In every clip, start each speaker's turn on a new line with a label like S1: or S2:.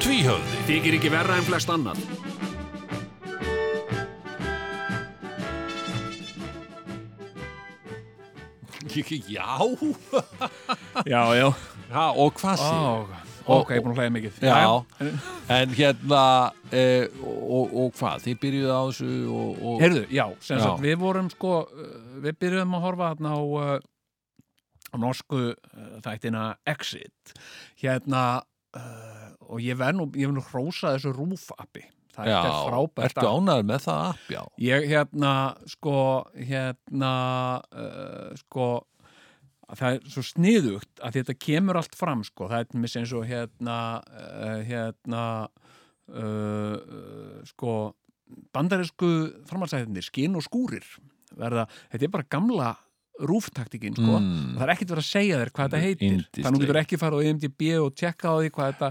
S1: Tvíhöfði
S2: Þykir ekki verra en flest annan.
S1: Já
S3: Já, já
S1: Já, og hvað sé
S3: Ó, Ok, ég er búin að hlæða mikið
S1: Já, en hérna e, og, og hvað, þið byrjuðu á þessu og, og
S3: Heyrðu, já, sem
S1: Já.
S3: sagt, við vorum sko uh, við byrjuðum að horfa þarna á, uh, á norsku uh, þættina Exit hérna uh, og ég verð nú, ég verð nú hrósa þessu rúfappi það
S1: já,
S3: er frábært
S1: Ertu
S3: app.
S1: ánæður með það app, já
S3: ég hérna, sko hérna uh, sko það er svo sniðugt að þetta kemur allt fram sko, það er mis eins og hérna uh, hérna uh, uh, sko bandarísku framhaldsæðinir skinn og skúrir verða, þetta er bara gamla rúftaktikinn sko
S1: Mm.
S3: það er ekkert verið að segja þér hvað þetta heitir
S1: Yndislegt.
S3: þannig getur ekki farið á IMDb og tjekka á því hvað þetta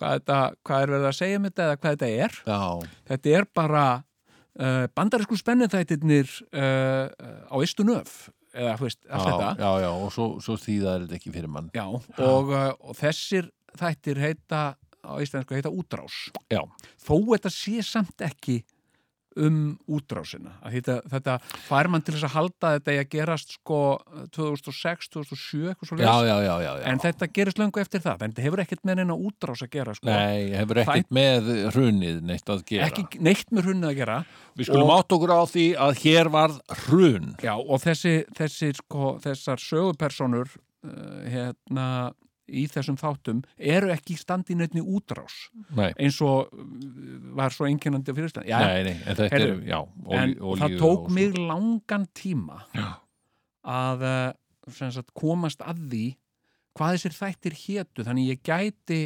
S3: hvað, þetta, hvað er verið að segja um þetta eða hvað þetta er
S1: Já,
S3: þetta er bara uh, bandarísku spenninþættirnir uh, uh, á Istunöf eða þú veist, allt
S1: já,
S3: þetta
S1: já, já, og svo, svo þýðar þetta ekki fyrir mann
S3: Já, og, uh, og þessir þættir heita á íslensku heita útrás
S1: Já.
S3: þó þetta sé samt ekki um útrásina Að þetta, þetta fær mann til þess að halda að þetta í að gerast sko 2006, 2007 eitthvað svo
S1: Já, já, já, já, já.
S3: en þetta gerist löngu eftir það en þetta hefur ekkert með neina útrás að gera sko.
S1: Nei, hefur ekkert með hrunið neitt að gera
S3: ekki neitt með hrunni að gera
S1: Við skulum
S3: og-
S1: átt okkur á því að hér varð hrun
S3: Já, og þessi, þessi sko, þessar sögupersonur uh, hérna í þessum þáttum eru ekki í standi í neittni útrás
S1: Nei,
S3: eins og uh, var svo einkennandi á fyrirstæðan Já,
S1: nei, nei, en þetta er,
S3: Heyrðu,
S1: já olí,
S3: en
S1: olíu
S3: það
S1: og
S3: tók
S1: svo.
S3: mig langan tíma
S1: Já.
S3: að uh, sem sagt, komast að því hvað þessir þættir hétu þannig ég gæti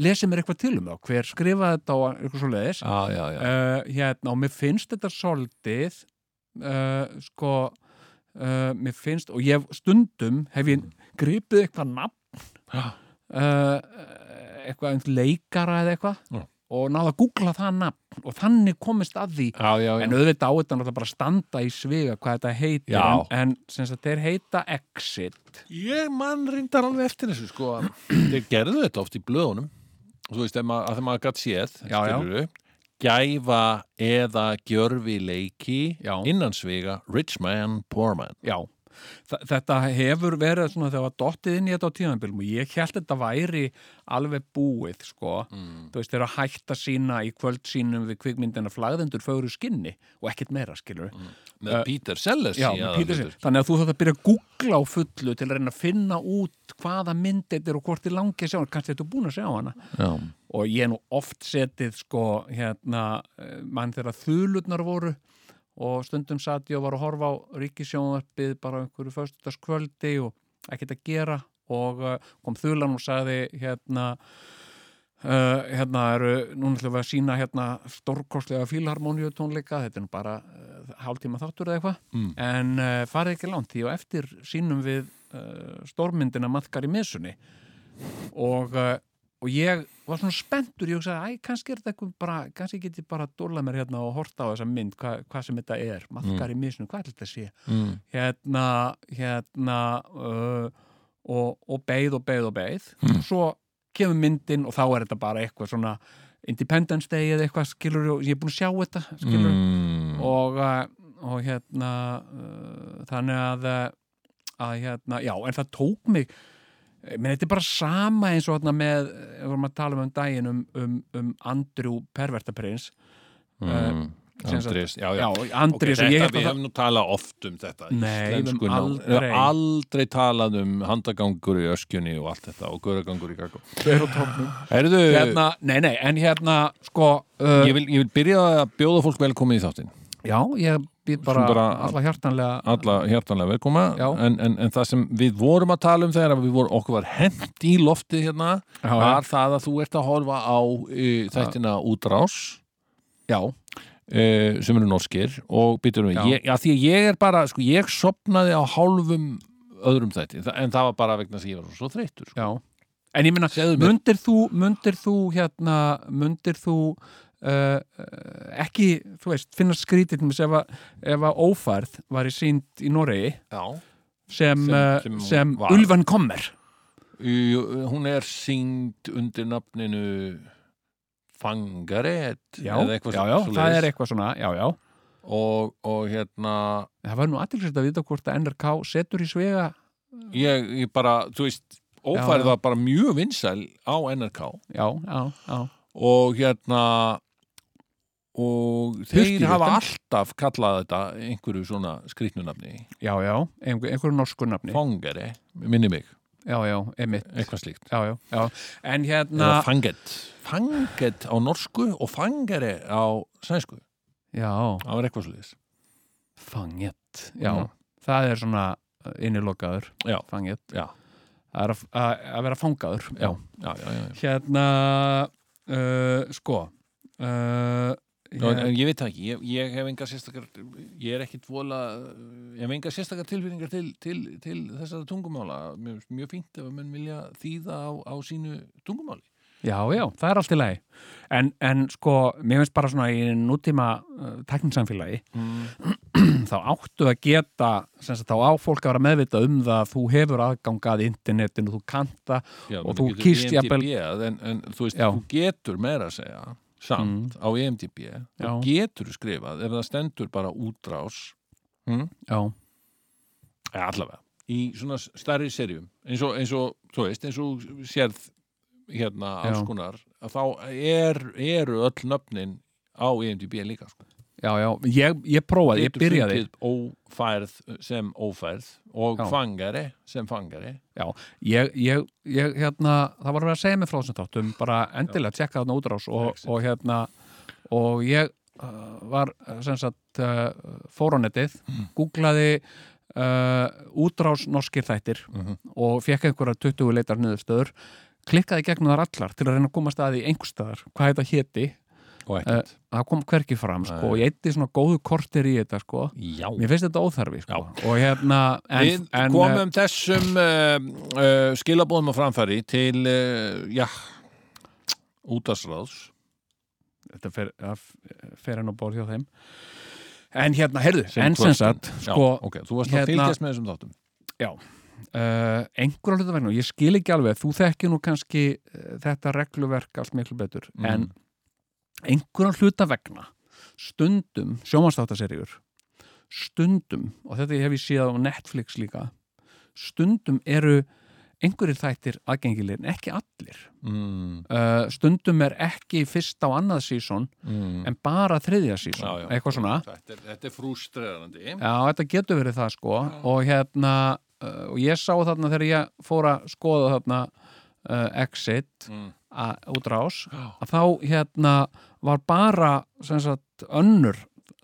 S3: lesið mér eitthvað til um þá hver skrifaði þetta og eitthvað svo leiðis
S1: Já, já, já,
S3: uh, hérna, og mér finnst þetta soldið uh, sko uh, mér finnst, og ég hef- stundum hef ég gripið eitthvað nafn
S1: Já.
S3: uh, eitthvað einhvern leikara eða eitthvað
S1: Já.
S3: og náða að googla það nafn og þannig komist að því
S1: já, já, já.
S3: en auðvitað á þetta náttúrulega bara að standa í sviga hvað þetta heitir
S1: Já.
S3: en, en sem sagt, þeir heita Exit
S1: Ég mann reyndar alveg eftir þessu sko að þeir gerðu þetta oft í blöðunum þú veist, ef maður- að þegar maður gætt séð
S3: Já, já.
S1: skilurðu, gæfa eða gjörfi leiki
S3: Já.
S1: innansviga rich man, poor man
S3: Já, Þa- þetta hefur verið svona þegar var dottið inn í þetta á tímanbílum og ég held þetta væri alveg búið sko, þú veist, þeir eru að hætta sína í kvöld sínum við kvikmyndina flagðendur fögru skinni og ekkert meira skilur mm.
S1: Eh, með Peter Sellers í
S3: Já, með
S1: aðalhlutverki.
S3: Peter Sellers. þannig að þú þátt að byrja að googla á fullu til að reyna að finna út hvaða mynd þetta er og hvort þið langi að sjá hana kannski þetta er búin að sjá hana
S1: Já.
S3: og ég hef nú oft setið sko hérna, eh, mann þegar þulurnar voru og stundum satt ég og var að horfa á ríkisjónvarpið bara á einhverju föstudagskvöldi og ekkert að gera og eh, kom þulan og sagði hérna Uh, hérna eru, núna ætlum við að sína hérna stórkostlega fílharmoníu tónleika þetta er nú bara uh, hálftíma þáttur eða eitthvað,
S1: Mm.
S3: en uh, farið ekki langt því og eftir sínum við uh, stórmyndina maðkar í misunni og, uh, og ég var svona spenntur, ég hugsaði, æ, kannski er þetta eitthvað bara, kannski get ég bara að dóla mér hérna og horta á þessa mynd, hva, hvað sem þetta er maðkar í misunni, hvað er þetta að sé
S1: Mm.
S3: hérna, hérna uh, og, og beið og beið og beið svo kemur myndin og þá er þetta bara eitthvað svona Independence Day eða eitthvað skilur og ég er búin að sjá þetta skilur
S1: Mm.
S3: og, uh, og hérna uh, þannig að, uh, að hérna, já, en það tók mig eh, menn þetta er bara sama eins og hérna með, ef við vorum að tala um um daginn um, um, um Andrew Pervertaprins
S1: Mm.
S3: sem sagt-
S1: Andrés, já, já,
S3: já, Andri
S1: þetta,
S3: okay, ég hérna
S1: við
S3: held að
S1: hefum nú talað oft um þetta
S3: Nei, við
S1: íslensku
S3: höfum
S1: nál-
S3: aldrei.
S1: við höfum aldrei talað um handagangur í öskjunni og allt þetta og göragangur í kakó
S3: það er á tóknum
S1: Heyrðu,
S3: hérna, nei, nei, en hérna sko, uh,
S1: ég, vil, ég vil byrja að bjóða fólk velkomið í þáttinn
S3: já, ég býð
S1: Skulum
S3: bara, bara
S1: bara-
S3: alla hjartanlega
S1: alla hjartanlega velkoma
S3: Já.
S1: en, en, en það sem við vorum að tala um þegar við vorum, okkur var hent í loftið hérna
S3: Já,
S1: var það að þú ert að horfa á uh, þættina útrás
S3: já,
S1: uh, sem eru norskir og býtur um
S3: Já.
S1: ég, já, því að ég er bara, sko, ég sopnaði á hálfum öðrum þætti, Þa- en það var bara vegna þess að ég var svo þreyttur sko.
S3: já en ég meina,
S1: Segðu mér,
S3: mundir þú mundir þú hérna, mundir þú uh, uh, ekki þú veist, finna skrítið til dæmis ef að, ef að ófærð var í sínd í Noregi
S1: já, Sem-
S3: sem, sem,
S1: sem hún
S3: sem
S1: var.
S3: Ulfan Kommer
S1: Jú, hún er syngd undir nafninu Fangaret
S3: já,
S1: eða eitthvað
S3: já, já
S1: svoleiðis.
S3: það er eitthvað svona já, já,
S1: og, og hérna
S3: það var nú aðtilsett að vita hvort að NRK setur í svega
S1: ég, ég bara, þú veist ófærið
S3: Já, já.
S1: var bara mjög vinsæl á NRK
S3: já, já, já,
S1: og hérna og
S3: Fyrst í
S1: þeir hafa
S3: vikan.
S1: alltaf kallað þetta einhverju svona skrýtnunafni
S3: já, já einhver, einhverjum norsku nafni
S1: Fangari, minni mig,
S3: já, já, emitt
S1: eitthvað slíkt
S3: já, já, já, en hérna
S1: eða fanget fanget á norsku og fangari á sænsku,
S3: já,
S1: það var eitthvað slíkt
S3: Fanget, já,
S1: Mhm.
S3: það er svona eh, innilokaður,
S1: Já.
S3: fanget
S1: Já.
S3: Það er að, að, að vera fangaður
S1: Já. já, já, já, já.
S3: Hérna uh, sko uh,
S1: Já, en- en ég veit það ekki, ég, ég hef enga sérstakar ég er ekkit vola ég hef enga sérstakar tilfinningar til, til, til þessara tungumála mjög, mjög fínt ef að menn vilja þýða á, á sínu tungumáli
S3: Já, já, það er allt í lagi en, en sko, mér finnst bara svona í nútíma uh, tekninsamfélagi
S1: mm.
S3: þá áttu að geta sem sagt, þá á fólk að vera meðvitað um það að þú hefur aðgangað internetinu, þú kanta
S1: já,
S3: Og
S1: menn
S3: þú
S1: getur E
S3: kýst
S1: IMDb en, en þú veist,
S3: Já. Mm.
S1: þú getur meira að segja samt á E EMDB þú
S3: Já.
S1: getur skrifað ef það stendur bara útrás
S3: Já,
S1: ja, Eh, allavega, í svona starri serjum eins og, eins og, þú veist, eins og sérð hérna alls
S3: Já.
S1: konar að þá er, eru öll nöfnin á IMDb líka sko.
S3: já, já, ég, ég prófaði, ég
S1: Getur
S3: byrjaði
S1: fundið ófærð eh, sem ófærð og
S3: Já.
S1: fangari sem fangari
S3: ég, ég, ég hérna, það var verið að segja mig frá þessum þáttum, bara endilega tjekka þarna útrás og,
S1: Exit.
S3: og hérna og ég uh, var sem sagt uh, fór á netið,
S1: Mhm.
S3: googlaði uh, útrás norskir þættir
S1: Mhm.
S3: og fekk einhverja 20 leitar niðurstöður, klikkaði gegnum þar allar til að reyna að komast að því einhverstaðar hvað þetta héti,
S1: og
S3: ekkert. það kom hvergi fram sko,
S1: Nei.
S3: og ég eitti svona góðu kortir í þetta sko.
S1: Já,
S3: mér finnst þetta óþarfi sko. og hérna en,
S1: við
S3: en, eh,
S1: komum þessum uh, uh, skilabóðum á framfæri til uh, já útasráðs
S3: þetta fer, það f- fer hann á borð hjá þeim en hérna, heyrðu,
S1: sem
S3: en sem
S1: kvörtun.
S3: sagt
S1: Já,
S3: sko,
S1: ok, þú varst
S3: hérna-
S1: að fylgjast með þessum þáttum
S3: uh, einhverja hluta vegna, og ég skil ekki alveg þú þekki nú kannski uh, þetta regluverk allt miklu betur,
S1: Mhm.
S3: en einhverja hluta vegna stundum, sjómanstáttaseriur stundum, og þetta hef ég séð á Netflix líka stundum eru einhverjir þættir aðgengilegir, en ekki allir
S1: mm,
S3: uh, stundum er ekki fyrst á annað sísón,
S1: mm.
S3: en bara þriðja sísón,
S1: Já, já.
S3: eitthvað svona
S1: Þetta er, þetta er frústrerandi
S3: Já, þetta getur verið það sko og hérna, uh, og ég sá þarna þegar ég fór að skoða þarna uh, Exit
S1: mm.
S3: a, útrás,
S1: Já.
S3: að þá hérna var bara sem sagt önnur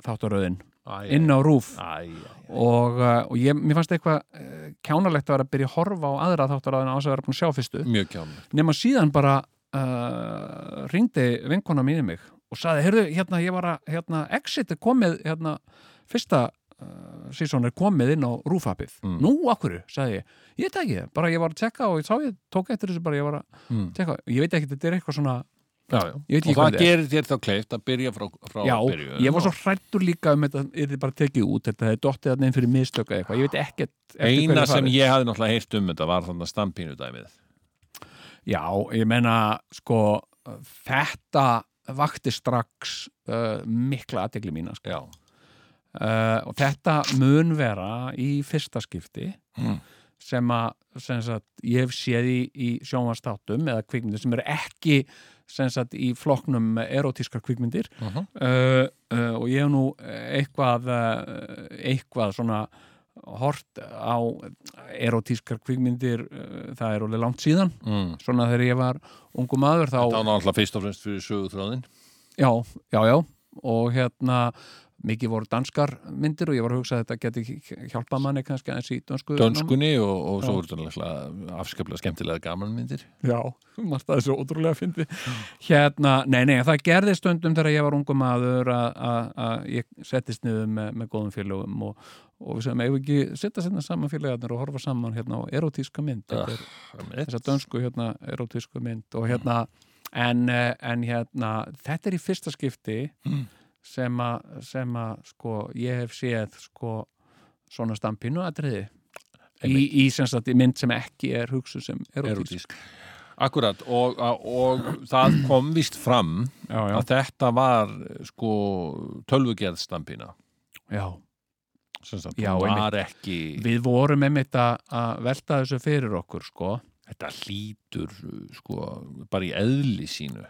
S3: þátturöðin
S1: Æ,
S3: inn á rúf
S1: Æ, æ, æ.
S3: og, uh, og ég, mér fannst eitthvað uh, kjánalegt að vera að byrja að horfa á aðra þátturöðina á þess að vera búin að sjá fyrstu
S1: Mjög kjámið
S3: nema síðan bara uh, ringdi vinkona mín í mig og saði, heyrðu, hérna, ég var að hérna, exit er komið, hérna fyrsta uh, sísón er komið inn á rúfapið,
S1: Mm.
S3: nú akkur sagði ég, ég veit það ekki, bara ég var að tekka og ég sá ég, tók eftir þessu bara, ég var að
S1: mm.
S3: tekka, ég veit ekki, þetta er eitthvað svona
S1: Já, já.
S3: Ég veit ekki
S1: Og
S3: hvað
S1: það
S3: þetta er.
S1: gerir þér þá kleift að byrja frá, frá
S3: já,
S1: byrju
S3: ég var svo hrættur líka um þetta, er þið bara tekið út, þetta er dottið þarna inn fyrir mistöka eða eitthvað, ég veit ekkert eftir hverju
S1: Eina
S3: það
S1: sem
S3: er.
S1: ég hafði náttúrulega heyrt um þetta var þannig að stampínu dæmið
S3: Já, ég meina sko, þetta vakti strax uh, mikla aðtegli mína sko.
S1: Já,
S3: uh, og þetta mun vera í fyrsta skipti
S1: Mm.
S3: sem að sem sagt, ég hef séð í, í sjónvastátum eða kvikmyndir sem eru ekki sem sagt, í flokknum erotískar kvikmyndir
S1: Mhm.
S3: uh, uh, og ég hef nú eitthvað uh, eitthvað svona hort á erotískar kvikmyndir uh, það er alveg langt síðan
S1: mm.
S3: svona þegar ég var ungu maður þá
S1: Það var náttúrulega fyrst og fremst fyrir söguþráðin
S3: Já, já, já og hérna mikið voru danskar myndir og ég var að hugsa að þetta geti hjálpað manni kannski aðeins í dönsku
S1: dönskunni og, og svo
S3: Já.
S1: voru þetta afskaplega skemmtilega gamanmyndir
S3: Já, margt að þessu ótrúlega fyndi. Hérna, nei, nei, það gerði stundum þegar ég var ungum maður að- að að ég settist niður með, með góðum félögum og, og við sem eigum ekki sitta sérna saman félagarnir og horfa saman hérna á erotíska mynd, Þetta er, þessa dönsku hérna erotísku mynd og hérna, en, eh, en hérna, þetta er í fyrsta skipti
S1: Mm.
S3: sem að, sem að, sko, ég hef séð, sko, svona stampinu atriði.
S1: Einmitt.
S3: Í, í, sem sagt, í mynd sem ekki er hugsu sem erotísk.
S1: erotísk Akkurat, og, og það kom vist fram
S3: Já,
S1: að þetta var sko tölvugerðstampina
S3: já.
S1: sem sagt,
S3: Já,
S1: hún var ekki
S3: Við vorum einmitt að að velta þessu fyrir okkur, sko.
S1: þetta hlýtur sko bara í eðli sínu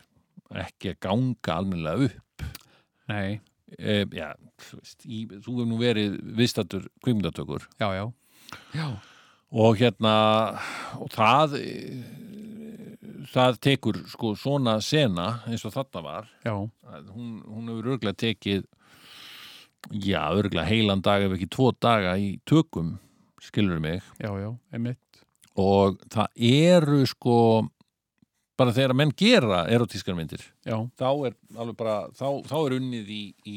S1: ekki að ganga almennilega upp
S3: Nei,
S1: e, já, þú veist, í, þú hefur nú verið viðstattur kvikmyndatökur
S3: já, já. Já,
S1: og hérna og það eh, það tekur sko svona sena eins og þarna var
S3: já,
S1: að hún, hún hefur örglega tekið já, örglega heilan dag ef ekki tvo daga í tökum skilur mig
S3: já, já, einmitt.
S1: og það eru sko bara þegar menn gera erotískar myndir
S3: Já,
S1: þá er alveg bara þá, þá er unnið í, í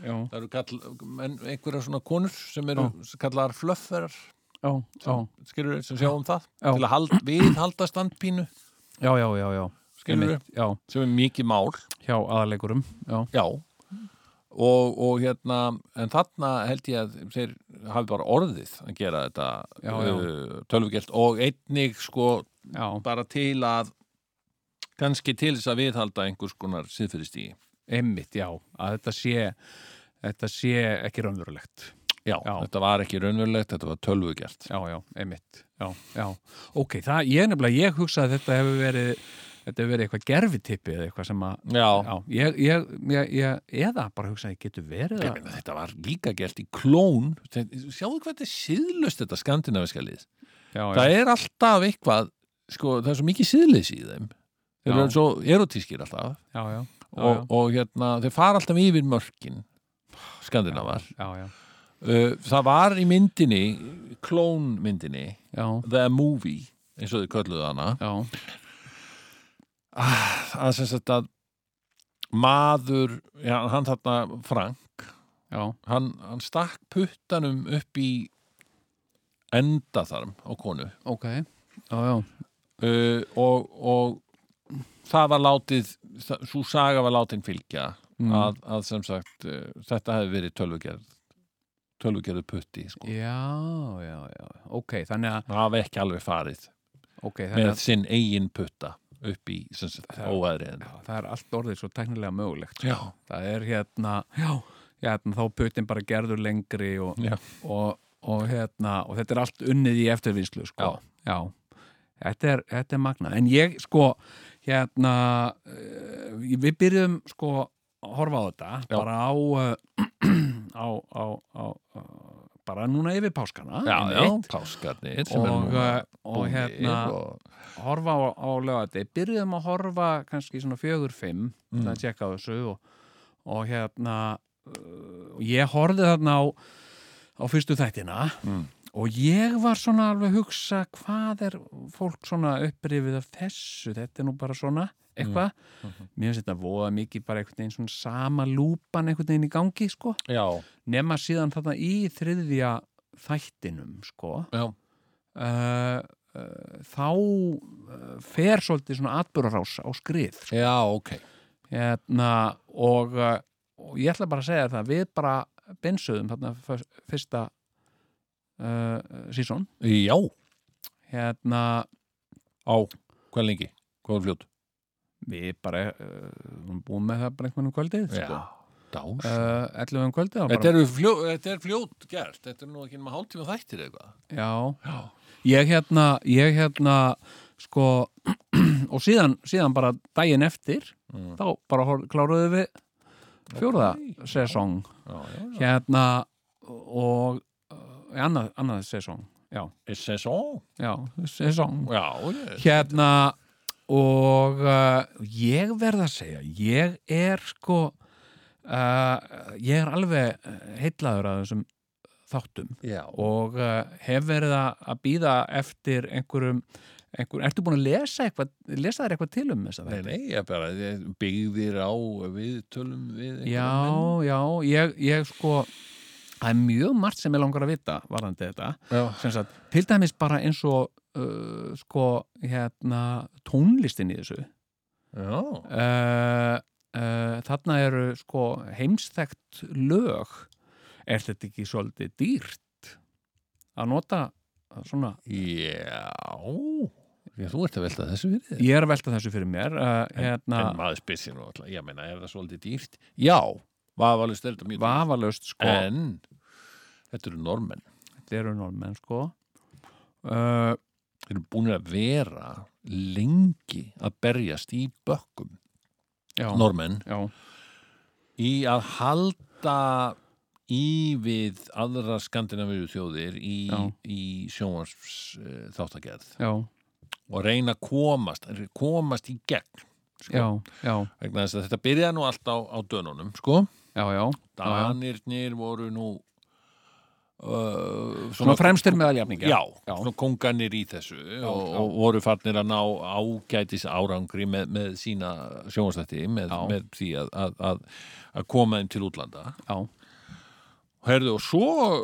S3: já,
S1: það eru kall, menn, einhverja svona konur sem eru kallar flöfferar
S3: já, já,
S1: skilur sem sjá um það
S3: Já.
S1: til að hald, viðhalda standpínu
S3: já, já, já, já.
S1: skilur
S3: Einmitt, Já,
S1: sem er mikið mál
S3: hjá aðalegurum, já,
S1: já og, og hérna en þarna held ég að þeir hafi bara orðið að gera
S3: Já,
S1: þetta
S3: já.
S1: uh, tölvugelt og einnig sko
S3: já,
S1: bara til að kannski til þess að viðhalda einhvers konar siðferðistígi
S3: einmitt, já, að þetta sé, þetta sé ekki raunverulegt.
S1: já,
S3: Já.
S1: þetta var ekki raunverulegt, þetta var tölvugelt
S3: Já, já, einmitt, já, já. Ok, það, ég nefnilega, ég hugsa að þetta hefur verið, þetta hefur verið eitthvað gerfitipi eða eitthvað sem að,
S1: já,
S3: já, ég, ég, ég, ég eða bara hugsa að ég getur verið
S1: Ég
S3: að,
S1: meina, þetta var líka gert í klón Þetta- sjáðu hvað þetta er siðlust þetta skandinaviska lið
S3: já, já.
S1: það er alltaf eitthvað sko, það er svo mikið síðleys í þeim þeir
S3: Já.
S1: eru svo erotískir alltaf
S3: já, já, Já,
S1: og,
S3: já.
S1: og hérna, þeir fara alltaf yfir mörkin skandinavar
S3: já, já,
S1: uh, það var í myndinni klónmyndinni
S3: já,
S1: The Movie, eins og þau kölluðu hana
S3: já,
S1: að sem sagt að maður, já, hann þarna Frank,
S3: já,
S1: hann, hann stakk puttanum upp í endatharm á konu
S3: ok já, já,
S1: uh, og, og það var látið svo saga var látin fylgja
S3: Mm.
S1: að, að sem sagt uh, þetta hefði verið tölvugerð tölvugerðu putti sko.
S3: já, já, já ok, þannig að,
S1: það hafi ekki alveg farið
S3: ok, þannig
S1: með
S3: að
S1: sinn eigin putta upp í sem sagt
S3: Það-
S1: óæðri en
S3: já, það er allt orðið svo teknilega mögulegt
S1: já,
S3: það er hérna, já, hérna þá putin bara gerður lengri og,
S1: já,
S3: og, og hérna, og þetta er allt unnið í eftirvinnslu, sko
S1: Já.
S3: Þetta er, þetta er magnað, en ég sko hérna eh, við byrjum sko að horfa á þetta,
S1: Já.
S3: bara á, eh, á, á, á, á bara núna yfir páskana
S1: já, já
S3: einmitt.
S1: páskarnir sem er
S3: og,
S1: núna
S3: eh, og
S1: búnir
S3: hérna
S1: og,
S3: horfa á, á lögati byrjuðum að horfa kannski svona fjögur fimm
S1: Mm.
S3: mm. að tjekka á þessu og, og hérna uh, og ég horfði þarna á á fyrstu þættina
S1: Mm.
S3: og ég var svona alveg að hugsa hvað er fólk svona upprifið af þessu, þetta er nú bara svona eitthvað, mér finnst þetta voða mikið bara einhvern veginn svona sama lúpan einhvern veginn í gangi sko,
S1: já,
S3: nema síðan þarna í þriðja þættinum sko
S1: já,
S3: uh, uh, þá uh, fer svolítið svona atbyrðarás á skrið sko.
S1: já, ok
S3: hérna, og, uh, og ég ætla bara að segja það við bara bensuðum þarna fyr- fyrsta uh, sísón
S1: já,
S3: hérna,
S1: á, hvað lengi hvað er fljótt
S3: við bara uh, vorum búin með það bara einhvern veginn um kvöldið sko.
S1: dás
S3: uh, 11 um kvöldið þá
S1: Eh, Þetta,
S3: bara,
S1: eru fljó, þetta er fljót gert, þetta er nú ekki nema hálftíma þættir eitthvað.
S3: já,
S1: Já.
S3: ég hérna, ég hérna sko og síðan, síðan bara daginn eftir
S1: Mm.
S3: þá bara hor- kláruðu við fjórða
S1: Ok.
S3: sesong
S1: Já, já, já.
S3: hérna og uh, annað, annað sesong já,
S1: Er sesón?
S3: já, sesong
S1: Já, ég.
S3: hérna eh, og uh, ég verð að segja ég er sko uh, ég er alveg heitlaður að þessum þáttum
S1: Já.
S3: og uh, hef verið að að býða eftir einhverjum, einhver, ertu búin að lesa eitthvað, lesa þér eitthvað til um þess að
S1: Nei, nei, ég bara ég byggðir á við tölum við einhverja
S3: Já, já, ég, ég sko það er mjög margt sem ég langar að vita varðandi þetta,
S1: menn.
S3: sem sagt til dæmis bara eins og uh, sko, hérna, tónlistin í þessu
S1: Já. Já.
S3: uh, uh, þarna eru sko heimstækt lög er þetta ekki svolítið dýrt að nota svona
S1: Já, já þú ert að velta þessu fyrir þér.
S3: ég er að velta þessu fyrir mér uh, hérna,
S1: En maður spyrsir nú alltaf, ég meina, er það svolítið dýrt? Já, vafalust er þetta mjög dýrt.
S3: vafalaust sko
S1: En, þetta eru normenn.
S3: þetta eru normenn sko uh,
S1: Þeir eru búin að vera lengi að berjast í bökkum,
S3: já,
S1: normenn,
S3: já,
S1: í að halda í við aðra skandinavíu þjóðir í,
S3: Já.
S1: í sjónvarsf uh, þáttagerð
S3: já,
S1: og reyna að komast, komast í gegn.
S3: já, já,
S1: Vegna þess að þetta byrjaði nú allt á, á dönunum, sko.
S3: já, já.
S1: Danirnir voru nú uh,
S3: svona fremstir meðal jafninga
S1: já, svona konganir í þessu og,
S3: já.
S1: og voru farnir að ná ágætis árangri með, með sína sjónastætti með,
S3: Já.
S1: með því að, að, að, að koma þeim til útlanda
S3: já.
S1: Herðu, og svo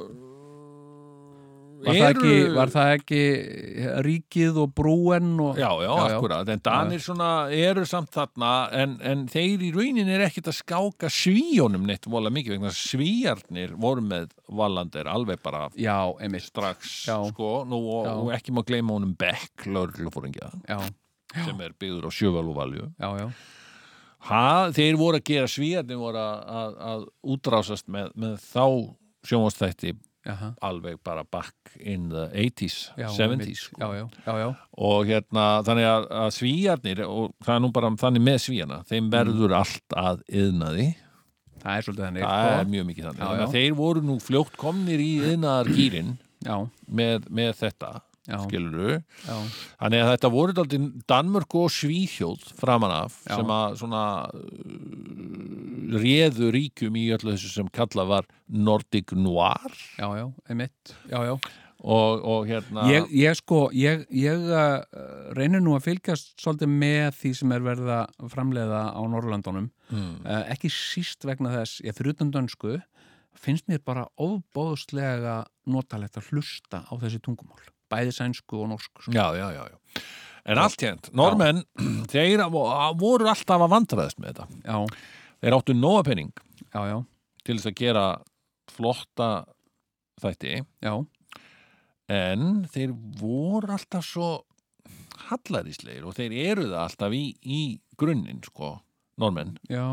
S3: Var, það ekki, var það ekki eh, ríkið og brúen og
S1: Já, já,
S3: Já, já.
S1: akkurat, en Danir svona eru samt þarna en, en þeir í raunin er ekkit að skáka svíjónum neitt vola mikið vegna þess að svíjarnir voru með Vallander alveg bara
S3: já einmitt
S1: strax
S3: Já.
S1: sko, nú, og,
S3: Já.
S1: og ekki má gleyma honum Beck, laurlufóringja
S3: já,
S1: sem er byggður á sjövalúvalju
S3: já, já,
S1: ha, þeir voru að gera svíjarnir voru að, að, að útrásast með, með þá sjónvastætti
S3: já.
S1: alveg bara back in the 80s,
S3: já,
S1: 70s sko.
S3: já, já, já, já,
S1: og hérna þannig að, að svíjarnir og það er nú bara þannig með svíjana
S3: Mm.
S1: þeim verður allt að yðnaði
S3: það er svolítið þannig
S1: það er
S3: sko.
S1: mjög mikið þannig
S3: Já,
S1: Þannig að þeir voru nú fljótt komnir í yðnaðar
S3: já,
S1: með, með þetta,
S3: já,
S1: skilurðu
S3: já,
S1: Þannig að þetta voru dálítið Danmörk og Svíþjóð framan af
S3: Já.
S1: sem að svona uh, réðu ríkjum í öllu þessu sem kallað var Nordic Noir
S3: já, já, einmitt já, já,
S1: og, og hérna
S3: ég, ég sko ég, ég uh, reynir nú að fylgjast svolítið með því sem er verið að framleiða á Norrlandunum
S1: mm,
S3: uh, ekki síst vegna þess, ég fyrir utan dönsku finnst mér bara ofbóðslega notalegt að hlusta á þessi tungumál, bæði sænsku og norsku sko.
S1: Já, já, já, já En allt hérnt, normenn, þeir vo- voru alltaf að vandraðast með þetta
S3: já,
S1: Þeir áttu nóa penning
S3: já, já,
S1: til þess að gera flotta þætti
S3: já
S1: en þeir voru alltaf svo hallaríslegir og þeir eru það alltaf í, í grunninn, sko, normenn
S3: já,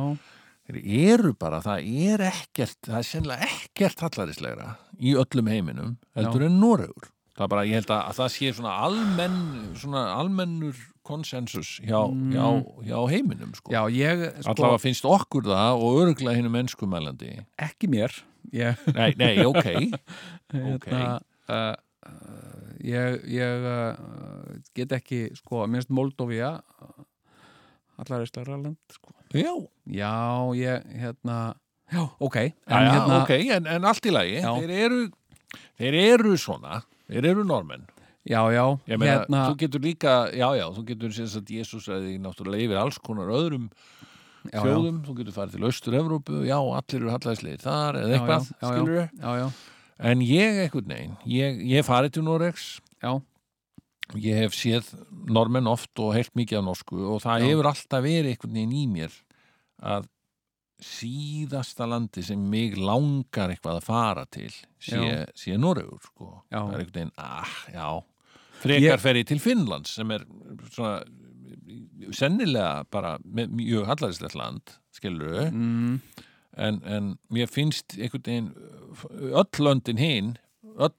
S1: þeir eru bara, það er ekkert það er sennilega ekkert hallaríslegra í öllum heiminum, heldur
S3: Já.
S1: en Noregur það er bara, ég held að, að það sé svona almenn, svona almennur konsensus hjá,
S3: Mm.
S1: hjá, hjá heiminum, sko
S3: já, ég sko,
S1: allavega finnst okkur það og örgla hinnum mennskumælandi
S3: ekki mér ég
S1: nei, nei, ok ok,
S3: hérna, uh, uh, ég, ég uh, get ekki sko, minnst Moldovia uh, allar eislara land sko.
S1: já,
S3: já, ég hérna, já, ok en,
S1: en, já,
S3: hérna,
S1: ok, en, en allt í lagi
S3: Já.
S1: þeir eru, þeir eru svona þeir eru normenn
S3: já, já,
S1: ég meina,
S3: hérna
S1: þú getur líka, já, já, þú getur sem sagt Jésús að því náttúrulega yfir alls konar öðrum
S3: já, já,
S1: þjóðum, þú getur farið til Östur-Evrópu já, allir eru hallæðislegir þar eða
S3: Já,
S1: eitthvað,
S3: já, já, já.
S1: skilur
S3: já, já,
S1: en ég eitthvað negin, ég, ég hef farið til Noregs
S3: já,
S1: ég hef séð normenn oft og heilt mikið af norsku og það
S3: Já.
S1: hefur alltaf verið einhvern veginn í mér að síðasta landi sem mig langar eitthvað að fara til sé, sé Noregur sko.
S3: Já.
S1: það er einhvern veginn, ah, já frekar
S3: Ég-
S1: fer ég til Finnlands sem er svona sennilega bara með mjög hallarinslegt land skilur
S3: mm,
S1: en, en mér finnst einhvern veginn öll löndin hinn öll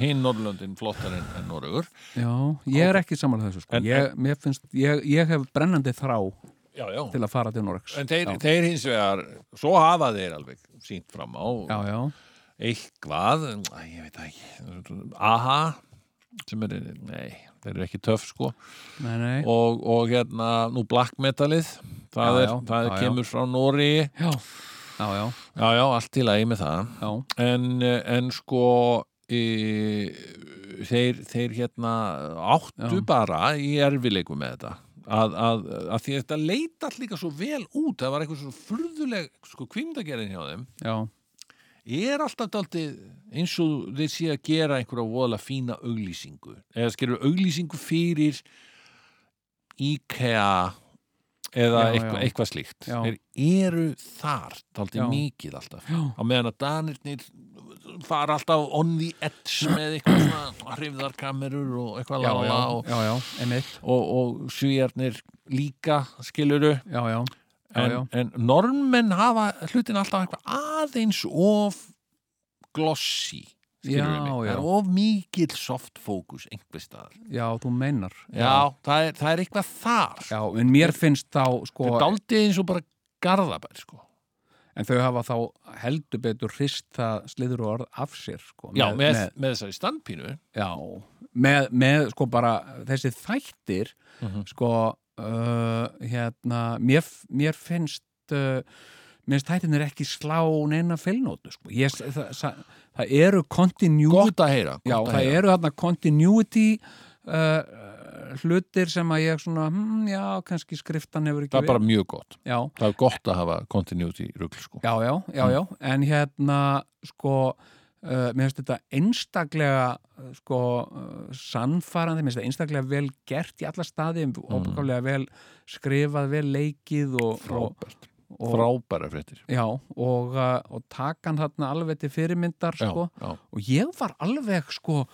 S1: hinn Norrlöndin flottar en, en Noregur
S3: já ég er ekki samanlega þessu sko.
S1: En-
S3: ég, mér finnst, ég, ég hef brennandi þrá
S1: já, já.
S3: til að fara til Noregs
S1: En þeir,
S3: já,
S1: þeir hins vegar, svo hafa þeir alveg sínt fram á
S3: já, já,
S1: eitthvað, en, æ, ég veit það ekki, aha, sem er, nei, þeir eru ekki töff sko,
S3: nei, nei
S1: og, og hérna, nú black metalið, það,
S3: Já,
S1: er,
S3: já,
S1: það
S3: já, já.
S1: kemur frá Nóri
S3: já, já, já,
S1: Já, já, allt til að ég með það
S3: já,
S1: en, eh, en sko e, þeir, þeir hérna áttu
S3: Já.
S1: bara í erfileikum með þetta að, að, að því að þetta leita allt líka svo vel út það var eitthvað svo furðuleg sko kvimdagerðin hjá þeim
S3: já,
S1: er alltaf daldið eins og þeir sé að gera einhverja voðalega fína auglýsingu eða skilur auglýsingu fyrir IKEA eða
S3: Já,
S1: eitthvað,
S3: já.
S1: eitthvað slíkt
S3: Já.
S1: þeir eru þar daldið
S3: Já.
S1: mikið alltaf
S3: já,
S1: á meðan að danirnir fara alltaf on the edge með eitthvað svona hrifðarkamerur og eitthvað
S3: já, já,
S1: lalala og,
S3: já, já, einmitt,
S1: og, og svíjarnir líka skiluru
S3: já, já, Já,
S1: en,
S3: já.
S1: en normenn hafa hlutin alltaf eitthvað aðeins of glossy skilurðu
S3: Já,
S1: mig. það
S3: já.
S1: er of mikill soft focus einhver staðar
S3: já, þú meinar.
S1: já, það er, það er eitthvað þar
S3: Já, en mér finnst þá, sko,
S1: það er daldið eins og bara garðabær sko.
S3: en þau hafa þá heldur betur hrist það sliður og orð af sér, sko.
S1: já, með, með, þessari standpínu
S3: Já, með, með sko bara þessi þættir
S1: Mhm.
S3: sko uh, hérna, mér, mér finnst uh, mér finnst þættinir ekki slá neina feilnótu sko. ég, það, það, það eru continuity
S1: gott að heyra, gott
S3: já,
S1: að
S3: það
S1: heyra.
S3: eru þarna continuity uh, hlutir sem að ég svona, hm, já, kannski skriftan hefur ekki
S1: það er
S3: verið-
S1: bara mjög gott
S3: já,
S1: það er gott að hafa continuity rugl sko.
S3: Já, já, já, já, en hérna sko, uh, mér finnst þetta einstaklega uh, sko uh, sannfarandi, mér finnst þetta einstaklega vel gert í alla staði, mm. óbyggálega vel skrifað, vel leikið og, og,
S1: frábært,
S3: og
S1: frábæra fréttir
S3: já, og, uh, og takan þarna alveg til fyrirmyndar
S1: já,
S3: sko
S1: já,
S3: og ég var alveg sko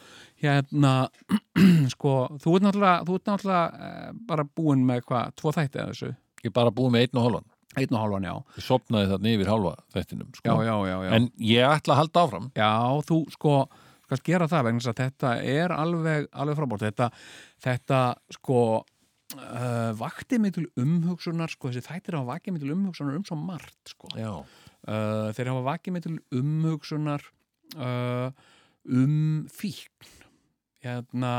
S3: hérna sko, þú ert náttúrulega, þú ert náttúrulega uh, bara búin með hvað, tvo þætti að þessu,
S1: ég er bara búið með einn og hálfan
S3: einn og hálfan, já
S1: ég sopnaði þarna yfir hálfa þettinum sko.
S3: já, já, já, já.
S1: en ég ætla að halda áfram
S3: Já, þú sko skalt gera það vegna þess að þetta er alveg, alveg frábórt. Þetta, þetta sko uh, vakti mig til umhugsunar, sko þessi þættir hafa vakið mig til umhugsunar um svo margt, sko.
S1: já,
S3: Uh, þeir hafa vakið mig til umhugsunar uh, um fíkn. Hérna,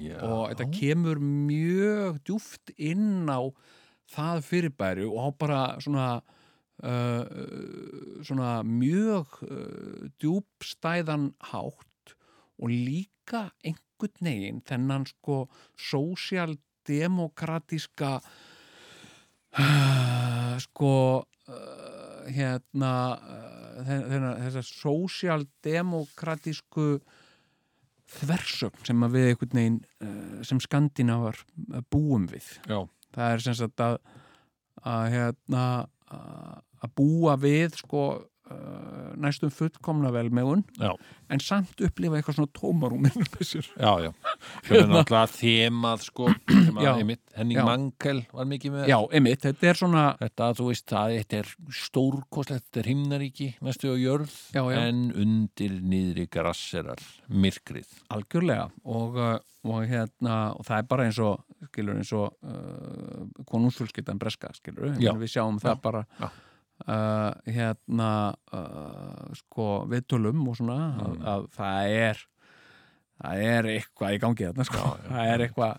S1: já.
S3: og þetta kemur mjög djúft inn á það fyrirbæri og á bara svona uh, svona mjög uh, djúbstæðan hátt og líka einhvern negin þennan sko sósialdemokratíska uh, sko uh, hérna uh, þe- þennan, þessa sósialdemokratísku þversögn sem að við einhvern veginn uh, sem skandinavar eh, búum við.
S1: já,
S3: Það er sem sagt að að, hérna, að að búa við sko uh, næstum fullkomna velmegun
S1: já,
S3: en samt upplifa eitthvað svona tómarúm innum þessir.
S1: já, já. sem er náttúrulega þemað sko, sem að
S3: Hérna- Já.
S1: einmitt, Henning
S3: Já.
S1: Mankel var mikið með
S3: Já, einmitt, þetta er svona
S1: Þetta, þú veist, það þetta er stórkostlegt, þetta er himnaríki, næstu á jörð,
S3: Já, já.
S1: en undir niðri grasserar, myrkrið.
S3: algjörlega og, eh, og hérna og það er bara eins og skilur eins og uh, konungsfjölskyldan breska skilur,
S1: Já.
S3: við sjáum það bara
S1: Já.
S3: Uh, hérna uh, sko viðtölum og svona
S1: Mm.
S3: að, að það er það er eitthvað í gangi þarna sko
S1: Já, já.
S3: það er eitthvað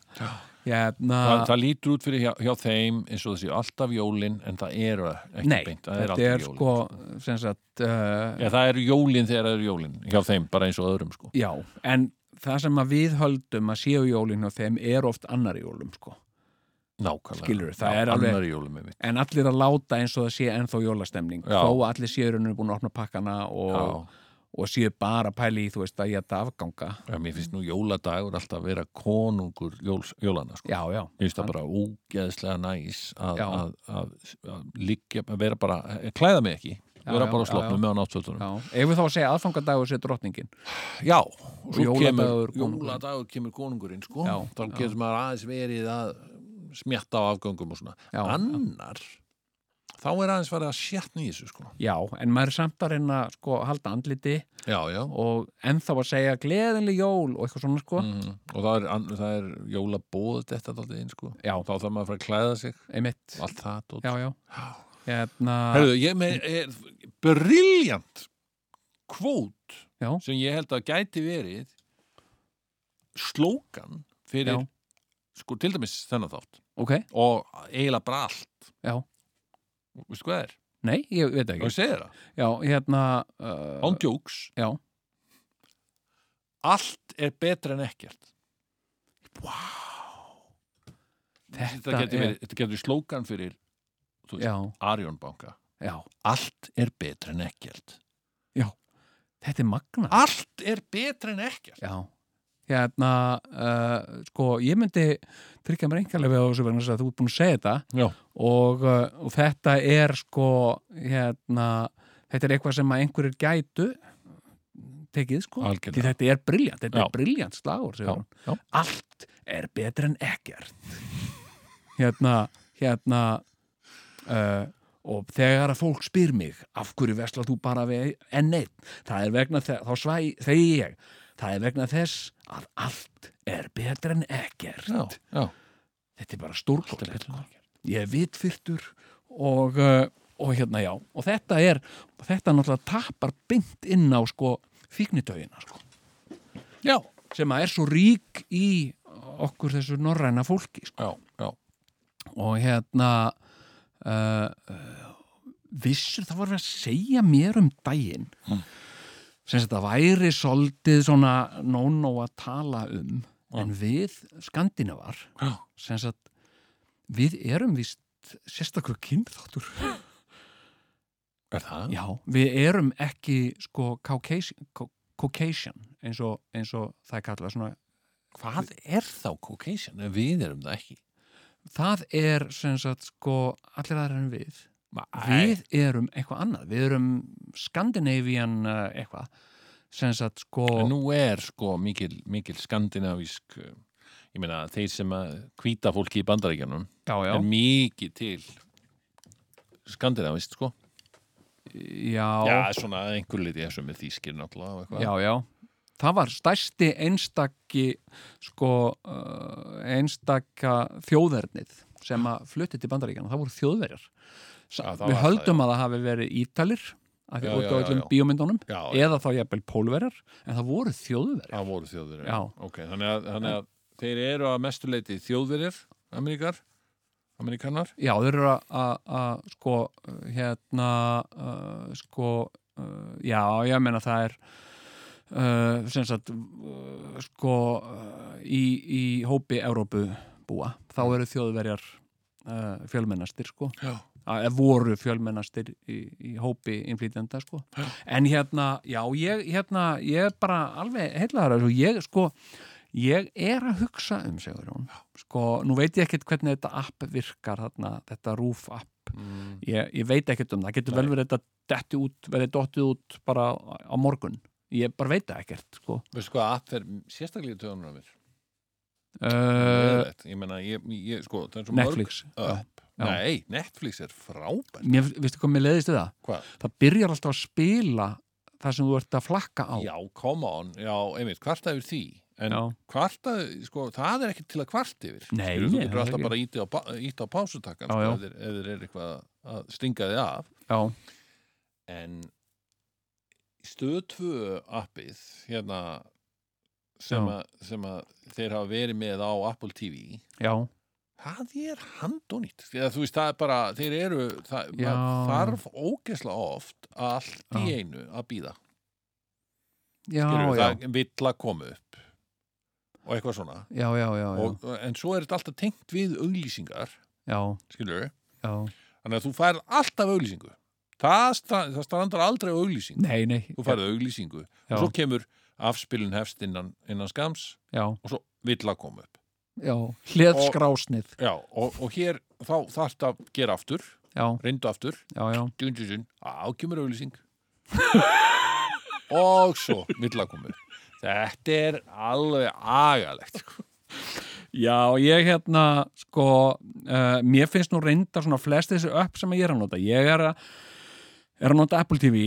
S3: hérna,
S1: það, það lítur út fyrir hjá, hjá þeim eins og þessi alltaf jólin en það eru ekki
S3: nei,
S1: beint það er
S3: þetta
S1: alltaf
S3: er
S1: jólin
S3: sko sem sagt uh,
S1: Já, það eru jólin þegar það eru jólin hjá þeim, bara eins og öðrum sko
S3: já, en það sem að við höldum að séu jólin og þeim er oft annar jólum sko
S1: Nákvæmlega
S3: Skilurðu, það
S1: Já,
S3: er alveg-
S1: annar jólum einmitt.
S3: en allir að láta eins og það sé ennþá jólastemning
S1: Já.
S3: þó að allir séu rauninu búin að opna pakkana og,
S1: Já,
S3: og séu bara að pæla í þú veist að ég ætta afganga
S1: já, mér finnst nú jóladagur alltaf að vera konungur jóls, jólana sko
S3: já, já,
S1: Mér finnst það bara ógeðslega næs að,
S3: Já.
S1: að, að, að liggja, að vera bara, eh, klæða mig ekki
S3: Já,
S1: vera
S3: já,
S1: bara á
S3: já,
S1: slopnum
S3: já.
S1: með á náttfötunum
S3: já. ef við þá að segja aðfangadagur sé drottningin
S1: Já, og svo
S3: jóladagur
S1: kemur
S3: konungurinn.
S1: jóladagur kemur konungurinn sko,
S3: Já,
S1: þá
S3: já.
S1: getur maður aðeins verið að smjatta á afgöngum og svona
S3: Já,
S1: annar þá er aðeins farið að sjatna í þessu sko.
S3: já, en maður er samt að reyna sko að halda andliti
S1: já, já
S3: og ennþá að segja gleðinli jól og eitthvað svona sko
S1: mm, og það er, ann- það er jólabóð þetta daldið inn sko
S3: já,
S1: þá þarf maður að fara að klæða sig
S3: einmitt,
S1: og allt það dót.
S3: já, já hérna,
S1: Herðu, ég er með er, briljant kvót
S3: Já.
S1: sem ég held að gæti verið slókan fyrir
S3: Já.
S1: sko til dæmis þennan þátt
S3: ok,
S1: og eiginlega bara allt
S3: Já.
S1: Vistu hvað það er?
S3: Nei, ég veit
S1: Og
S3: ekki.
S1: ég segi þér það,
S3: Já, hérna... Uh,
S1: án jokes
S3: já.
S1: Allt er betra en ekkert Vá Þetta,
S3: Þetta
S1: getur
S3: er-
S1: verið- þetta getur slókan fyrir þú veist,
S3: Já,
S1: Arjón banka
S3: já.
S1: Allt er betra en ekkert
S3: Þetta er magna.
S1: Allt er betra en ekkert
S3: Já. Hérna, uh, sko, ég myndi tryggja mér einhverlega á þessu vegna þess að þú ert búin að segja þetta
S1: Já.
S3: og, uh, og þetta er sko, hérna, þetta er eitthvað sem að einhverjir gætu tekið, sko.
S1: Algjörlega.
S3: Því þetta er briljant, þetta
S1: Já.
S3: er briljant slagur,
S1: Já,
S3: segir hún.
S1: já.
S3: Allt er betra en ekkert. hérna, hérna, uh, og þegar að fólk spyr mig af hverju veslar þú bara við enn eitt það er vegna þess, þá svæ, þegi ég það er vegna þess að allt er betra en ekkert
S1: Já, já.
S3: þetta er
S1: Allt
S3: bara
S1: er
S3: stórkóttlega
S1: betra en ekkert
S3: ég er vitfyrtur og, uh, og hérna já og þetta er, þetta náttúrulega tapar beint inn á sko fíknitögina sko,
S1: Já,
S3: sem að er svo rík í okkur þessu norræna fólki sko.
S1: já, já
S3: og hérna uh, uh, vissur það voru að segja mér um daginn
S1: Mm.
S3: sem þetta væri svolítið svona nónó að tala um
S1: Hmm.
S3: en við skandinavar
S1: Já,
S3: sem sagt við erum vist sérstakur kynþáttur
S1: er það?
S3: Já, við erum ekki sko Caucasian, Cau- Caucasian eins, og, eins og það er kallað svona
S1: Hvað er þá Caucasian? Ef Við erum það ekki
S3: það er sem sagt sko allir aðra en við
S1: Við-
S3: við erum eitthvað annað við erum Scandinavian uh, eitthvað sem sagt sko
S1: En nú er sko mikil, mikil skandinavísk uh, ég meina þeir sem að hvíta fólki í bandaríkjanum
S3: já, já,
S1: er mikið til skandinavist sko
S3: já,
S1: Já, svona að einhver liti þessu með þýskir náttúrulega og eitthvað
S3: já, já það var stærsti einstakki sko uh, einstakka þjóðvernið sem að flutti til bandaríkjana, það voru þjóðverjar
S1: Já, það
S3: við
S1: var
S3: höldum að það hafi verið ítalir af því
S1: Já,
S3: út
S1: já,
S3: á
S1: já,
S3: öllum
S1: já.
S3: bíómyndunum
S1: já, já,
S3: eða þá jafnvel pólverjar en það voru þjóðverjar
S1: það voru þjóðverið
S3: Já.
S1: Ok, þannig að, þannig að þeir eru að mestu leiti þjóðverið Ameríkar, Ameríkanar
S3: Já, þeir eru að- að að, sko, uh, hérna, uh, sko, uh, já, ég meina það er, uh, sem sagt, uh, sko, uh, í, í hópi Európu búa, þá eru þjóðverjar uh, fjölmennastir, sko,
S1: Já,
S3: að voru fjölmennastir í, í hópi innflýtjenda, sko. En hérna, já, ég, hérna, ég er bara alveg heillaðar, sko, ég, sko, Ég er að hugsa um, segur hún, sko, nú veit ég ekkert hvernig þetta app virkar þarna, þetta rúf app
S1: mm,
S3: ég, ég veit ekkert um það, getur
S1: Nei.
S3: vel verið þetta detti út, verið dottið út bara á morgun, ég bara veit það ekkert sko.
S1: veistu hvað app er sérstaklega töðunar mér?
S3: uh,
S1: Leiðinlegt. ég meina, ég, ég, sko, það er svo
S3: Netflix
S1: mörg
S3: Já.
S1: app Nei, Netflix er frábært
S3: Mér, veistu hvað mér leiðist við það?
S1: Hvað?
S3: Það byrjar alltaf að spila það sem þú ert að flakka á
S1: Já, come on, já, einmitt, hvarta yfir því En
S3: Já.
S1: kvarta, sko, það er ekki til að kvarta yfir
S3: Nei,
S1: Skilur, þú
S3: nei,
S1: getur
S3: það er
S1: alltaf
S3: ekki.
S1: bara íti á, pa- ýtt á pásutakkan
S3: Já,
S1: sko,
S3: já.
S1: ef þeir- ef þeir er eitthvað að stinga þig af
S3: já,
S1: en stöð 2 appið hérna sem,
S3: Já.
S1: að, sem að þeir hafa verið með á Apple TV
S3: já,
S1: það er handónýtt þegar þú veist það er bara, þeir eru það,
S3: Já.
S1: maður þarf ógesla oft að allt í
S3: Já.
S1: einu að býða
S3: já, já,
S1: það vill að koma upp og eitthvað svona
S3: já, já, já, já,
S1: og, en svo er þetta alltaf tengt við auglýsingar
S3: já,
S1: skilur
S3: já.
S1: þannig að þú færð alltaf auglýsingu það, stra það strandar aldrei á auglýsingu
S3: Nei, nei,
S1: þú færð auglýsingu
S3: Já.
S1: og svo kemur afspilun hefst innan, innan skams
S3: já,
S1: og svo vill að koma upp
S3: já, hliðskrásnið,
S1: já, og, og hér þá þarf að gera aftur,
S3: já,
S1: reyndu aftur
S3: já, já,
S1: djun, djun, djun, á kemur auglýsing og svo vill að koma upp þetta er alveg agalegt sko.
S3: Já, ég hérna, sko, uh, mér finnst nú reyndar svona flest þessi upp sem ég er að nota. Ég er að, er að nota Apple TV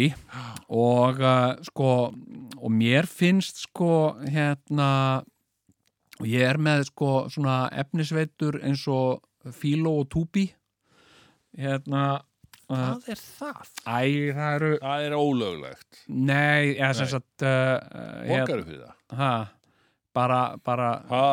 S3: og, uh, sko, og mér finnst, sko, hérna, og ég er með, sko, svona efnisveitur eins og Filo og Tubi, hérna, uh,
S1: hvað er það?
S3: æ, það eru,
S1: það er ólöglegt
S3: nei, eða sem
S1: Nei.
S3: sagt, uh, uh,
S1: borgaru fyrir það
S3: ha, bara, bara
S1: Ha,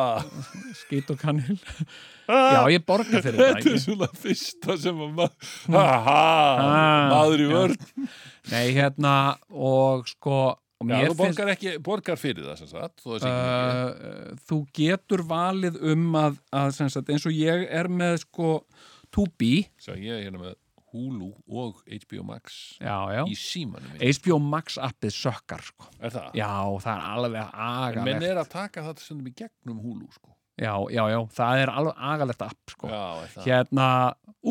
S3: skýt og kanil já, ég borga fyrir þetta
S1: þetta er
S3: ekki?
S1: svona fyrsta sem að maður, ha, ha,
S3: Ah,
S1: maður í
S3: já.
S1: vörn.
S3: nei, hérna, og sko og
S1: Já,
S3: mér
S1: þú
S3: finnst
S1: borgar, ekki, borgar fyrir það sem sagt, þú veist ekki mikið.
S3: Uh, þú getur valið um að, að sem sagt, eins og ég er með sko 2B
S1: Sjá, ég er hérna með Hulu og HBO Max
S3: já, já.
S1: í símanum minn.
S3: HBO Max appið sökkar sko.
S1: Er það?
S3: já, það er alveg
S1: En menn
S3: agalegt
S1: er að taka þetta sem í gegnum Hulu, sko.
S3: já, já, já, það er alveg agalegt app sko.
S1: Já, er það?
S3: hérna,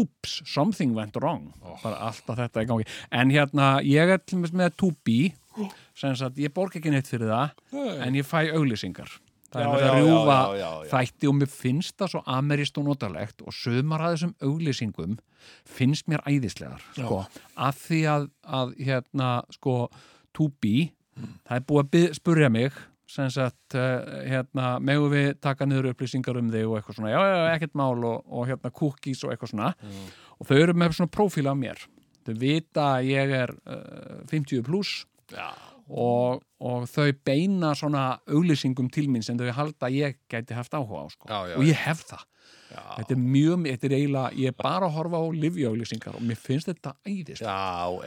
S3: ups, something went wrong
S1: Oh.
S3: bara alltaf þetta í gangi en hérna, ég er til dæmis með 2B sem sagt, ég borg ekki neitt fyrir það
S1: Nei.
S3: en ég fæ auglýsingar það
S1: Já,
S3: er verið að
S1: já, já,
S3: rjúfa
S1: já, já, já.
S3: þætti og mér finnst það svo amerist og notalegt og sömar að þessum auglýsingum finnst mér æðislegar sko, af því að, að hérna, sko, 2B það er búið að bið, spurja mig sem sagt, uh, hérna, megum við taka niður upplýsingar um þig og eitthvað svona já, já, já, ekkert mál og, og hérna cookies og eitthvað svona og þau eru með svona prófíla af mér þau vita að ég er uh, 50 pluss
S1: Já,
S3: og, og þau beina svona auglýsingum til mín sem þau halda að ég gæti haft áhuga á sko.
S1: Já, já,
S3: og ég hef það
S1: já.
S3: þetta er mjög, þetta er eiginlega, ég er bara að horfa á livjauglýsingar og mér finnst þetta æðist
S1: Já,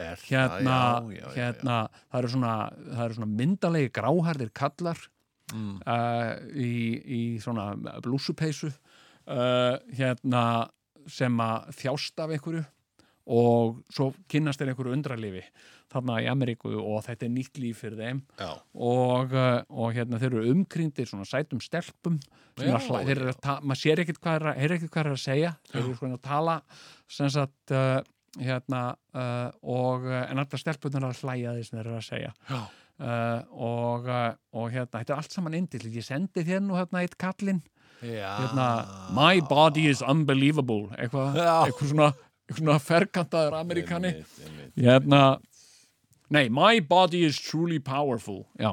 S1: er
S3: hérna,
S1: það, já, já, já,
S3: hérna það eru svona, það eru svona myndalegi gráhærðir kallar
S1: já. Mm.
S3: uh, í, í svona blúsupeysu uh, hérna sem að þjást af einhverju og svo kynnast þeir einhverju undralífi þarna í Ameríku og þetta er nýtt líf fyrir þeim
S1: Já,
S3: og, uh, og hérna þeir eru umkringdir svona sætum stelpum sem
S1: Já,
S3: er alltaf, þeir eru að ta- maður sér ekkit hvað er að, heyrir ekkit hvað er að segja þeir eru svona að tala sem sagt uh, hérna uh, og uh, en alltaf stelpunar að hlæja því sem þeir eru að segja
S1: já.
S3: uh, og, uh, og hérna, þetta er allt saman indill ég sendi þér nú hérna eitt kallinn
S1: já.
S3: hérna, my body is unbelievable eitthvað,
S1: Ah. Já.
S3: eitthvað svona, eitthvað svona ferkantaður amerikani
S1: Einmitt, einmitt.
S3: hérna nei, my body is truly powerful já,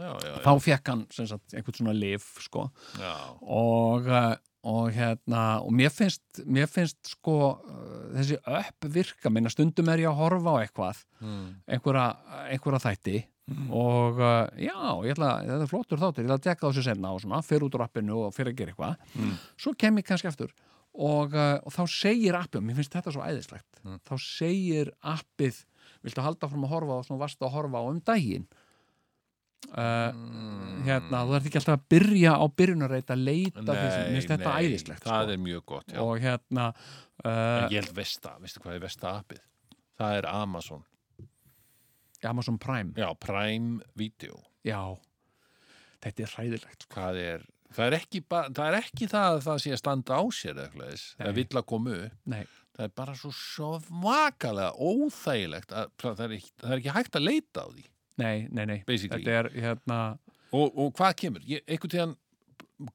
S1: Já, já, já.
S3: þá fekk hann sem sagt einhvern svona lif, sko
S1: já.
S3: og, eh, og hérna og mér finnst, mér finnst sko eh, þessi upp virka minna stundum er ég að horfa á eitthvað
S1: Mm.
S3: einhverja, einhverja þætti og uh, já, ég ætla þetta er flottur þáttur, ég ætla að tekka þessu senna og svona, fyrir út úr appinu og fyrir að gera eitthvað
S1: Mm.
S3: svo kem ég kannski aftur og, uh, og þá segir appið, mér finnst þetta svo æðislegt
S1: Mm.
S3: þá segir appið viltu halda fram að horfa á svona varst að horfa á um daginn uh,
S1: Mm.
S3: hérna, þú ert ekki alltaf að byrja á byrjunarreit að leita
S1: Nei,
S3: þessu, mér finnst þetta
S1: nei,
S3: æðislegt
S1: Það
S3: sko.
S1: er mjög gott, já.
S3: og hérna
S1: En
S3: uh,
S1: ég held Vesta, veistu hvað er Vesta appið? Það er Amazon,
S3: Amazon Prime,
S1: já, Prime Video
S3: já þetta er hræðilegt sko.
S1: Hvað er, það er ekki, ba- það er ekki það að það sé að standa á sér eða eitthvað þess, það
S3: Nei.
S1: vill að koma upp
S3: nei
S1: það er bara svo svakalega óþægilegt að það er, ekki, það er ekki hægt að leita á því
S3: Nei, nei, nei.
S1: basically,
S3: Þetta er hérna,
S1: og, og hvað kemur ég, einhvern tíðan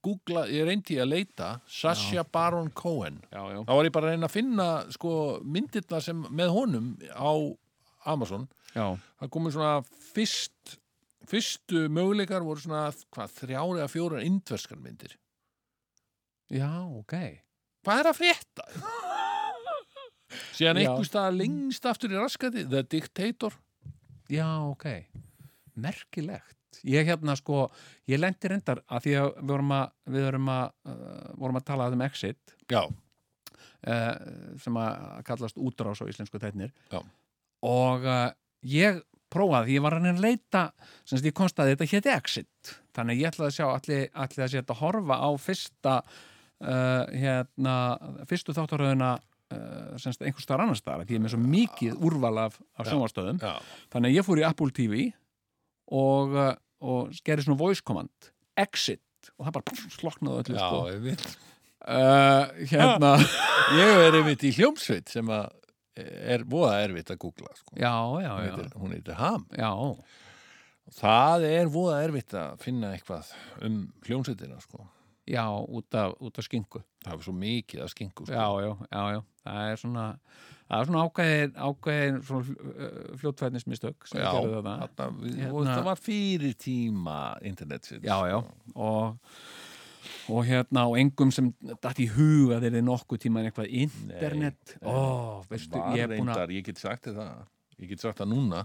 S1: googla, ég reyndi að leita Sasha Baron Cohen
S3: já, já.
S1: þá var ég bara að reyna að finna sko, myndirna sem með honum á Amazon
S3: Já,
S1: það komið svona fyrst fyrstu möguleikar voru svona hvað, þrjár eða fjórar indverskar myndir
S3: já, ok.
S1: hvað er að frétta? síðan
S3: Já.
S1: einhvers staðar lengst aftur í raskati The Dictator
S3: Já, ok. Merkilegt. Ég hérna sko, ég lendi reyndar að því að við vorum að, við vorum að, uh, vorum að tala um exit
S1: já,
S3: uh, sem að kallast útrás á íslensku tætnir.
S1: Já.
S3: Og uh, ég prófaði, ég var hann að leita, sem sagt ég komst að þetta héti exit. Þannig að ég ætlaði að sjá allir, allir að sé þetta horfa á fyrsta, uh, hérna, fyrstu þáttaröðuna uh, semst einhver staðar annar staðar af því ég er með svo mikið úrval af, af
S1: Já.
S3: sjónvarstöðum
S1: já,
S3: þannig að ég fór í Apple TV og, uh, og gerði svona voice command exit og það bara pff, sloknaði öllu sko.
S1: ég veit
S3: uh, hérna
S1: ég er einmitt í hljómsveit sem að er voða erfitt að googla sko.
S3: já, já,
S1: Hún
S3: já,
S1: heitir- hún heitir Ham
S3: já
S1: það er voða erfitt að finna eitthvað um hljómsveitina sko.
S3: já, út af, út af skinku
S1: það er svo mikið að skingu sko.
S3: já, já, já, já, það er svona það er svona ákveðin, ákveðin svona fljóttfæðnismistök sem
S1: Já,
S3: gerðu þetta
S1: þarna, við,
S3: Hérna-
S1: og það var fyrir tíma internetsins
S3: já, já og, og hérna og engum sem datt í hug að þeir eru nokkuð tíma eitthvað internet
S1: nei.
S3: ó, veistu,
S1: var
S3: ég er búin að
S1: reyndar, ég get sagt þér það ég get sagt það núna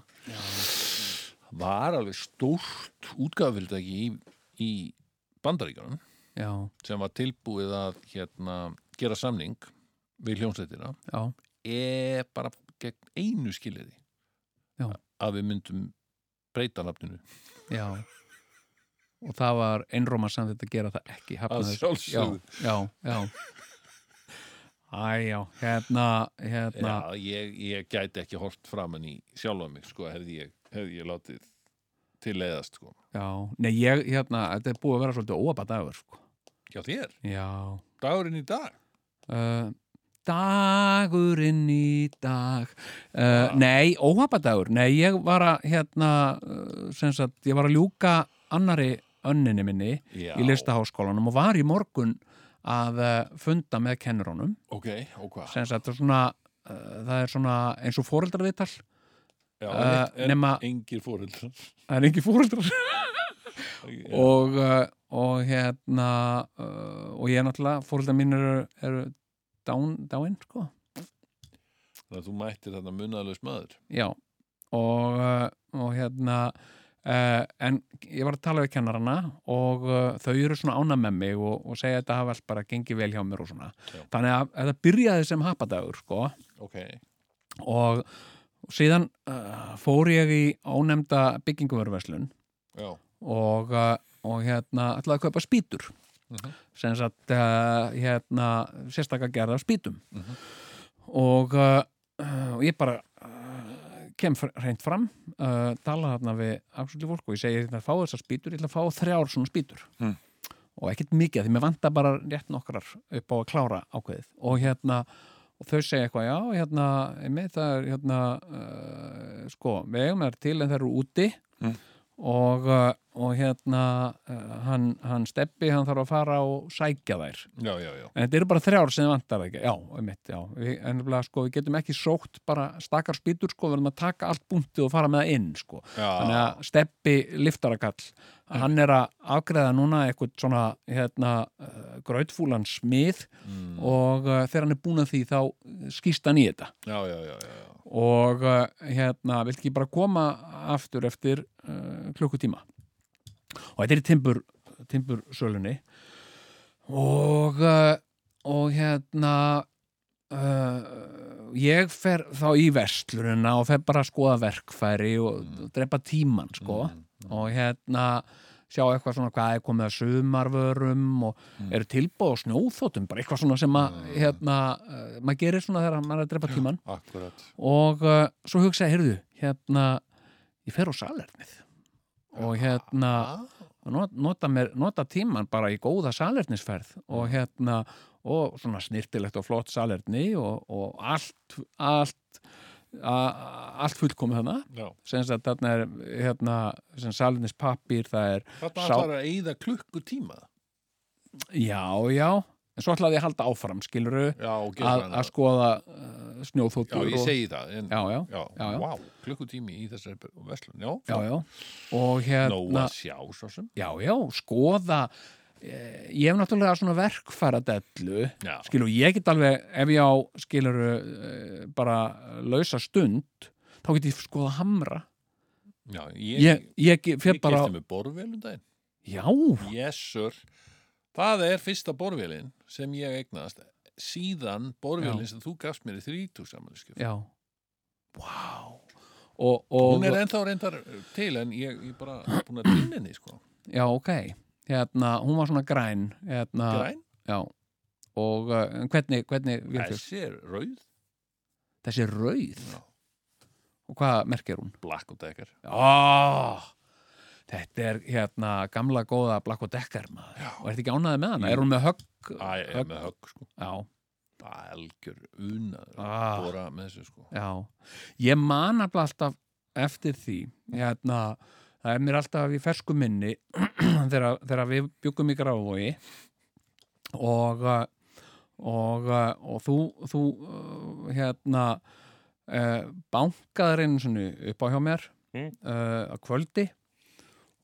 S1: var alveg stórt útgáfyldagi í, í bandaríkjunum
S3: já,
S1: sem var tilbúið að hérna, gera samning við hljómsveitina
S3: já,
S1: er bara gegn einu skiljiði
S3: Já.
S1: að við myndum breyta nafninu
S3: já og það var einróma samþýtt að gera það ekki
S1: að
S3: hafnaði
S1: sjálfsögðu
S3: já, já Æ, já, hérna, hérna
S1: Já, ég, ég gæti ekki hort framan í sjálfa mig, sko, hefði ég, hefði ég látið til leiðast, sko.
S3: já. nei, ég, hérna, þetta er búið að vera svolítið óabat dagur, sko
S1: Já, þér,
S3: Já,
S1: dagurinn í dag.
S3: uh, dagurinn í dag uh,
S1: Já.
S3: Nei, óhafa dagur Nei, ég var að, hérna uh, sem sagt, ég var að ljúka annari önninni minni
S1: Já.
S3: í listaháskólanum og var í morgun að uh, funda með kennurónum
S1: Ok, og hvað?
S3: sem sagt, það er svona, uh, það er svona eins og fóreldravital
S1: Já,
S3: eh,
S1: en- en
S3: nema-
S1: Engir fóreldrar.
S3: það er ekki fóreldrar
S1: Já,
S3: og, uh, og hérna uh, og ég náttúrulega, fóreldar mín eru, eru dán, dáin, sko
S1: þannig að þú mættir þarna munalös maður.
S3: já, og, uh, og hérna uh, en ég var að tala við kennarana og uh, þau eru svona ána með mig og, og segja að þetta hafa allt bara gengið vel hjá mér og svona
S1: Já.
S3: þannig að þetta byrjaði sem hapadagur, sko
S1: Ok,
S3: og síðan uh, fór ég í ónefnda byggingumörverslun
S1: já.
S3: og, uh, og hérna ætlaði að kaupa spýtur
S1: Mhm.
S3: sem sagt uh, hérna sérstakka gerða spýtum
S1: Mhm.
S3: og, uh, uh, og ég bara uh, kem fr- hreint fram uh, tala þarna við absolutt fólk og ég segi þetta að fá þessar spýtur, ég ætla að fá þrjár svona spýtur
S1: Mm.
S3: og ekkert mikið af því mér vantar bara rétt nokkrar upp á að klára ákveðið og hérna og þau segja eitthvað, já, hérna, með það er, hérna, uh, sko, við eigum þær til en þær eru úti
S1: Mm.
S3: og, uh, og hérna, uh, hann, hann steppi, hann þarf að fara og sækja þær.
S1: Já, já, já.
S3: En þetta eru bara þrjár sem þið vantar ekki, já, einmitt, já, við, en nefnilega, sko, við getum ekki sótt bara stakar spýtur, sko, við verðum að taka allt búntið og fara með það inn, sko. Þannig
S1: Já,
S3: að steppi liftarakall, hann er að afgreða núna eitthvað svona, hérna, uh, grautfúlan smið
S1: mm,
S3: og uh, þegar hann er búin að því þá skýst hann í þetta
S1: já, já, já, já, já.
S3: og uh, hérna, vilt ekki bara koma aftur eftir uh, klukkutíma og þetta er í timbur, timbur sölunni og uh, og hérna uh, ég fer þá í verslununa og fer bara að skoða verkfæri og
S1: Mm.
S3: drepa tíman sko
S1: Mm,
S3: og hérna sjá eitthvað svona hvað er komið að sumarvörum og
S1: Mm.
S3: eru tilbúið á snjóþótum bara eitthvað svona sem að
S1: Mm.
S3: hérna, uh, maður gerir svona þegar maður er að drepa tíman
S1: Akkurat.
S3: og uh, svo hugsaði, heyrðu, hérna ég fer á salernið og hérna not- nota, mér, nota tíman bara í góða salernisferð og hérna og svona snirtilegt og flott salerni og, og allt allt, a, allt fullkomið hana
S1: Já,
S3: sem sagt þarna er hérna, sem salernispappir, það er
S1: þarna
S3: Sá-
S1: ætlar að eyða klukkutíma.
S3: Já, já, en svo ætlaði ég að halda áfram, skiluru,
S1: Já, og gera
S3: að,
S1: hana.
S3: að skoða uh,
S1: Já,
S3: snjóþóttur.
S1: ég
S3: og-
S1: segi það, en
S3: Já, já,
S1: Já,
S3: Já, já.
S1: vá, klukkutími í þessari verslun, já,
S3: já, já. Og
S1: nóg
S3: hérna,
S1: að sjá svo sem.
S3: já, já, skoða, eh, ég hef náttúrulega svona verkfæradellu,
S1: Já,
S3: skilu, ég get alveg, ef ég á, skiluru, eh, bara lausa stund, þá get ég skoða hamra.
S1: já, ég,
S3: Ég,
S1: ég,
S3: ég,
S1: ég
S3: fyrir bara,
S1: kefti mig borðvél um daginn.
S3: já,
S1: Yes, sir. Það er fyrsta borðvélin sem ég eignaðast síðan borðvélin sem þú gafst mér í þrítúsamaliskef.
S3: já, vá. Og, og,
S1: Hún er ennþá reyndar til en ég, ég bara búin að týna henni, sko.
S3: já, ok, hérna, hún var svona græn, hérna,
S1: Græn,
S3: Já, og uh, en hvernig, hvernig vilfjöld?
S1: þessi er rauð,
S3: Þessi er rauð
S1: Já.
S3: og hvað merkir hún?
S1: blakk og dekkar.
S3: Já, þetta er hérna gamla góða blakk og dekkar maður
S1: Já.
S3: og er þetta ekki ánaði með hana?
S1: Jú.
S3: Er hún með högg?
S1: Æ, ég er með högg, sko.
S3: Já,
S1: Algjör unaður að
S3: ah,
S1: bora með þessu, sko.
S3: já Ég man alveg alltaf eftir því hérna, það er mér alltaf í fersku minni þegar, þegar við byggum í gráfói og uh, og, uh, og þú, þú uh, hérna uh, bankaðar einu svona upp á hjá mér
S1: Mm.
S3: uh, að kvöldi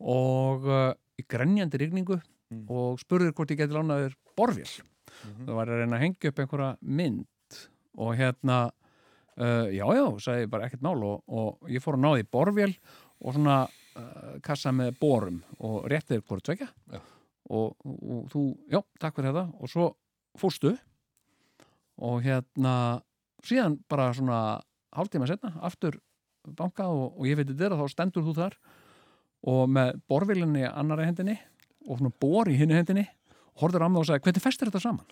S3: og uh, í grenjandi rigningu
S1: Mm. Mhm.
S3: og spurður hvort ég geti lánaður borfél það var að reyna að hengja upp einhverja mynd og hérna uh, já já, sagði ég bara ekkert mál og, og ég fór að náði eh, borfél og svona uh, kassa með borum og réttið hvort tvekja
S1: Já.
S3: og, og þú, já, takk fyrir þetta og svo fórstu og hérna síðan bara svona hálftíma setna aftur bankað og, og ég veit þetta þá stendur þú þar og með borvilinni annara hendinni og svona bor í hinni hendinni horfður á mig og sagði, hvernig festir þetta saman?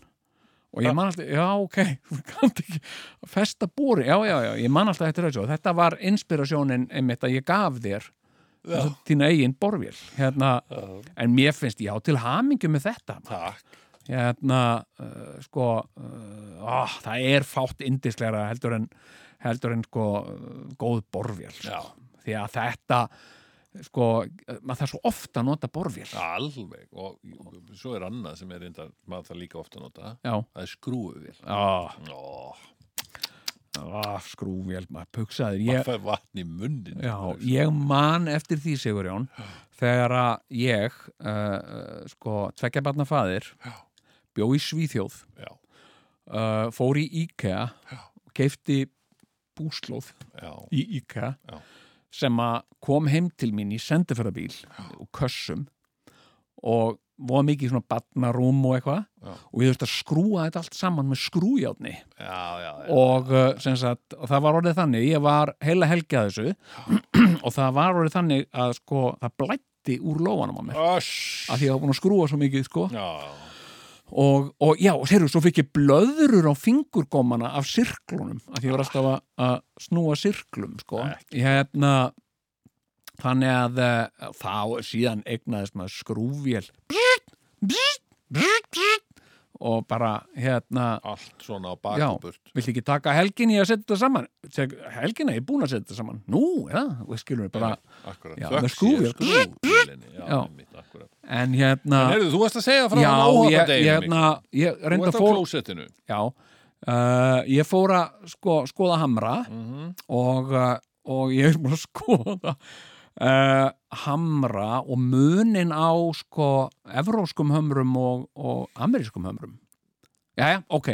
S3: og ég man alltaf, já ok þú kannt ekki að festa bóri já, já, já, ég man alltaf eftir þessu og þetta var inspirasjónin einmitt að ég gaf þér
S1: Já.
S3: þína eigin borvél hérna,
S1: Já.
S3: en mér finnst ég á til hamingju með þetta
S1: Takk.
S3: hérna, uh, sko uh, á, það er fátt indislegra heldur en, heldur en sko, uh, góð borvél sko.
S1: Já.
S3: því að þetta sko, uh, maður þarf svo ofta að nota borvél
S1: Alveg. Og, og svo er annað sem er reyndar, maður það líka ofta að nota.
S3: já, Ah,
S1: Það er skrúuvél.
S3: já,
S1: Ó,
S3: já skrúvél ah, maður puksaður, ég
S1: maður fær vatn í munnin.
S3: Já, ég man eftir því Sigurjón þegar að ég uh, uh, sko, tvekja barna faðir
S1: Já.
S3: bjó í Svíþjóð
S1: Já,
S3: uh, fór í IKEA keifti búslóð
S1: já,
S3: í IKEA
S1: Já.
S3: sem að kom heim til mín í sendiferðabíl og kössum og voða mikið svona barnarúm og eitthvað
S1: Já.
S3: og ég þurfti að skrúa þetta allt saman með skrújátni
S1: já, já. já.
S3: og, uh, sem sagt, og það var orðið þannig ég var heila helgi að þessu og það var orðið þannig að sko, það blætti úr lóanum á mér
S1: Öss.
S3: af því að ég var búin að skrúa svo mikið sko.
S1: Já,
S3: og, og já, þeirru, svo fikk ég blöðrur á fingurgómana af sirklunum af því ég var alltaf að, að snúa sirklum sko. hérna þannig að uh, þá síðan eignaðist maður skrúfél brrrt, brrrt, brrrt, brrrt, og bara hérna
S1: allt svona á bakuburt.
S3: Viltu ekki taka helgin í að setja þetta saman? Seg, helgina, ég er búin að setja þetta saman. Nú, já, við skilum við bara.
S1: Akkurat.
S3: Já,
S1: Þökk
S3: með skrúvél.
S1: sé skrúvélinni. Já,
S3: Já.
S1: mitt, akkurat.
S3: En hérna,
S1: En heyrðu, þú varst að segja frá
S3: já,
S1: hann
S3: ég, ég,
S1: áhafadeginu
S3: hérna, ég
S1: Þú
S3: reynda
S1: varst á
S3: fór,
S1: klósettinu.
S3: já, uh, ég fór að sko, skoða hamra
S1: Mhm.
S3: og, uh, og ég er búin að skoða uh, hamra og munin á sko evróskum hömrum og, og amerískum hömrum. Jæja, ok.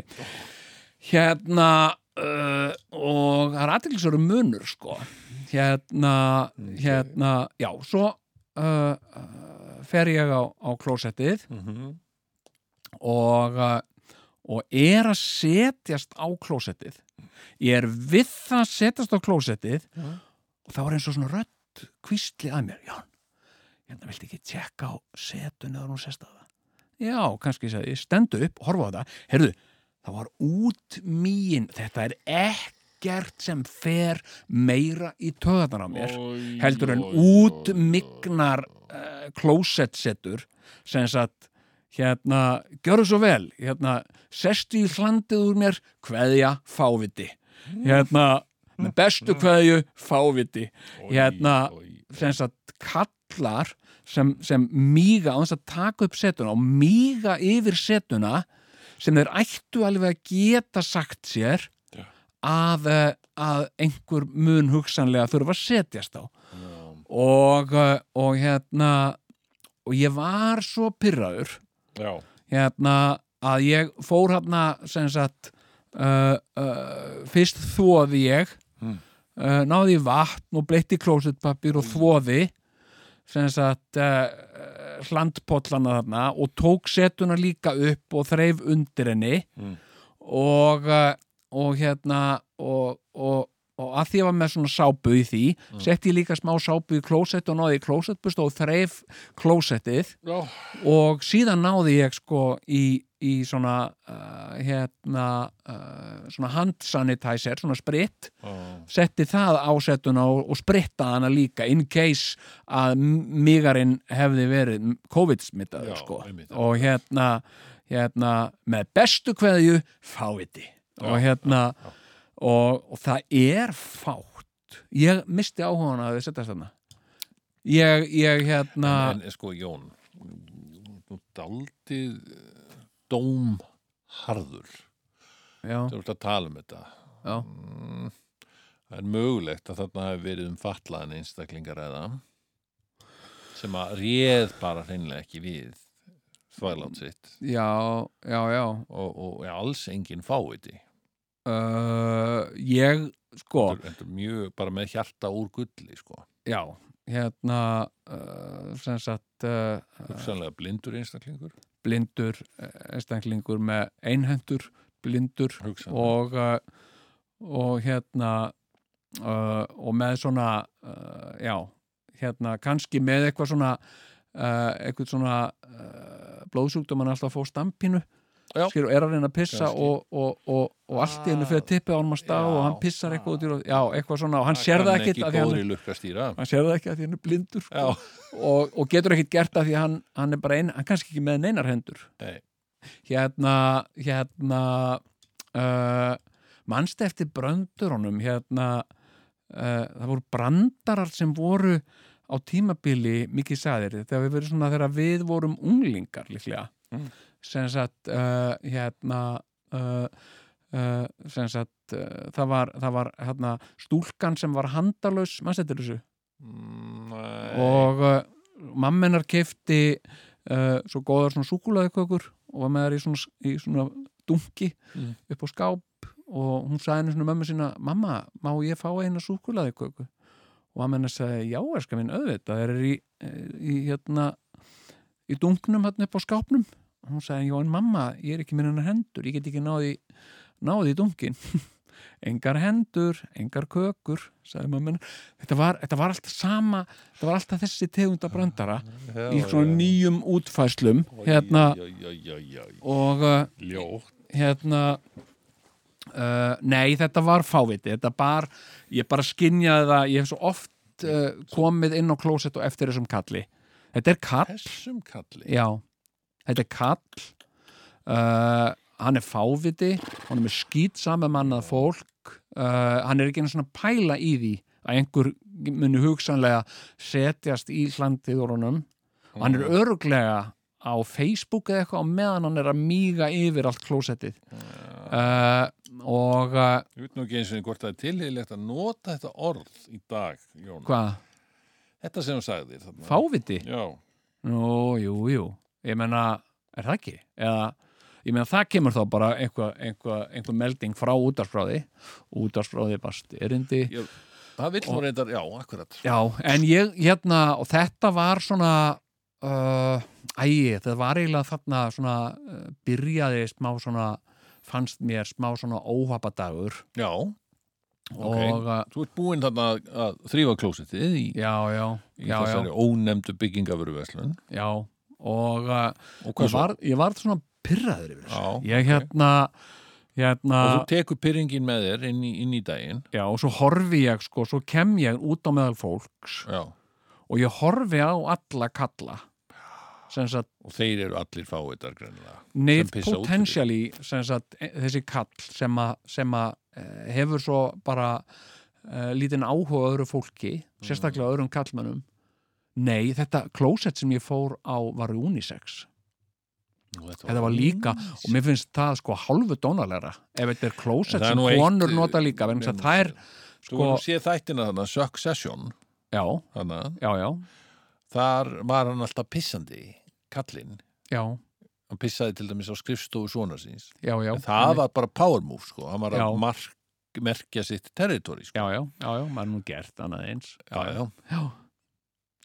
S3: Hérna, uh, og það er aðtilsveru munur, sko. Hérna, hérna, já, svo uh, uh, fer ég á, á klósettið
S1: Mhm.
S3: og, uh, og er að setjast á klósettið ég er við það að setjast á klósettið
S1: Mhm.
S3: og það var eins og svona rödd kvísli að mér, Jón hérna viltu ekki tjekka á setun eða hún sest að það já, kannski sagði, ég stendu upp, horfa á það heyrðu, það var út mýin þetta er ekkert sem fer meira í töðarnar á mér
S1: Oj,
S3: heldur en
S1: oj, oj,
S3: útmignar uh, klósettsetur sem sagt hérna, gjörðu svo vel hérna, sestu í hlandið úr mér kveðja fáviti hérna, með bestu kveðju fáviti
S1: oj,
S3: hérna,
S1: oj.
S3: sem sagt kallar sem, sem míga á þess að taka upp setuna og míga yfir setuna sem þeir ættu alveg að geta sagt sér
S1: Já.
S3: að, eh, að einhver mun hugsanlega þurfa að setjast á
S1: Já.
S3: og, eh, og hérna og ég var svo pyrraður
S1: Já,
S3: hérna að ég fór hérna sem sagt uh, uh, fyrst þóði ég
S1: Mm.
S3: uh, náði í vatn og bleitti klósetpapir og þóði sem sagt uh, hlandpollana þarna og tók setuna líka upp og þreif undir henni
S1: Mm.
S3: og, uh, og hérna og, og og að því ég var með svona sápu í því
S1: Mm.
S3: setti ég líka smá sápu í klósett og náði í klósettbust og þreif klósettið
S1: já,
S3: og síðan náði ég sko í, í svona uh, hérna uh, svona hand sanitizer, svona sprit
S1: já.
S3: setti það ásettuna og, og spritta hana líka in case að m- migarinn hefði verið
S1: Já,
S3: COVID-smittaður sko
S1: einmitt.
S3: og hérna, hérna með bestu kveðju fáviti og hérna Og, og það er fátt ég misti áhugan að þið setjast þarna ég, ég hérna
S1: En, en sko Jón þú daldið eh, dómharður
S3: já,
S1: þú ert að tala um þetta
S3: já,
S1: Mm, það er mögulegt að þarna hafi verið um fallaðan einstaklingar eða sem að réð bara hreinlega ekki við þvælátt sitt
S3: já, já, já
S1: og, og er alls engin fáviti
S3: Uh, ég, sko,
S1: þetta er- þetta er mjög bara með hjarta úr gulli sko
S3: já, hérna, uh, sem sagt, sagt uh,
S1: hugsanlega blindur einstaklingur
S3: blindur eh, einstaklingur með einhendur blindur
S1: hugsanlega,
S3: og, uh, og hérna uh, og með svona uh, já, hérna kannski með eitthvað svona uh, eitthvað svona uh, blóðsjúkdum hann alltaf að fá stampinu
S1: Já.
S3: Skilur, er að reyna að pissa
S1: Kannski.
S3: og, og, og, og allt í hennu fyrir að tippa ánum að stað
S1: Já,
S3: og hann pissar eitthvað út í rúð já, eitthvað svona og hann
S1: Það
S3: sér það
S1: kann
S3: ekkit af því
S1: ekki
S3: hann,
S1: góðri lukkastýra
S3: hann sér það ekki að því hann er blindur sko.
S1: já,
S3: og, og getur ekkit gert það því að hann, hann er bara ein, hann kannski ekki með neinar hendur
S1: Nei.
S3: hérna hérna uh, mannst eftir bröndurunum hérna uh, það voru brandarar sem voru á tímabili mikið sæðir þegar við, verið svona, þegar við vorum unglingar líklega
S1: Mm.
S3: sem sagt uh, hérna uh, uh, sem sagt uh, það var, það var hérna, stúlkan sem var handalaus mannst eftir þessu
S1: Mm,
S3: og uh, mammenar kefti uh, svo góðar svona súkulaðikökur og var með þær í svona, í svona dunki
S1: Mm.
S3: upp á skáp og hún sagði henni svona mömmu sína mamma, má ég fá eina súkulaðiköku og mamma henni sagði, já, erska minn auðvitað þær er í, eh, í hérna í dunknum hérna upp á skápnum og hún sagði, já, en mamma, ég er ekki minn hennar hendur ég get ekki náði, náði í dunkin engar hendur, engar kökur sagði mamma henni þetta var, þetta var alltaf sama það var alltaf þessi tegunda brandara
S1: Ah, Já,
S3: í svona
S1: já.
S3: nýjum útfæslum
S1: Oj,
S3: hérna
S1: oj, oj, oj, oj.
S3: og uh,
S1: ljótt
S3: hérna uh, nei þetta var fáviti þetta bar, ég bara skinjaði það ég hef svo oft uh, komið inn á klósett og eftir þessum kalli þetta er kall,
S1: þessum kalli
S3: já þetta er kall uh, hann er fáviti hann er með skýt saman mannað fólk uh, hann er ekki einu svona pæla í því að einhver muni hugsanlega setjast í hlandið úr honum og hann er
S1: Mm.
S3: öruglega á Facebook eða eitthvað á meðan hann er að míga yfir allt klósettið uh, og uh,
S1: Ég veit nú ekki eins og hvort það er tilhýðilegt að nota þetta orð í dag, Jón.
S3: hvað,
S1: Þetta sem þú sagði þér þarna.
S3: fáviti?
S1: Já,
S3: Nú, jú, jú, ég menna er það ekki? Eða ég menna það kemur þá bara einhver, einhver, einhver melding frá útarsbráði útarsbráði barst erindi
S1: það vill nú
S3: Og-
S1: reyndar, já, akkurat.
S3: Já, en ég, hérna, og þetta var svona uh, ægi, þetta var eiginlega þarna svona, uh, byrjaði smá svona fannst mér smá svona óhapadagur
S1: Já,
S3: og uh,
S1: þú ert búinn þarna að, að þrýfa klósettið í,
S3: já, já,
S1: í
S3: já, já,
S1: þessari ónefndu byggingavöruverslun.
S3: já og uh,
S1: Og
S3: ég,
S1: hvað svo?
S3: var, ég var svona pyrraður yfir þessu
S1: Já,
S3: ég hérna, hérna
S1: Og þú tekur pyrringin með þér inn í, inn í daginn.
S3: já, og svo horfi ég sko, svo kem ég út á meðal fólks
S1: Já,
S3: og ég horfi á alla kalla sem sagt
S1: og þeir eru allir fáiðar greinlega.
S3: Nei,
S1: pissa út fyrir.
S3: potentially sem sagt, e- þessi kall sem að, sem að eh, hefur svo bara uh, lítinn áhuga á öðru fólki,
S1: Mm.
S3: sérstaklega öðrum kallmönnum Nei, þetta klósett sem ég fór á var unisex
S1: Nú,
S3: Þetta var líka, og mér finnst það sko hálfu dónalera ef þetta
S1: En
S3: er klósett
S1: það er
S3: sem
S1: nú eitt,
S3: konur
S1: eh,
S3: nota líka vegna þess að
S1: nema
S3: það er,
S1: Þú
S3: sko-
S1: sko... séð þættina þarna, Succession,
S3: já,
S1: þarna,
S3: já, já
S1: þar var hann alltaf pissandi, kallinn.
S3: Já,
S1: Hann pissaði til dæmis á skrifstofu svona síns.
S3: já, já
S1: En það var bara power move, sko. Hann var
S3: Já.
S1: að mark, merkja sitt territory, sko.
S3: Já, já, já, já, maður er nú gert annað eins
S1: já.
S3: já.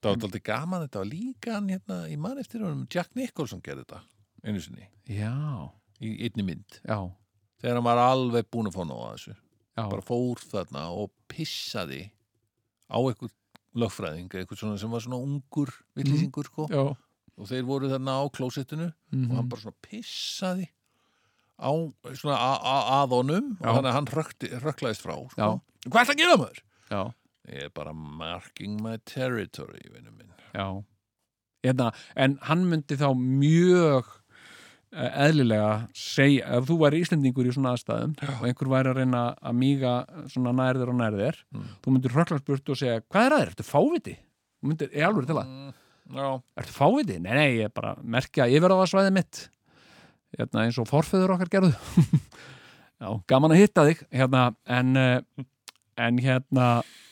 S1: Það var alltaf gaman, þetta var líka hann hérna, ég man eftir honum, Jack Nicholson gerði þetta, einu sinni,
S3: Já,
S1: í einni mynd.
S3: já,
S1: Þegar hann var alveg búin að fá nóg að þessu.
S3: já,
S1: Bara fór þarna og pissaði á einhver lögfræðing, einhver svona sem var svona ungur villýsingur, sko.
S3: Mhm. já.
S1: Og þeir voru þarna á klósettinu og hann
S3: Mhm.
S1: bara svona pissaði á svona a- a- að honum og
S3: Já.
S1: þannig að hann rökti, röklaðist frá, sko.
S3: Já.
S1: Hvað er það að gera maður?
S3: já.
S1: Ég er bara marking my territory, vinnu minn.
S3: Já. Hérna, en hann myndi þá mjög eh, eðlilega segja, ef þú væri Íslendingur í svona aðstæðum og einhver væri að reyna að míga svona nærðir og nærðir
S1: Mm.
S3: þú myndir hröklast burt og segja, hvað er að þér? Ertu fáviti? Þú myndir, ég alveg til það,
S1: Mm, já.
S3: ertu fáviti? Nei, nei, ég er bara að merkja yfirráðasvæði mitt hérna, eins og forföður okkar gerðu Já, gaman að hitta þig hérna, en, eh, en hérna,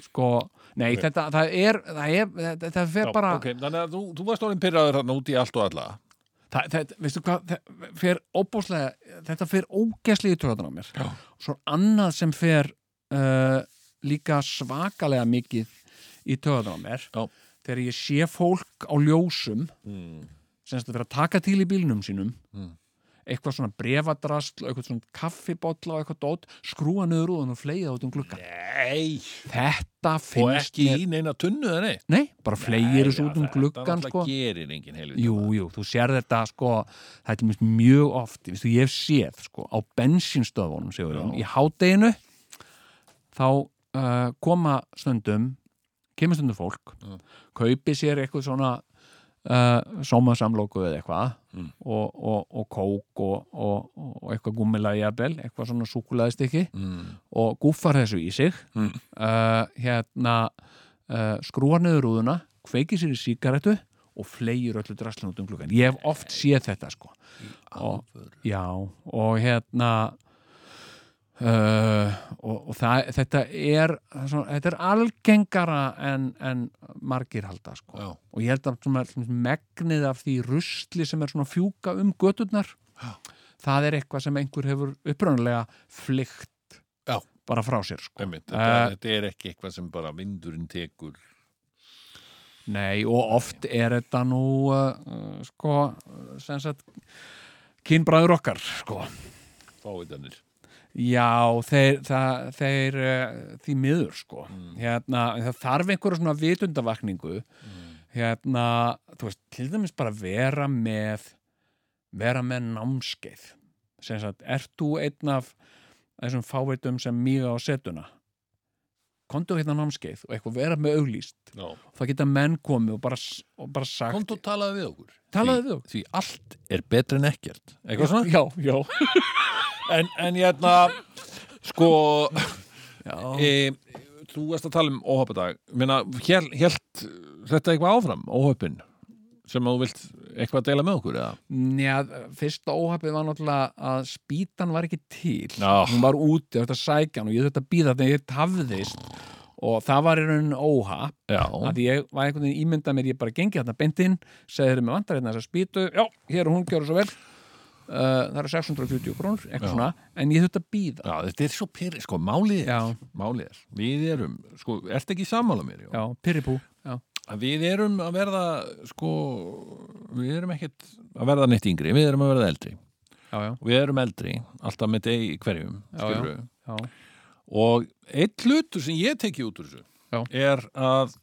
S3: sko Nei,
S1: Ok.
S3: þetta, það er, það er, þetta, það fer
S1: Já,
S3: bara
S1: ok, þannig að þú, þú varst orðin pyrraður þarna út í allt og alla
S3: Það, þetta, veistu hvað, það fer óbúslega, þetta fer ógeslega í töðan á mér.
S1: Já.
S3: Svo annað sem fer uh, líka svakalega mikið í töðan á mér,
S1: Já.
S3: þegar ég sé fólk á ljósum
S1: Mm.
S3: sem þetta vera að taka til í bílnum sínum
S1: Mm.
S3: eitthvað svona brefadrasl og eitthvað svona kaffibolla og eitthvað dót skrúa niður úr hann og fleiða út um glugga
S1: Nei,
S3: þetta
S1: og
S3: finnst
S1: ekki í neina tunnu eða neitt.
S3: nei, bara fleigir þessu
S1: Nei,
S3: út um
S1: já,
S3: gluggan
S1: Þetta
S3: sko.
S1: náttúrulega gerir enginn helvita.
S3: jú, jú, þú sér þetta sko, það er til dæmis mjög oft viðstu, ég hef séð sko, á bensínstöðunum Sigurjón,
S1: Já.
S3: í hádeginu þá uh, koma stundum kemur stundum fólk
S1: Mm.
S3: kaupi sér eitthvað svona uh, sómasamlóku eða eitthvað
S1: Mm.
S3: og, og, og kók og, og, og eitthvað gúmmilega jafnvel eitthvað svona súkulaðist
S1: Mm.
S3: og gúffar þessu í sig
S1: Mm.
S3: uh, hérna uh, skrúar niður rúðuna, kveikir sér í sígarettu og fleigir öllu draslun út um klukkan ég hef oft séð þetta sko Og-
S1: Alvöru.
S3: já, og hérna uh, og, og það, þetta er svona, þetta er algengara en, en margir halda sko
S1: Já.
S3: og ég held að svona, svona megnið af því rusli sem er svona að fjúka um göturnar
S1: Já.
S3: það er eitthvað sem einhver hefur upprunalega flykt
S1: Já.
S3: bara frá sér sko.
S1: Einmitt, þetta,
S3: Eh.
S1: þetta er ekki eitthvað sem bara vindurinn tekur
S3: Nei, og oft er þetta nú uh, uh, sko sem sagt kynbræður okkar sko.
S1: fávitanir.
S3: Já, þeir, það, þeir uh, því miður sko
S1: Mm.
S3: hérna, það þarf einhverja svona vitundavakningu hérna, þú veist, til dæmis bara vera með vera með námskeið sem sagt, ert þú einn af þessum fáveitum sem mýga á setuna komdu hérna á námskeið og eitthvað vera með auglýst
S1: Já.
S3: það geta menn komið og bara, s- og bara sagt
S1: Komt og talaði við okkur.
S3: talaðu við
S1: Því- Því allt er betra en ekkert. Eitthvað
S3: okkur
S1: svona?
S3: já, já,
S1: En, en hérna, sko,
S3: já.
S1: e, þú varst að tala um óhappadag. Meina, hér, hélt þetta eitthvað áfram, óhappin, sem að þú vilt eitthvað að deila með okkur, eða?
S3: Njá, fyrsta óhafið var náttúrulega að spýtan var ekki til
S1: Já.
S3: hún var úti, þetta sækja hann og ég þetta býða þegar ég tafðist og það var í raunin óhaf
S1: Já.
S3: að ég var einhvern veginn ímyndað mér ég bara gengi þarna beintinn, segði þeir með vantar hérna þessa spýtu, já, hér og hún gjör svo vel uh, það eru 640 krónur
S1: Já.
S3: eitthvað svona, en ég þetta býða
S1: Já, þetta er svo pyrri, sko, málið er,
S3: já,
S1: málið er, við erum, sko, ert ekki sammála mér,
S3: já, pyrripú já,
S1: að við erum að verða sko, við erum ekkert að verða neitt yngri, við erum að verða eldri
S3: já, já,
S1: og við erum eldri, alltaf með deg í hverjum
S3: Já,
S1: skilurðu.
S3: já.
S1: og eitt hlutur sem ég teki út úr þessu
S3: Já.
S1: er að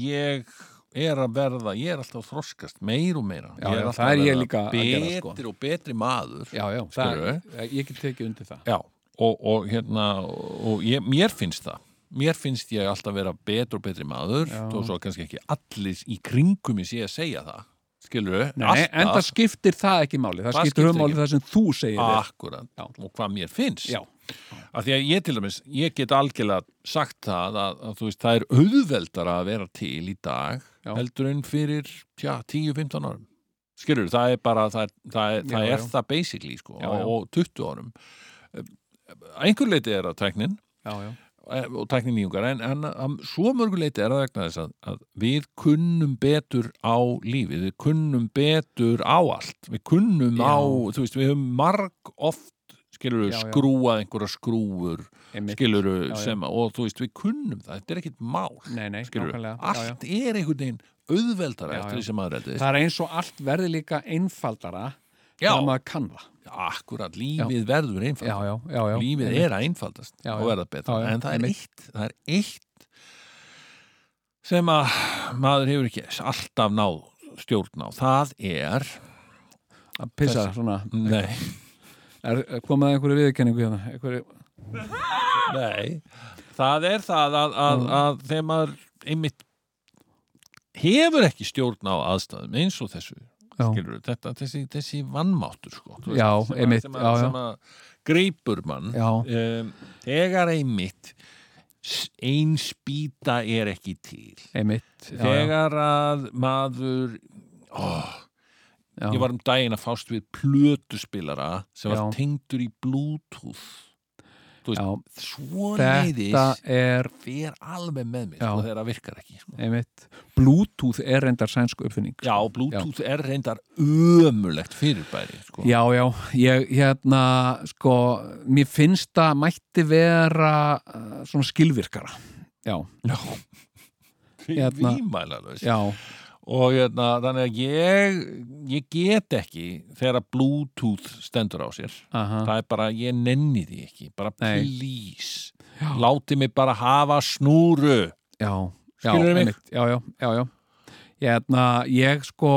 S1: ég er að verða, ég er alltaf að þroskast meir og meira
S3: Já, já,
S1: er alltaf
S3: það er
S1: að
S3: ég
S1: verða
S3: líka að
S1: betri
S3: gera, sko.
S1: og betri maður
S3: já, eh? já það,
S1: Skilurðu?
S3: ég get tekið undir það
S1: Já, og, og hérna og ég, mér finnst það mér finnst ég alltaf vera betur og betri maður
S3: Já.
S1: þó svo kannski ekki allir í kringum ég sé að segja það skilur við,
S3: Nei, en það skiptir það ekki Ah. máli það
S1: Það
S3: skiptir
S1: skiptir
S3: um máli
S1: ekki.
S3: það sem þú segir þér.
S1: akkurat
S3: Já.
S1: og hvað mér finnst
S3: já,
S1: af því að ég til dæmis, ég get algjörlega sagt það að, að þú veist, það er auðveldara að vera til í dag
S3: Já.
S1: heldur en fyrir, tja, 10-15 árum skilur, það er bara það er það, er, það,
S3: Já,
S1: er
S3: já.
S1: það basically, sko,
S3: Já, já.
S1: og 20 árum Að einhver leiti er að tæknin
S3: já, já,
S1: Eh, og tæknin nýjungar en, en um, svo mörguleiti er það vegna þess að, að við kunnum betur á lífið, við kunnum betur á allt, við kunnum
S3: Já.
S1: á þú veist, við höfum marg oft skilur
S3: Já, já.
S1: skrúað einhverja skrúfur
S3: einmitt
S1: skilur
S3: Já, já.
S1: sem og þú veist, við kunnum það, þetta er ekkit mál
S3: Nei, nei,
S1: skilur,
S3: nákvæmlega já, já.
S1: allt er einhvern veginn auðveldara
S3: Já, já.
S1: eftir því sem maður reddist
S3: Það er eins og allt verði líka einfaldara
S1: Já,
S3: þegar maður kann það
S1: akkurat, lífið verður einfalt
S3: já, já, já
S1: lífið er að einfaldast
S3: Já,
S1: og
S3: já.
S1: verða betra
S3: Já, já,
S1: en það er,
S3: einmitt.
S1: eitt, það er eitt sem að maður hefur ekki alltaf náð stjórn á, það er
S3: að pissa
S1: Þessi-
S3: svona
S1: nei,
S3: er, er komaði einhverju viðurkenningu hérna einhverju,
S1: nei það er það að, að,
S3: Mm.
S1: að þegar maður einmitt hefur ekki stjórn á aðstæðum eins og þessu
S3: já,
S1: skilur, þetta, þessi, þessi vannmáttur sko, þú
S3: Já,
S1: sem, að-
S3: einmitt,
S1: sem,
S3: já,
S1: að,
S3: já.
S1: sem að greipur mann
S3: já,
S1: um, þegar einmitt s- ein spýta er ekki til
S3: einmitt já, já,
S1: þegar að maður oh,
S3: já,
S1: ég var um daginn að fást við plötuspilara sem
S3: Já.
S1: var tengdur í bluetooth
S3: já,
S1: svo leiðis
S3: þetta er
S1: fer alveg með mér
S3: Já.
S1: sko, þegar það virkar ekki sko.
S3: einmitt, bluetooth er reyndar sænsku uppfinning sko.
S1: já, bluetooth er reyndar ömulegt fyrirbæri sko.
S3: Já, já, ég hérna sko, mér finnst það mætti vera uh, svona skilvirkara Já,
S1: Já.
S3: Hérna.
S1: vímælarlaus
S3: já,
S1: og hérna, þannig að ég ég get ekki þegar að Bluetooth stendur á sér
S3: aha,
S1: það er bara, ég nenni því ekki bara
S3: Nei.
S1: please
S3: Já.
S1: láti mig bara hafa snúru
S3: já, já,
S1: Skilurðu mig?
S3: einmitt, já, já, já, já. Hérna, ég sko,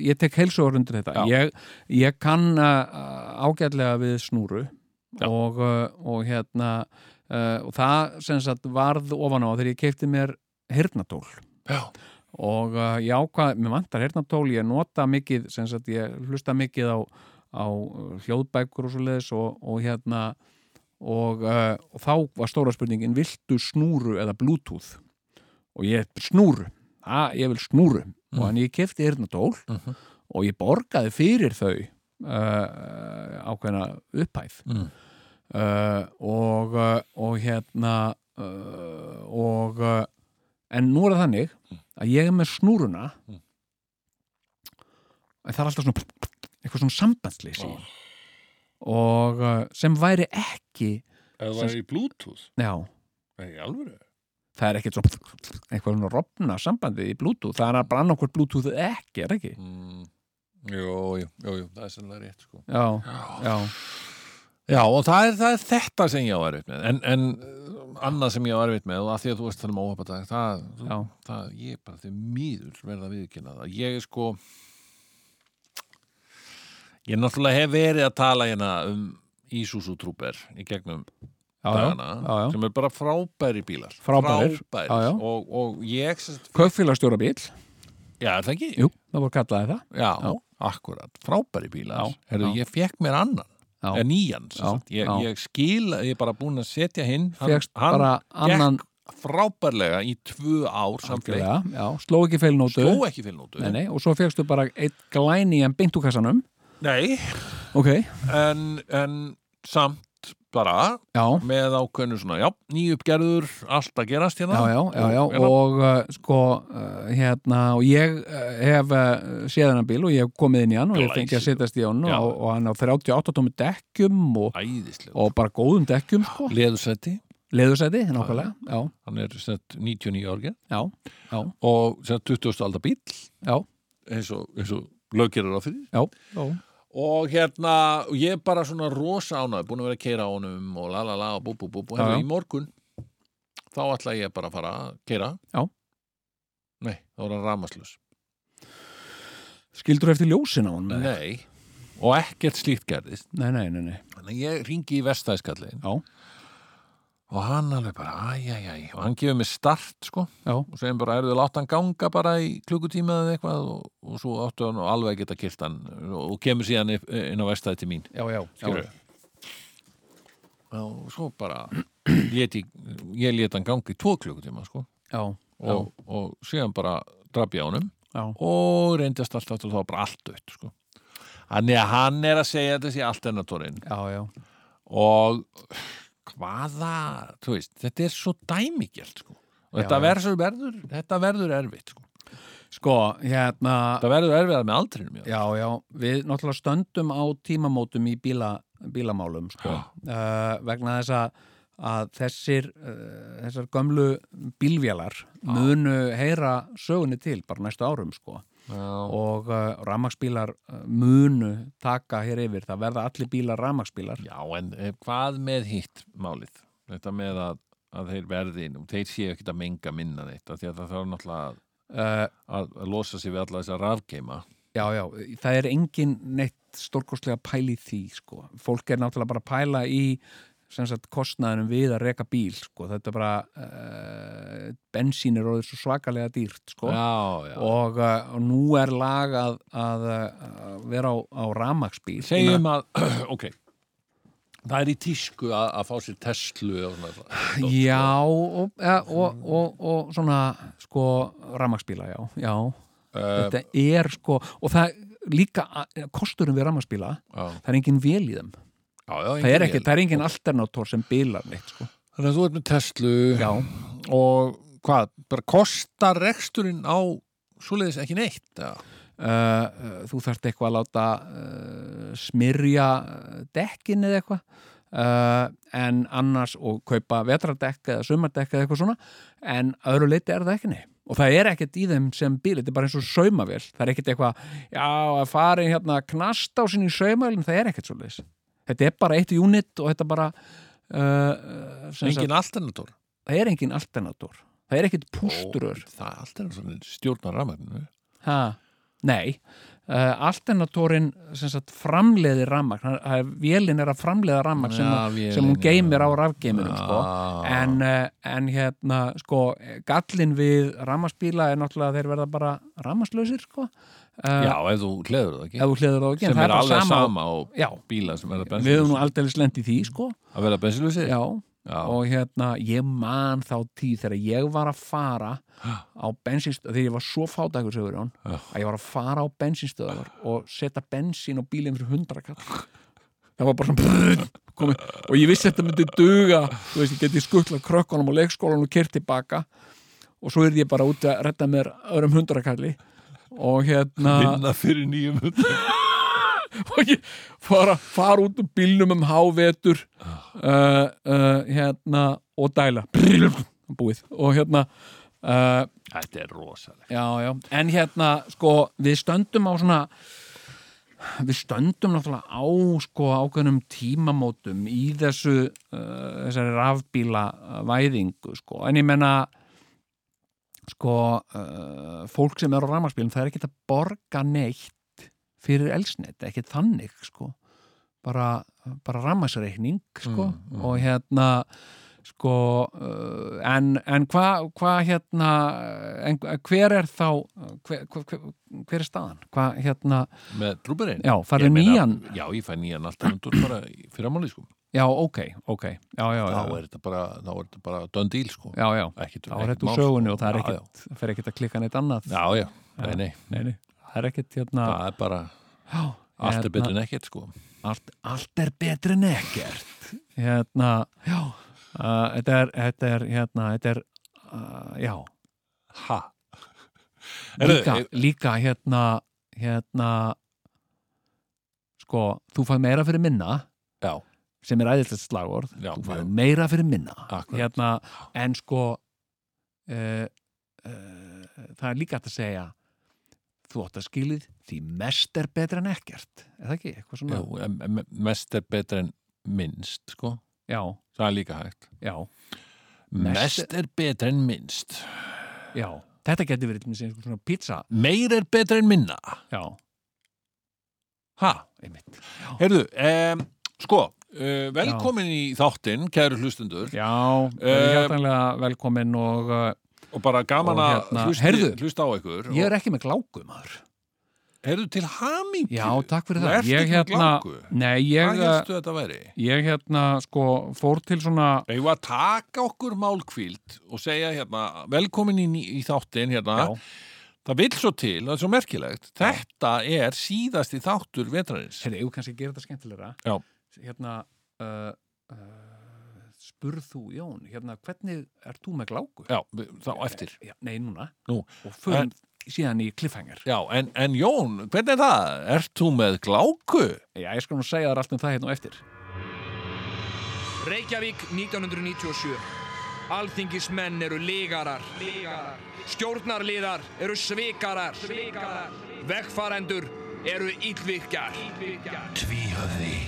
S3: ég tek heilsugur undir þetta.
S1: Já.
S3: Ég, ég kann uh, ágætlega við snúru
S1: Já.
S3: og, uh, og hérna, uh, og það sem sagt varð ofan á þegar ég keipti mér hirnatól.
S1: já,
S3: og uh, ég ákvað, mér vantar hernatól, ég nota mikið, sem sagt ég hlusta mikið á, á uh, hljóðbækur og svo leiðis og, og hérna og, uh, og þá var stóra spurningin viltu snúru eða bluetooth og ég snúru að ég vil snúru
S1: Mm.
S3: og hann ég kefti hernatól
S1: Mhm.
S3: og ég borgaði fyrir þau uh, ákveðna upphæð
S1: mm.
S3: uh, og, uh, og hérna uh, og uh, en nú er það þannig að ég er með snúruna
S1: Mm.
S3: en það er alltaf svona eitthvað svona sambandsleysi
S1: Ó.
S3: og uh, sem væri ekki
S1: það
S3: væri
S1: í Bluetooth
S3: já,
S1: Nei, alveg
S3: það er ekkert svona eitthvað svona rofna sambandi í Bluetooth það er bara annarkvort Bluetooth eða ekki, er ekki?
S1: mm. Jú, jú, jú, jú, það er sannlega rétt sko.
S3: Já,
S1: já.
S3: já,
S1: og það er, það er þetta sem ég á erfitt með en, en uh, annað sem ég á erfitt með og að því að þú veist það um óhapadag það,
S3: já,
S1: það, ég bara því mýður verða viðkynna það ég er sko ég náttúrulega hef verið að tala hérna um Isuzu Trooper í gegnum
S3: já, já,
S1: dagana
S3: já, já.
S1: sem er bara frábæri bílar
S3: Frábærir,
S1: Frábærir.
S3: já, já.
S1: Og, og ég sem sagt-
S3: Kaupfélagstjóra bíl,
S1: já, er það ekki?
S3: jú, það voru kallaði það
S1: Já,
S3: Já.
S1: akkurat, frábæri bílar
S3: Já,
S1: Herru,
S3: já.
S1: ég fekk mér annan,
S3: Já.
S1: eða nýjan sem
S3: Já,
S1: sagt. ég,
S3: já.
S1: ég skil, ég er bara búin að setja hinn
S3: fegst bara annan
S1: frábærlega í tvö ár samfleik,
S3: Algjörlega, já, sló ekki feilnótu
S1: sló ekki fyrir nótu
S3: nei, nei, og svo fegstu bara eitt glæni en beint úr kassanum
S1: Nei,
S3: ok,
S1: en, en samt bara
S3: já,
S1: með ákveðnu svona, já, nýuppgerður allt að gerast
S3: já,
S1: hérna
S3: já, já, já
S1: Og,
S3: og uh, sko uh, hérna, og ég uh, hef uh, séð hennar bíl og ég hef komið inn í hann og ég fengi að
S1: Glæsilegur.
S3: setjast í hann
S1: Já.
S3: og, og hann á 38 tómi dekkjum og,
S1: æðislega,
S3: og bara góðum dekkjum sko,
S1: leðursæti
S3: leðursæti, nákvæmlega já,
S1: hann er sem sagt, 99 árgir
S3: já, já,
S1: og sem sagt, 20. aldar bíl
S3: já,
S1: eins og, eins og löggerir á fyrir
S3: já, já.
S1: og hérna, og ég er bara svona rosa ánægð, búin að vera að keira á honum og la la la og bú bú bú bú,
S3: Já,
S1: hérna
S3: já.
S1: í morgun þá ætla ég bara að fara að keira
S3: Já.
S1: Nei, þá er hann ramaslaus
S3: skildur eftir ljósin á hann með þig?
S1: Nei, og ekkert slíkt gerðist
S3: nei, nei, nei, nei,
S1: Þannig að ég ringi í vestæðskallin
S3: Já.
S1: Og hann alveg bara, æjæjæj Og hann gefur mér start, sko
S3: já,
S1: Og segjum bara, erðu látt hann ganga bara í klukkutíma eða eitthvað og, og svo áttu hann og alveg að geta kilt hann og, og kemur síðan upp- inn á vestæði til mín
S3: já, já, já.
S1: Skilurðu? Og svo bara lét ég, ég lét hann ganga í tvo klukkutíma, sko
S3: já,
S1: og, og síðan bara draf ég á honum
S3: já.
S1: og reyndast allt aftur og þá var bara allt dött, sko Þannig að hann er að segja þetta sé allt ennatorinn
S3: já, já.
S1: og hvaða, þú veist, þetta er svo dæmigjald sko. og
S3: Já,
S1: þetta
S3: já.
S1: verður, verður, þetta verður erfitt sko.
S3: sko, hérna
S1: þetta verður erfiðar með aldrinum já.
S3: Já, já, við náttúrulega stöndum á tímamótum í bíla, bílamálum sko. uh, vegna þess að, að þessir, uh, þessar gömlu bílvélar munu heyra sögunni til bara næstu árum sko.
S1: Já.
S3: og uh, rafmaksbílar uh, munu taka hér yfir, það verða allir bílar rafmaksbílar
S1: já, en eh, hvað með hitt málið þetta með að, að þeir verði og þeir séu ekkert að menga minna neitt af því að það þarf náttúrulega að,
S3: uh,
S1: að, að losa sig við alla þessa rafgeima
S3: Já, já, það er engin neitt stórkostlega pæli því sko. fólk er náttúrulega bara að pæla í sem sagt kostnaðinum við að reka bíl sko. þetta er bara uh, bensín er orðið svo svakalega dýrt sko.
S1: já, já,
S3: og, uh, og nú er lag að, að uh, vera á, á ramaksbíl
S1: segjum að ok, það er í tísku að, að fá sér Tesla og svona, dót, sko.
S3: Já, og, ja, og, og, og svona sko ramaksbíla, já, já.
S1: Eh,
S3: þetta er sko og það líka að- kosturum við ramaksbíla
S1: já,
S3: það er engin vél í þeim
S1: já, já,
S3: það
S1: engin
S3: er, ekki,
S1: vél.
S3: það er engin alternator sem bilar neitt sko.
S1: þannig að þú ert með Tesla
S3: já,
S1: og hvað, bara kostar reksturinn á svoleiðis ekki neitt eða?
S3: uh, þú þarft eitthvað að láta uh, smyrja uh, dekkin eða eitthvað uh, en annars og kaupa vetradekk eða sumardekk eða eitthvað svona en öðru leiti er það ekki neitt og það er ekkert í þeim sem bíl þetta er bara eins og saumavél, það er ekkert eitthvað já, að fara í hérna knast á sinni í saumavélum, það er ekkert svo leis þetta er bara eitt unit og þetta bara uh, sem sagt,
S1: Engin alternator
S3: það er engin alternator það er ekkert pústurör
S1: Ó, Það er alternator stjórnar rafmagninu
S3: ha, nei Uh, alternatorin sem sagt framleiðir rammagn, vélinn er að framleiða rammagn sem,
S1: Já,
S3: að-
S1: vélin,
S3: sem hún
S1: já.
S3: geymir á rafgeiminum sko.
S1: Já.
S3: en, eh, en hérna sko, gallin við rammarsbíla er náttúrulega að þeir verða bara rammarslausir sko.
S1: Já, ef þú hleður það ekki
S3: ef þú hliður á ekki en
S1: sem er
S3: það bara
S1: alveg sama, og
S3: Já,
S1: bíla sem verða
S3: við höfum nú
S1: bensinlösi
S3: aldeilis lent í því sko.
S1: að verða bensinlösi
S3: Já,
S1: Já.
S3: og hérna ég man þá tíð þegar ég var að fara á bensinstöðar þegar ég var svo fátækur segur hún
S1: Já.
S3: að ég var að fara á bensinstöðar og setja bensín á bílinn fyrir hundra kall það var bara svona brrrr, komið, og ég vissi þetta myndi duga þú veist, ég geti skuttlað krökkunum og leikskólanum og kert tilbaka og svo er ég bara úti að redda mér öðrum hundrakalli og hérna
S1: vinna fyrir nýjum
S3: og ég fara, fara út úr bílnum um hávetur uh, uh, hérna og dæla búið og hérna uh,
S1: Þetta er rosalega
S3: já, já, en hérna sko við stöndum á svona við stöndum náttúrulega á sko ákveðnum tímamótum í þessu uh, þessari rafbíla væðingu sko, en ég menna sko uh, fólk sem er á rafmagsbílum það er ekkert að borga neitt fyrir elsnett, ekkert þannig sko bara, bara rafmagsreikning sko
S1: Mm, mm.
S3: og hérna sko uh, en, en hvað hva, hérna en, hver er þá hver, hver, hver er staðan? Hvað hérna
S1: með drúberinn
S3: Já, farðu nýjan
S1: Já, ég fæ nýjan alternator bara í fyrramáli sko
S3: Já, ok, ok Já, já,
S1: þá
S3: já,
S1: er þetta bara, þá er þetta bara döndíl sko
S3: já, já.
S1: ekkit,
S3: Þá er þetta úr sögunni og það er ekkit, fer ekkit að klikka neitt annað
S1: já, já, sko. nei, nei,
S3: Nei, nei, það er ekkit hérna
S1: það er bara
S3: já,
S1: allt er betur
S3: Hérna.
S1: en ekkert sko
S3: allt, allt er betur en ekkert Hérna, já uh, Þetta er, þetta er, hérna, þetta er uh, Já,
S1: ha
S3: líka,
S1: eh,
S3: líka hérna, hérna Sko, þú fæð meira fyrir minna
S1: já,
S3: sem er æðislegt slagorð
S1: Já,
S3: þú
S1: já.
S3: fæður meira fyrir minna
S1: Akkurat.
S3: hérna, en sko uh, uh, það er líka hægt að segja þú átt að skilið því mest er betra en ekkert er það ekki eitthvað svona
S1: já em- em- mest er betur en minnst sko
S3: já,
S1: það er líka hægt
S3: já,
S1: mest,
S3: Mest-
S1: er betur en minnst
S3: já. þetta getur verið til dæmis einhver svona pizza
S1: meir er betur en minna
S3: já,
S1: ha,
S3: einmitt
S1: heyrðu, um, sko Uh, velkomin í þáttinn, kæru hlustundur
S3: já,
S1: Eh,
S3: hjartanlega velkomin og uh,
S1: og bara gaman
S3: Og
S1: að
S3: hérna,
S1: hlusti-
S3: heyrðu,
S1: hlusta á ykkur
S3: ég er ekki með gláku maður
S1: og heyrðu til hamingju
S3: já, takk fyrir
S1: Þú
S3: það
S1: ert
S3: ég, hérna-
S1: ekki með gláku?
S3: nei, ég, eh,
S1: Hvað helstu þetta væri?
S3: ég hérna sko fór til svona
S1: Eigum við að taka okkur málkvíld og segja hérna, velkomin í, ný- í þáttin hérna,
S3: já,
S1: það vil svo til, það er svo merkilegt, þetta er síðasti þáttur vetrarins.
S3: Herri, ég kannski að gera þetta skemmtilegra
S1: Já.
S3: Hérna uh, uh, Spurð þú Jón Hérna, hvernig ert þú með gláku?
S1: Já, við- þá eftir.
S3: Já, nei, núna
S1: Nú,
S3: Og förum síðan í cliffhanger
S1: já, en, en Jón, hvernig er það? Ert þú með gláku?
S3: Já, ég skal nú segja þar allt um það hérna og eftir
S2: Reykjavík 1997 Alþingismenn eru lígarar Stjórnarliðar eru svikarar Vegfarendur eru illvirkjar Tvíhöfði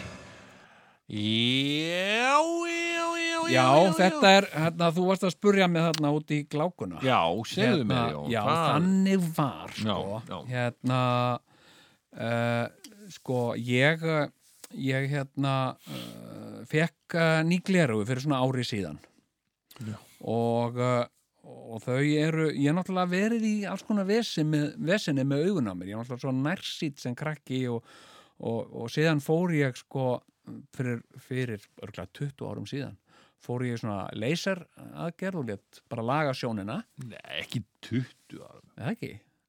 S1: Já, já, já, já.
S3: Já, þetta er, hérna, þú varst að spurja mig þarna út í glákuna
S1: Já, segðu
S3: hérna,
S1: mér, Jón.
S3: Já,
S1: það-
S3: þannig var sko,
S1: Já, já.
S3: hérna uh, sko, ég eh, ég hérna uh, fekk uh, nýgleru fyrir svona ári síðan
S1: Já.
S3: og uh, og þau eru, ég er náttúrulega verið í alls konar vesin með, vesinni með augun á mér, ég er náttúrulega svo nærsýtt sem krakki og, og, og síðan fór ég sko fyrir, fyrir örgulega 20 árum síðan fór ég í svona laser aðgerð og létt bara laga sjónina
S1: Nei, ekki 20 ára.
S3: eða ekki?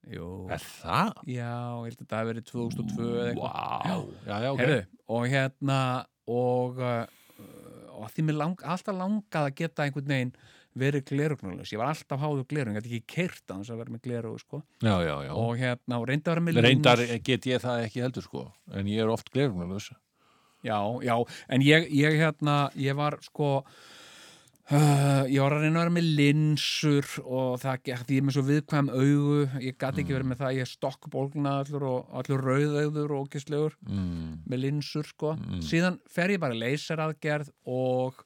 S3: Jú.
S1: Er það?
S3: Já, ég held að þetta hafi verið 2002 eða eitthvað.
S1: Vá. Já, já, ok.
S3: Heyrðu, og hérna og, uh, og því mér lang, alltaf langað að geta einhvern veginn verið glerugnulegs. Ég var alltaf háður glerug, ég gæti ekki keirt að hans að vera með glerug, sko.
S1: Já, já, já.
S3: Og hérna, og reyndi að vera með
S1: Reyndar get ég það ekki heldur sko, en ég er oft glerunarlaus.
S3: Já, já, en ég, ég hérna, ég var sko Uh, ég var að reyna að vera með linsur og það, gekk- því ég er með svo viðkvæm augu ég gat
S1: Mm.
S3: ekki verið með það, ég er stokkbólgna allur og allur rauðauður og ógislegur
S1: mm,
S3: með linsur sko
S1: Mm.
S3: síðan fer ég bara í leyseraðgerð og,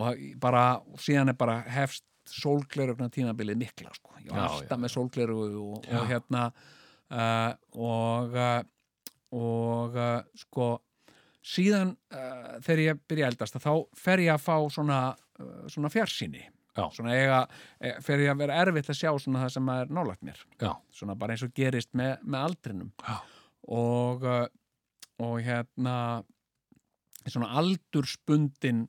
S3: og bara síðan er bara hefst sólglerugna tímabilið mikla sko ég var
S1: Já,
S3: alltaf með sólglerugu og,
S1: Já.
S3: og hérna uh, og uh, og uh, sko síðan uh, þegar ég byrja að eldast að þá fer ég að fá svona, uh, svona fjarsýni
S1: Já.
S3: svona eiga, eh, fer ég að vera erfitt að sjá svona það sem er nálægt mér
S1: Já.
S3: svona bara eins og gerist með, með aldrinum
S1: Já.
S3: og uh, og hérna svona aldurspundin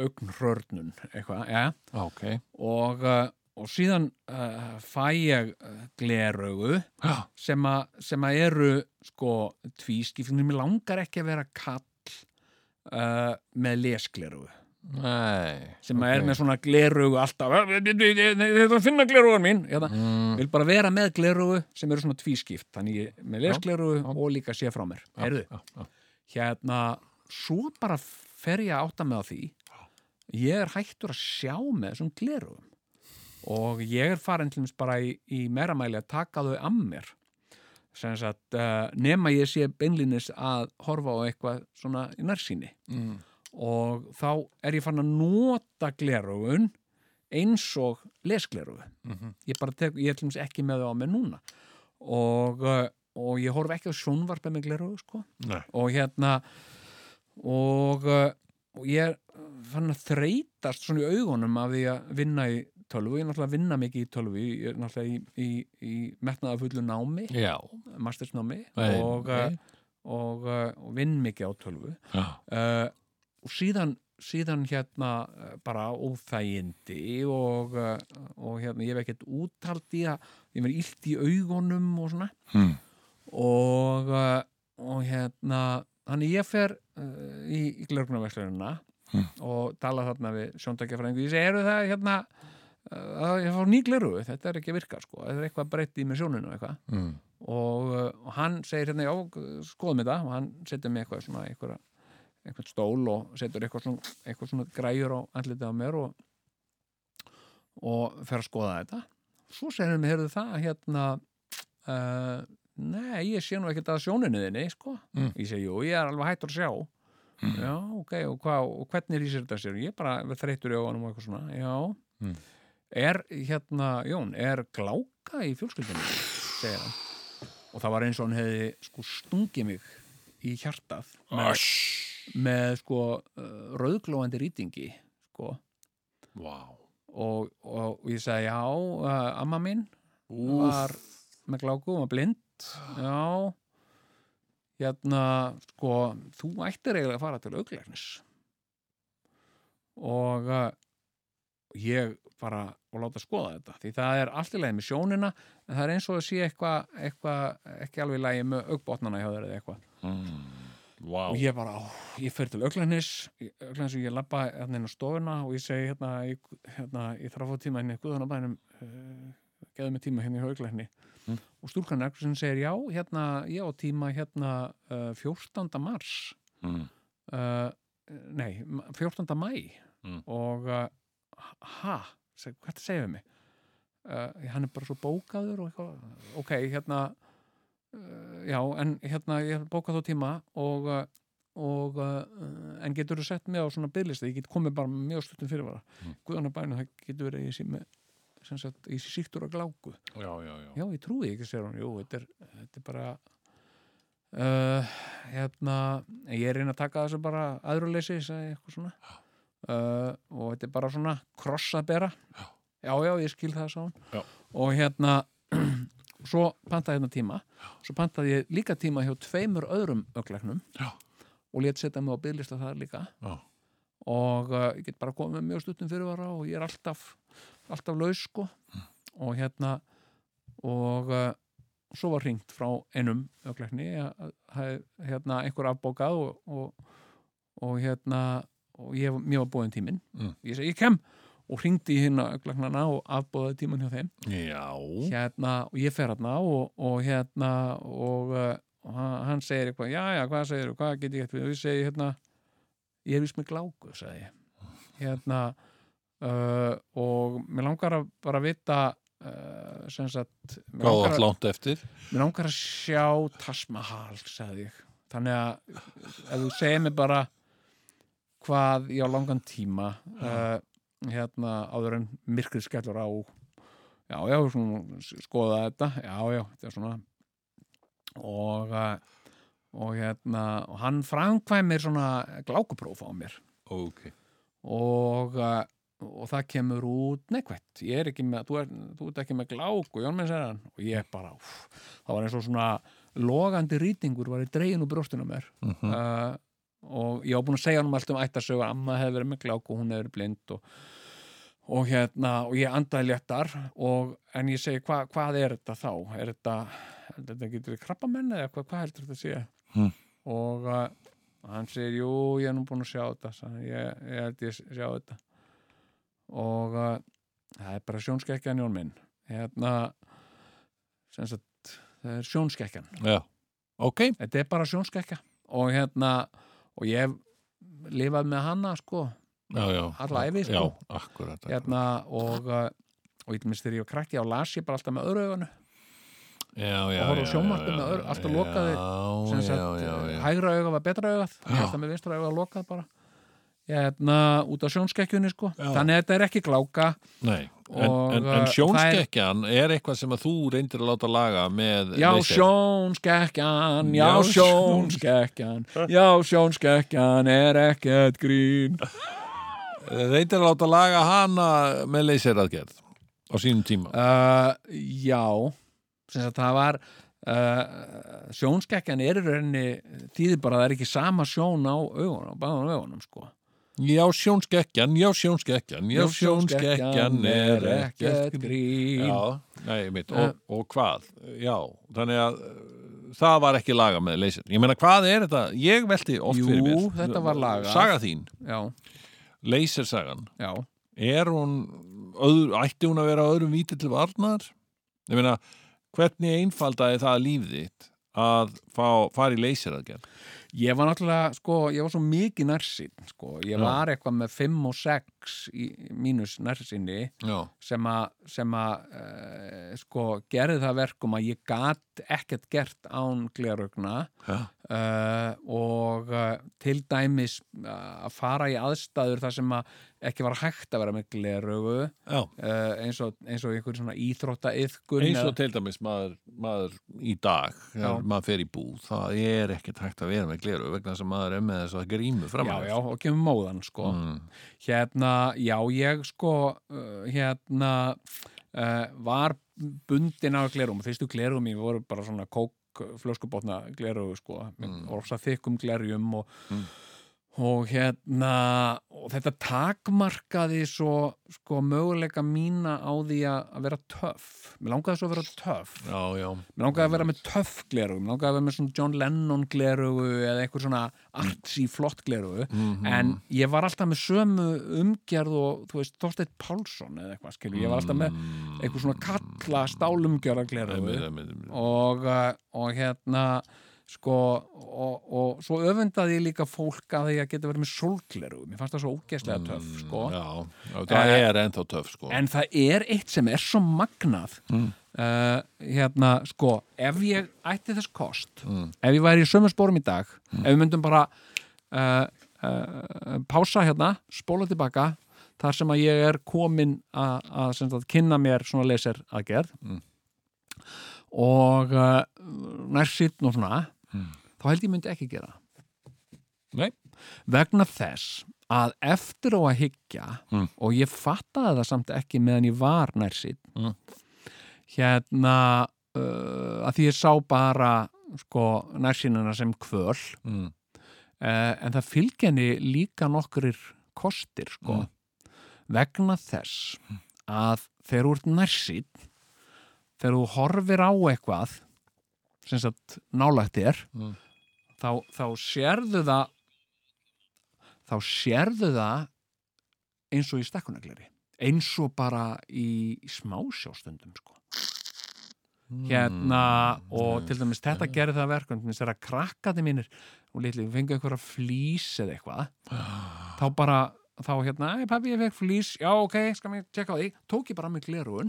S3: augnhrörnun eitthvað, ja
S1: ok
S3: og, uh, og síðan uh, fæ ég uh, gleraugu
S1: já,
S3: sem, a, sem að eru sko tvískipnir, mér langar ekki að vera kall uh, með lesglerugu
S1: nei
S3: sem að er með svona glerugu alltaf, "Eh, ég- ég- ég- ég- ég ætla að finna glerugan mín ég ætla-
S1: mm,
S3: vil bara vera með glerugu sem eru svona tvískipt þannig ég með lesglerugu og líka sé frá mér
S1: já,
S3: Heyrðu,
S1: já, já.
S3: hérna svo bara fer ég að átta mig á því ég er hættur að sjá með þessum glerugum og ég er farin til þess bara í, í meira mæli að taka þau að mér sem sagt uh, nema ég sé beinlinis að horfa á eitthvað svona í nærsýni
S1: Mm,
S3: og þá er ég farin að nota glerugun eins og lesglerugu
S1: mhm.
S3: ég bara tek, ég er til þess ekki með þau á mér núna og, uh, og ég horf ekki á sjónvarpið með glerugu sko
S1: Nei.
S3: og hérna og, uh, og ég er fann að þreytast svona í augunum af því að vinna í tölvu ég er náttúrulega að vinna mikið í tölvu ég er náttúrulega í, í, í metnaðafullu námi
S1: já,
S3: mastersnámi
S1: Nei,
S3: og, uh,
S1: nei.
S3: og, uh, og vinn mikið á tölvu
S1: já
S3: uh, og síðan síðan hérna uh, bara óþægindi og, uh, og hérna ég hef ekkert úttalt í að ég verið illt í augunum og svona
S1: mm,
S3: og, uh, og hérna þannig ég fer uh, í, í glörgnarverslunina
S1: Mm.
S3: og tala þarna við sjóndakjafræðingu ég segi, eru það hérna uh, að ég fór ný glerugu, þetta er ekki að virka sko, þetta er eitthvað breytt í með sjóninu eitthvað
S1: mm,
S3: og, uh, og hann segir hérna, já, skoðum þetta og hann setur mig eitthvað svona eitthvað, eitthvað stól og setur eitthvað svona, eitthvað svona græjur á andlitið á mér og, og fer að skoða þetta svo segir hann, heyrðu það hérna uh, nei, ég sé nú ekkert að sjóninu þinni, sko
S1: Mm.
S3: ég segi, jú, ég er alveg hættur að sjá já, ok, og, hva, og hvernig lýsir þetta sér ég er bara verð þreyttur í áanum og eitthvað svona já
S1: Mm.
S3: er, hérna, Jón, er gláka í fjölskyldinu, segir hann og það var eins og hann hefði sko stungið mig í hjartað með, með sko uh, rauðglóandi rýtingi sko
S1: Vá.
S3: og, og, og ég sagði já, uh, amma mín var
S1: Úff.
S3: með gláku og var blind já hérna, sko þú ættir eiginlega að fara til auglæknis og uh, ég bara og láta skoða þetta, því það er allt í lagi með sjónina, en það er eins og að sé eitthvað eitthva, ekki alveg í lagi með augbotnana hjá þeir eða eitthvað
S1: mm, Vá.
S3: og ég bara, á, ég fyrir til auglæknis auglæknis og ég labba hérna inn á stofuna og ég segi hérna, ég, hérna, ég þarf að fá tíma henni Guðanabænum uh, geðu mig tíma henni í auglækni
S1: Mm.
S3: og stúlkan er sem segir, já, hérna ég á tíma hérna uh, 14. mars
S1: mm,
S3: uh, nei, ma- 14. mæ
S1: Mm.
S3: og uh, ha, seg, hvað það segir við mig uh, hann er bara svo bókaður og eitthvað, ok, hérna uh, já, en hérna ég bókað þó tíma og uh, og uh, en getur þú sett mig á svona bygglista, ég get komið bara með mjög stuttum fyrirvara mm.
S1: Mm.
S3: Guðanabænu, það getur verið að ég sé með sem sagt, ég sé síktur að gláku
S1: Já, já, já.
S3: já, ég trúi ekki, segir hún, jú, þetta er, þetta er bara uh, hérna, en ég er reyna að taka þessu bara aðruleysi, sagði ég eitthvað svona uh, og þetta er bara svona kross að bera
S1: Já.
S3: já, ég skil það, sá hún
S1: Já.
S3: og hérna svo pantaði hérna tíma svo pantaði ég líka tíma hjá tveimur öðrum ögleknum
S1: Já.
S3: og létt setja mig á bygglista þar líka
S1: Já.
S3: og uh, ég get bara komið með mjög stuttum fyrirvara og ég er alltaf alltaf laus sko
S1: Mm.
S3: og hérna og uh, svo var hringt frá einum öglekni hérna einhver afbókað og, og, og hérna og ég, mér var búin tíminn
S1: Mm.
S3: ég segi ég kem og hringdi í hérna öglegnana og afbóðaði tímann hjá þeim
S1: Já.
S3: hérna, og ég fer hérna og, og hérna og, uh, og hann- hann segir eitthvað, já já, hvað segir þú, hvað get ég eitthvað og ég segi hérna, ég er vist með gláku sagði ég hérna, uh, og mér langar að bara vita uh, sem sagt
S1: Hvað
S3: mér
S1: var
S3: langar, að,
S1: langt eftir?
S3: mér langar að sjá Taj Mahal, sagði ég þannig að ef þú segir mér bara hvað ég á langan tíma uh, hérna áður en myrkrið skellur á já, já, svona, skoða þetta já, já, þetta er svona og uh, og hérna, og hann framkvæmir svona glákupróf á mér
S1: Ok.
S3: og, uh, og það kemur út neikvætt, ég er ekki með þú, er, þú ert ekki með gláku, Jón minn segir hann og ég bara, úf, það var eins og svona logandi rýtingur var í dregin úr brjóstinu á mér
S1: Mm
S3: uh, og ég var búin að segja hann allt um ættasögu, amma hefði verið með gláku hún hefði verið blind og, og hérna, og ég andaði léttar og, en ég segi, hva, hvað er þetta þá? er þetta, þetta getur við krabba menn eða hvað, hvað heldur þetta að sé?
S1: Hmm.
S3: og uh, hann segir, jú, ég er nú búin að sjá þetta sagði hann, ég, ég held ég sjá þetta og uh, það er bara sjónskekkjan Jón minn hérna sem sagt, það er sjónskekkjan
S1: Já. Ok.
S3: þetta er bara sjónskekja og hérna, og ég hef lifað með hana sko
S1: Já, já.
S3: Alla ævi, sko.
S1: Já, akkurat. akkurat.
S3: hérna, og, uh, og ég minnst þegar ég var krakki á las ég bara alltaf með öðru augunu
S1: Já, já, já.
S3: og horfði á
S1: já,
S3: sjónvarpið
S1: já,
S3: með öðru-
S1: já,
S3: alltaf lokaði,
S1: Já,
S3: sem sagt, eh,
S1: já, já, já.
S3: hægra auga var betra augað ég
S1: Já.
S3: held að með vinstra auga lokað bara hérna, út af sjónskekkjunni sko
S1: Já.
S3: þannig að þetta er ekki gláka
S1: Nei, en,
S3: Og,
S1: en,
S3: uh,
S1: en sjónskekkjan er eitthvað sem að þú reyndir að láta laga með
S3: já
S1: leysi.
S3: sjónskekkjan, já
S1: Já,
S3: sjónskekkjan já sjónskekkjan er ekkert grín
S1: Eh, reyndir að láta laga hana með leyseraðgerð á sínum tíma
S3: Uh, já, sem sagt það var uh, sjónskekkjan er í rauninni þýðir bara að það er ekki sama sjón á augunum, báðum augunum sko.
S1: Já sjónskekkjan, já sjónskekkjan Já sjónskekkjan er ekkert grín
S3: grín.
S1: Já, nei, mitt,
S3: Eh.
S1: og, og hvað Já, þannig að uh, það var ekki laga með leysin Ég meina, hvað er þetta? Ég velti oft
S3: Jú,
S1: fyrir mér
S3: þetta var lagað.
S1: Saga þín,
S3: já,
S1: leysersagan
S3: já.
S1: er hún öðru, ætti hún að vera öðrum víti til varnar ég meina, hvernig einfaldaði það líf þitt að fá, fara í leysiraðgerð
S3: Ég var náttúrulega, sko, ég var svo mikið nærsinn, sko. Ég
S1: Já.
S3: var eitthvað með 5 og 6 í, mínus nærsinni
S1: já,
S3: sem að, sem að, uh, sko, gerði það verkum að ég gat ekkert gert án glerugna.
S1: já,
S3: uh, og uh, til dæmis uh, að fara í aðstæður þar sem að ekki var hægt að vera með glerögu uh,
S1: já.
S3: eins, og, eins og einhver svona íþrótta yðkun
S1: eins og til dæmis maður, maður í dag,
S3: Já.
S1: já. maður fer í búð það er ekkert hægt að vera með gleru vegna sem maður er með þess að grímu fram
S3: Já, já, og kemur móðan, sko.
S1: Mm,
S3: Hérna, já, ég sko, uh, hérna, uh, var bundin af glerum. Fyrstu glerum mín voru bara svona kók, uh, flöskubotna gleru, sko. Mm.
S1: Mm.
S3: Orsa þykkum glerjum og,
S1: Mm.
S3: og hérna, og þetta takmarkaði svo, sko, möguleika mína á því að að vera töff. Mér langaði svo að vera töff.
S1: já, já,
S3: Mér langaði að vera með töff glerugu, mér langaði að vera með svona John Lennon glerugu eða einhver svona artsy flott glerugu
S1: Mhm.
S3: en ég var alltaf með sömu umgerð og þú veist, Þorsteinn Pálsson eða eitthvað skilur, ég var alltaf með einhver svona kalla stálumgjara glerugu
S1: Einmitt, einmitt, einmitt.
S3: og, uh, og hérna sko og, og svo öfundaði ég líka fólk að því að geta verið með sólglerugu, mér fannst það svo ógeðslega töff sko
S1: já, já, það
S3: Eh,
S1: er ennþá töff sko
S3: en það er eitt sem er svo magnað mm. hérna, sko ef ég ætti þess kost
S1: Mm.
S3: ef ég væri í sömu spórum í dag ef við myndum bara uh, uh, pása hérna, spóla tilbaka þar sem að ég er komin að, að sem sagt, kynna mér svona leser aðgerð
S1: Mm.
S3: og uh, nærsitt og svona þá held ég myndi ekki gera það
S1: Mm. nei,
S3: vegna þess að eftir á að hyggja
S1: Mm.
S3: og ég fattaði það samt ekki meðan ég var nær sitt
S1: Mm.
S3: hérna uh, að því ég sá bara sko, nærsýnina sem kvöl uh,
S1: mm,
S3: Eh, en það fylgja henni líka nokkrir kostir sko,
S1: Mm.
S3: vegna þess að þegar þú ert nærsýn þegar þú horfir á eitthvað sem sagt nálægt þér
S1: Mm.
S3: þá, þá sérðu það þá sérðu það eins og í stakkunagleri eins og bara í smásjástundum sko. hérna
S1: Mm.
S3: og til dæmis þetta gerði það verkum til dæmis þegar
S1: Ah.
S3: krakkandi mínir og litli fengu einhverja flís eða eitthvað þá bara þá hérna, ei pabbi, ég fekk flýs, já ok, skal mér tjekka á því, tók ég bara með glerun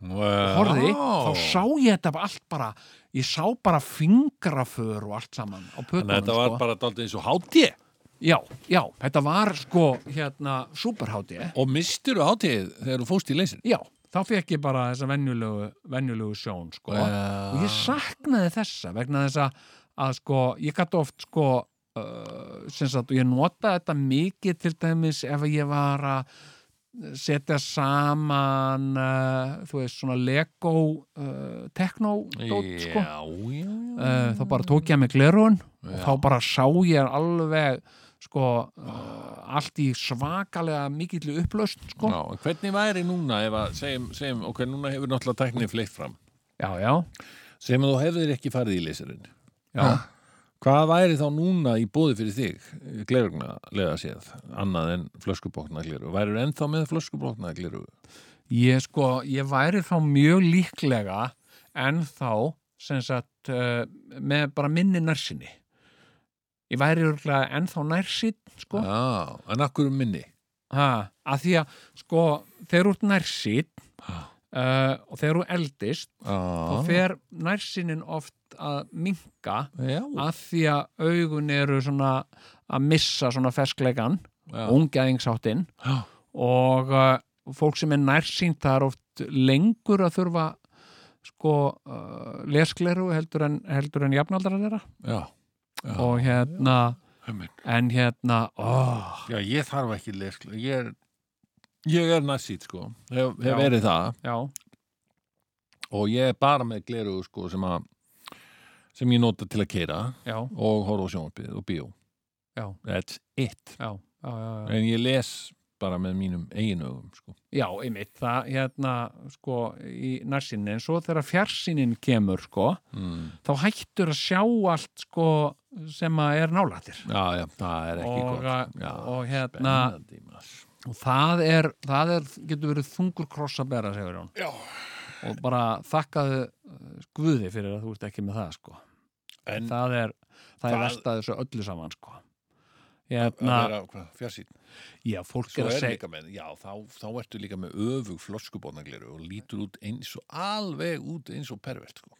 S1: eh,
S3: horfði, þá sá ég þetta bara allt bara, ég sá bara fingraför og allt saman á pötunum,
S1: Þannig að þetta var
S3: sko.
S1: bara daldið eins og hátíð
S3: já, já, þetta var sko, hérna, superháti
S1: og mistur hátíð þegar þú fóst í leysin
S3: já, þá fekk ég bara þessa venjulegu, venjulegu sjón, sko og ég saknaði þessa vegna þess að, að sko, ég gæti oft sko uh, sem sagt, og ég notaði þetta mikið til dæmis ef ég var að setja saman uh, þú veist, svona Lego uh, teknó-dót, sko
S1: já, já, já.
S3: uh, þá bara tók ég að mig glerun og þá bara sá ég alveg sko, uh, allt í svakalega mikillu upplaust, sko
S1: Já, en hvernig væri núna ef að segjum, segjum ok, núna hefur náttúrulega tæknið fleitt fram
S3: já, já,
S1: segjum að þú hefðir ekki farið í leysirinn
S3: já,
S1: hvað væri þá núna í bóði fyrir þig glerugna lega séð annað en flöskubokna gleru værir ennþá með flöskubokna gleru
S3: Ég sko, ég væri þá mjög líklega en þá sem sagt uh, með bara minni nærsinni. Ég væri örgulega ennþá nærsinn, sko. Ja.
S1: já, en akkur um minni
S3: Ha, að því að, sko, þegar þú ert nærsinn
S1: Já.
S3: uh, og þegar þú eldist,
S1: já,
S3: þá fer nærsinnin oft að minka
S1: já,
S3: að því að augun eru svona að missa svona ferskleikan, ungjæðingsáttinn
S1: já.
S3: og uh, fólk sem er nærsýnt það er oft lengur að þurfa sko uh, leskleru heldur en, heldur en jafnaldra þeirra
S1: já. Já.
S3: og hérna
S1: Amen.
S3: en hérna oh,
S1: já, ég þarf ekki leskleru ég er, ég er næssít sko hef,
S3: Já.
S1: hef verið það
S3: já,
S1: og ég er bara með gleru sko, sem, að, sem ég nota til að keira
S3: já,
S1: og horfa á sjónvarpið og bíó
S3: Já.
S1: that's it
S3: já já, já, já,
S1: en ég les bara með mínum eigin augum sko.
S3: já, einmitt það hérna sko í nærsinni en svo þegar fjarsinin kemur sko
S1: mm.
S3: þá hættur að sjá allt sko sem að er nálættir
S1: já, já, það er ekki
S3: og, uh,
S1: gott já,
S3: og hérna
S1: spennandi maður.
S3: og það er, það er getur verið þungur kross að bera, segur hún
S1: Já.
S3: og bara þakkaðu eh, Guði fyrir að þú ert ekki með það sko.
S1: en það,
S3: það er, það er
S1: Það-
S3: verst að þessu öllu saman sko.
S1: að
S3: hérna,
S1: vera hvað, fjarsýn
S3: já, fólk
S1: svo
S3: er að
S1: er
S3: segja
S1: líka með, já, þá, þá ertu líka með öfug floskubotnagleru og lítur út eins og alveg út eins og pervert sko.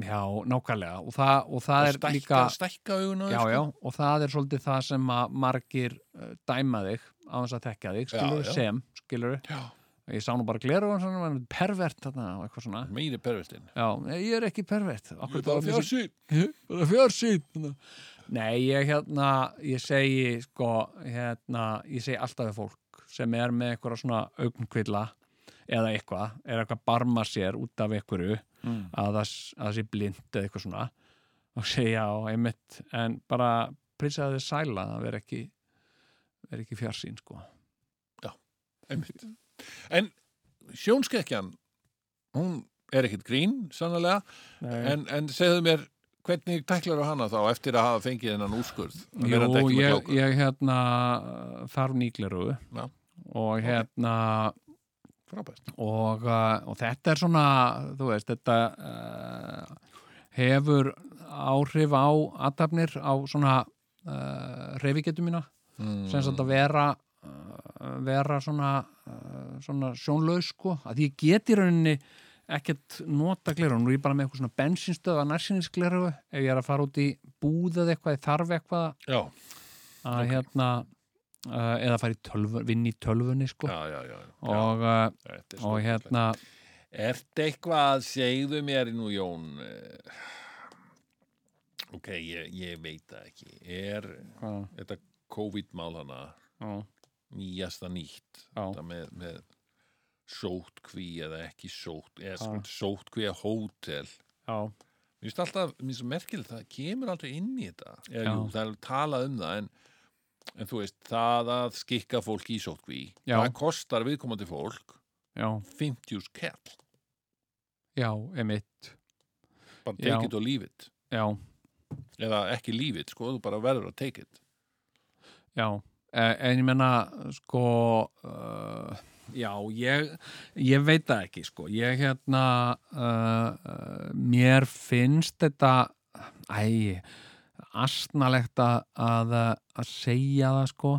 S3: já, nákvæmlega og það, og það
S1: og
S3: er
S1: stækka, sko.
S3: líka
S1: stækka auguna
S3: já, já, og það er svolítið það sem að margir eh, dæma þig á þess að tekja þig,
S1: Já,
S3: skilur
S1: já.
S3: sem skilur,
S1: já.
S3: ég sá nú bara gleru og svona, en pervert þarna og eitthvað svona
S1: meiri pervertinn
S3: já, nei, ég er ekki pervert
S1: Ég
S3: Akkur
S1: er hérna. bara
S3: var mér svo-
S1: fjarsýn
S3: bara fjársýn Nei, ég hérna ég segi sko hérna, ég segi alltaf við fólk sem er með eitthvað svona augnkvilla eða eitthvað, er eitthvað að barma sér út af einhverju
S1: Mm.
S3: að það, s- að það sé blind eða eitthvað svona og segja á einmitt en bara prinsaði þið sæla það veri ekki, veri ekki fjársýn sko.
S1: Einmitt. En sjónskekkjan, hún er ekkit grín, sannlega,
S3: Nei,
S1: en, en segðu mér, hvernig tæklar hana þá eftir að hafa fengið hennan úrskurð? Að
S3: Jú,
S1: vera þetta ekki með
S3: ég,
S1: gláku?
S3: ég hérna þarf nýgleru
S1: Já.
S3: og hérna
S1: Frábært.
S3: og, uh, og þetta er svona þú veist, þetta uh, hefur áhrif á aðtapnir á svona uh, reyfigetu mína
S1: Mm.
S3: sem sagt að vera uh, vera svona, uh, svona sjónlaus sko, að ég get í rauninni ekkert nota gleru nú er ég bara með eitthvað svona bensinstöða nærsinnisgleru ef ég er að fara út í búð eða eitthvað, ég þarf eitthvað
S1: Já,
S3: að hérna uh, eða fara í tölvun, vinn í tölvunni sko
S1: já, já, já. já,
S3: og, uh,
S1: þetta er
S3: og
S1: stórkostlegt.
S3: hérna
S1: Ertu eitthvað, segðu mér nú Jón, eh, ok, ég, ég veit það ekki, er
S3: hvað,
S1: þetta COVID-mál hana
S3: hérna, já,
S1: nýjasta nýtt
S3: Já.
S1: þetta með, með sótkví eða ekki sótt eða
S3: Já.
S1: sko, sótkví að hótel
S3: já,
S1: mér finnst alltaf, mér finnst merkilegt það kemur aldrei inn í þetta eða,
S3: Já.
S1: jú, það er alveg talað um það en, en þú veist, það að skikka fólk í sótkví
S3: Já.
S1: það kostar viðkomandi fólk
S3: já,
S1: 50 skell,
S3: já, emitt
S1: bara
S3: Já.
S1: take it og leave it
S3: já,
S1: eða ekki leave it, sko, þú bara verður að take it
S3: já Eh, en ég menna sko uh, já, ég ég veit það ekki sko ég hérna uh, uh, mér finnst þetta æ, astnalegt að, að að segja það sko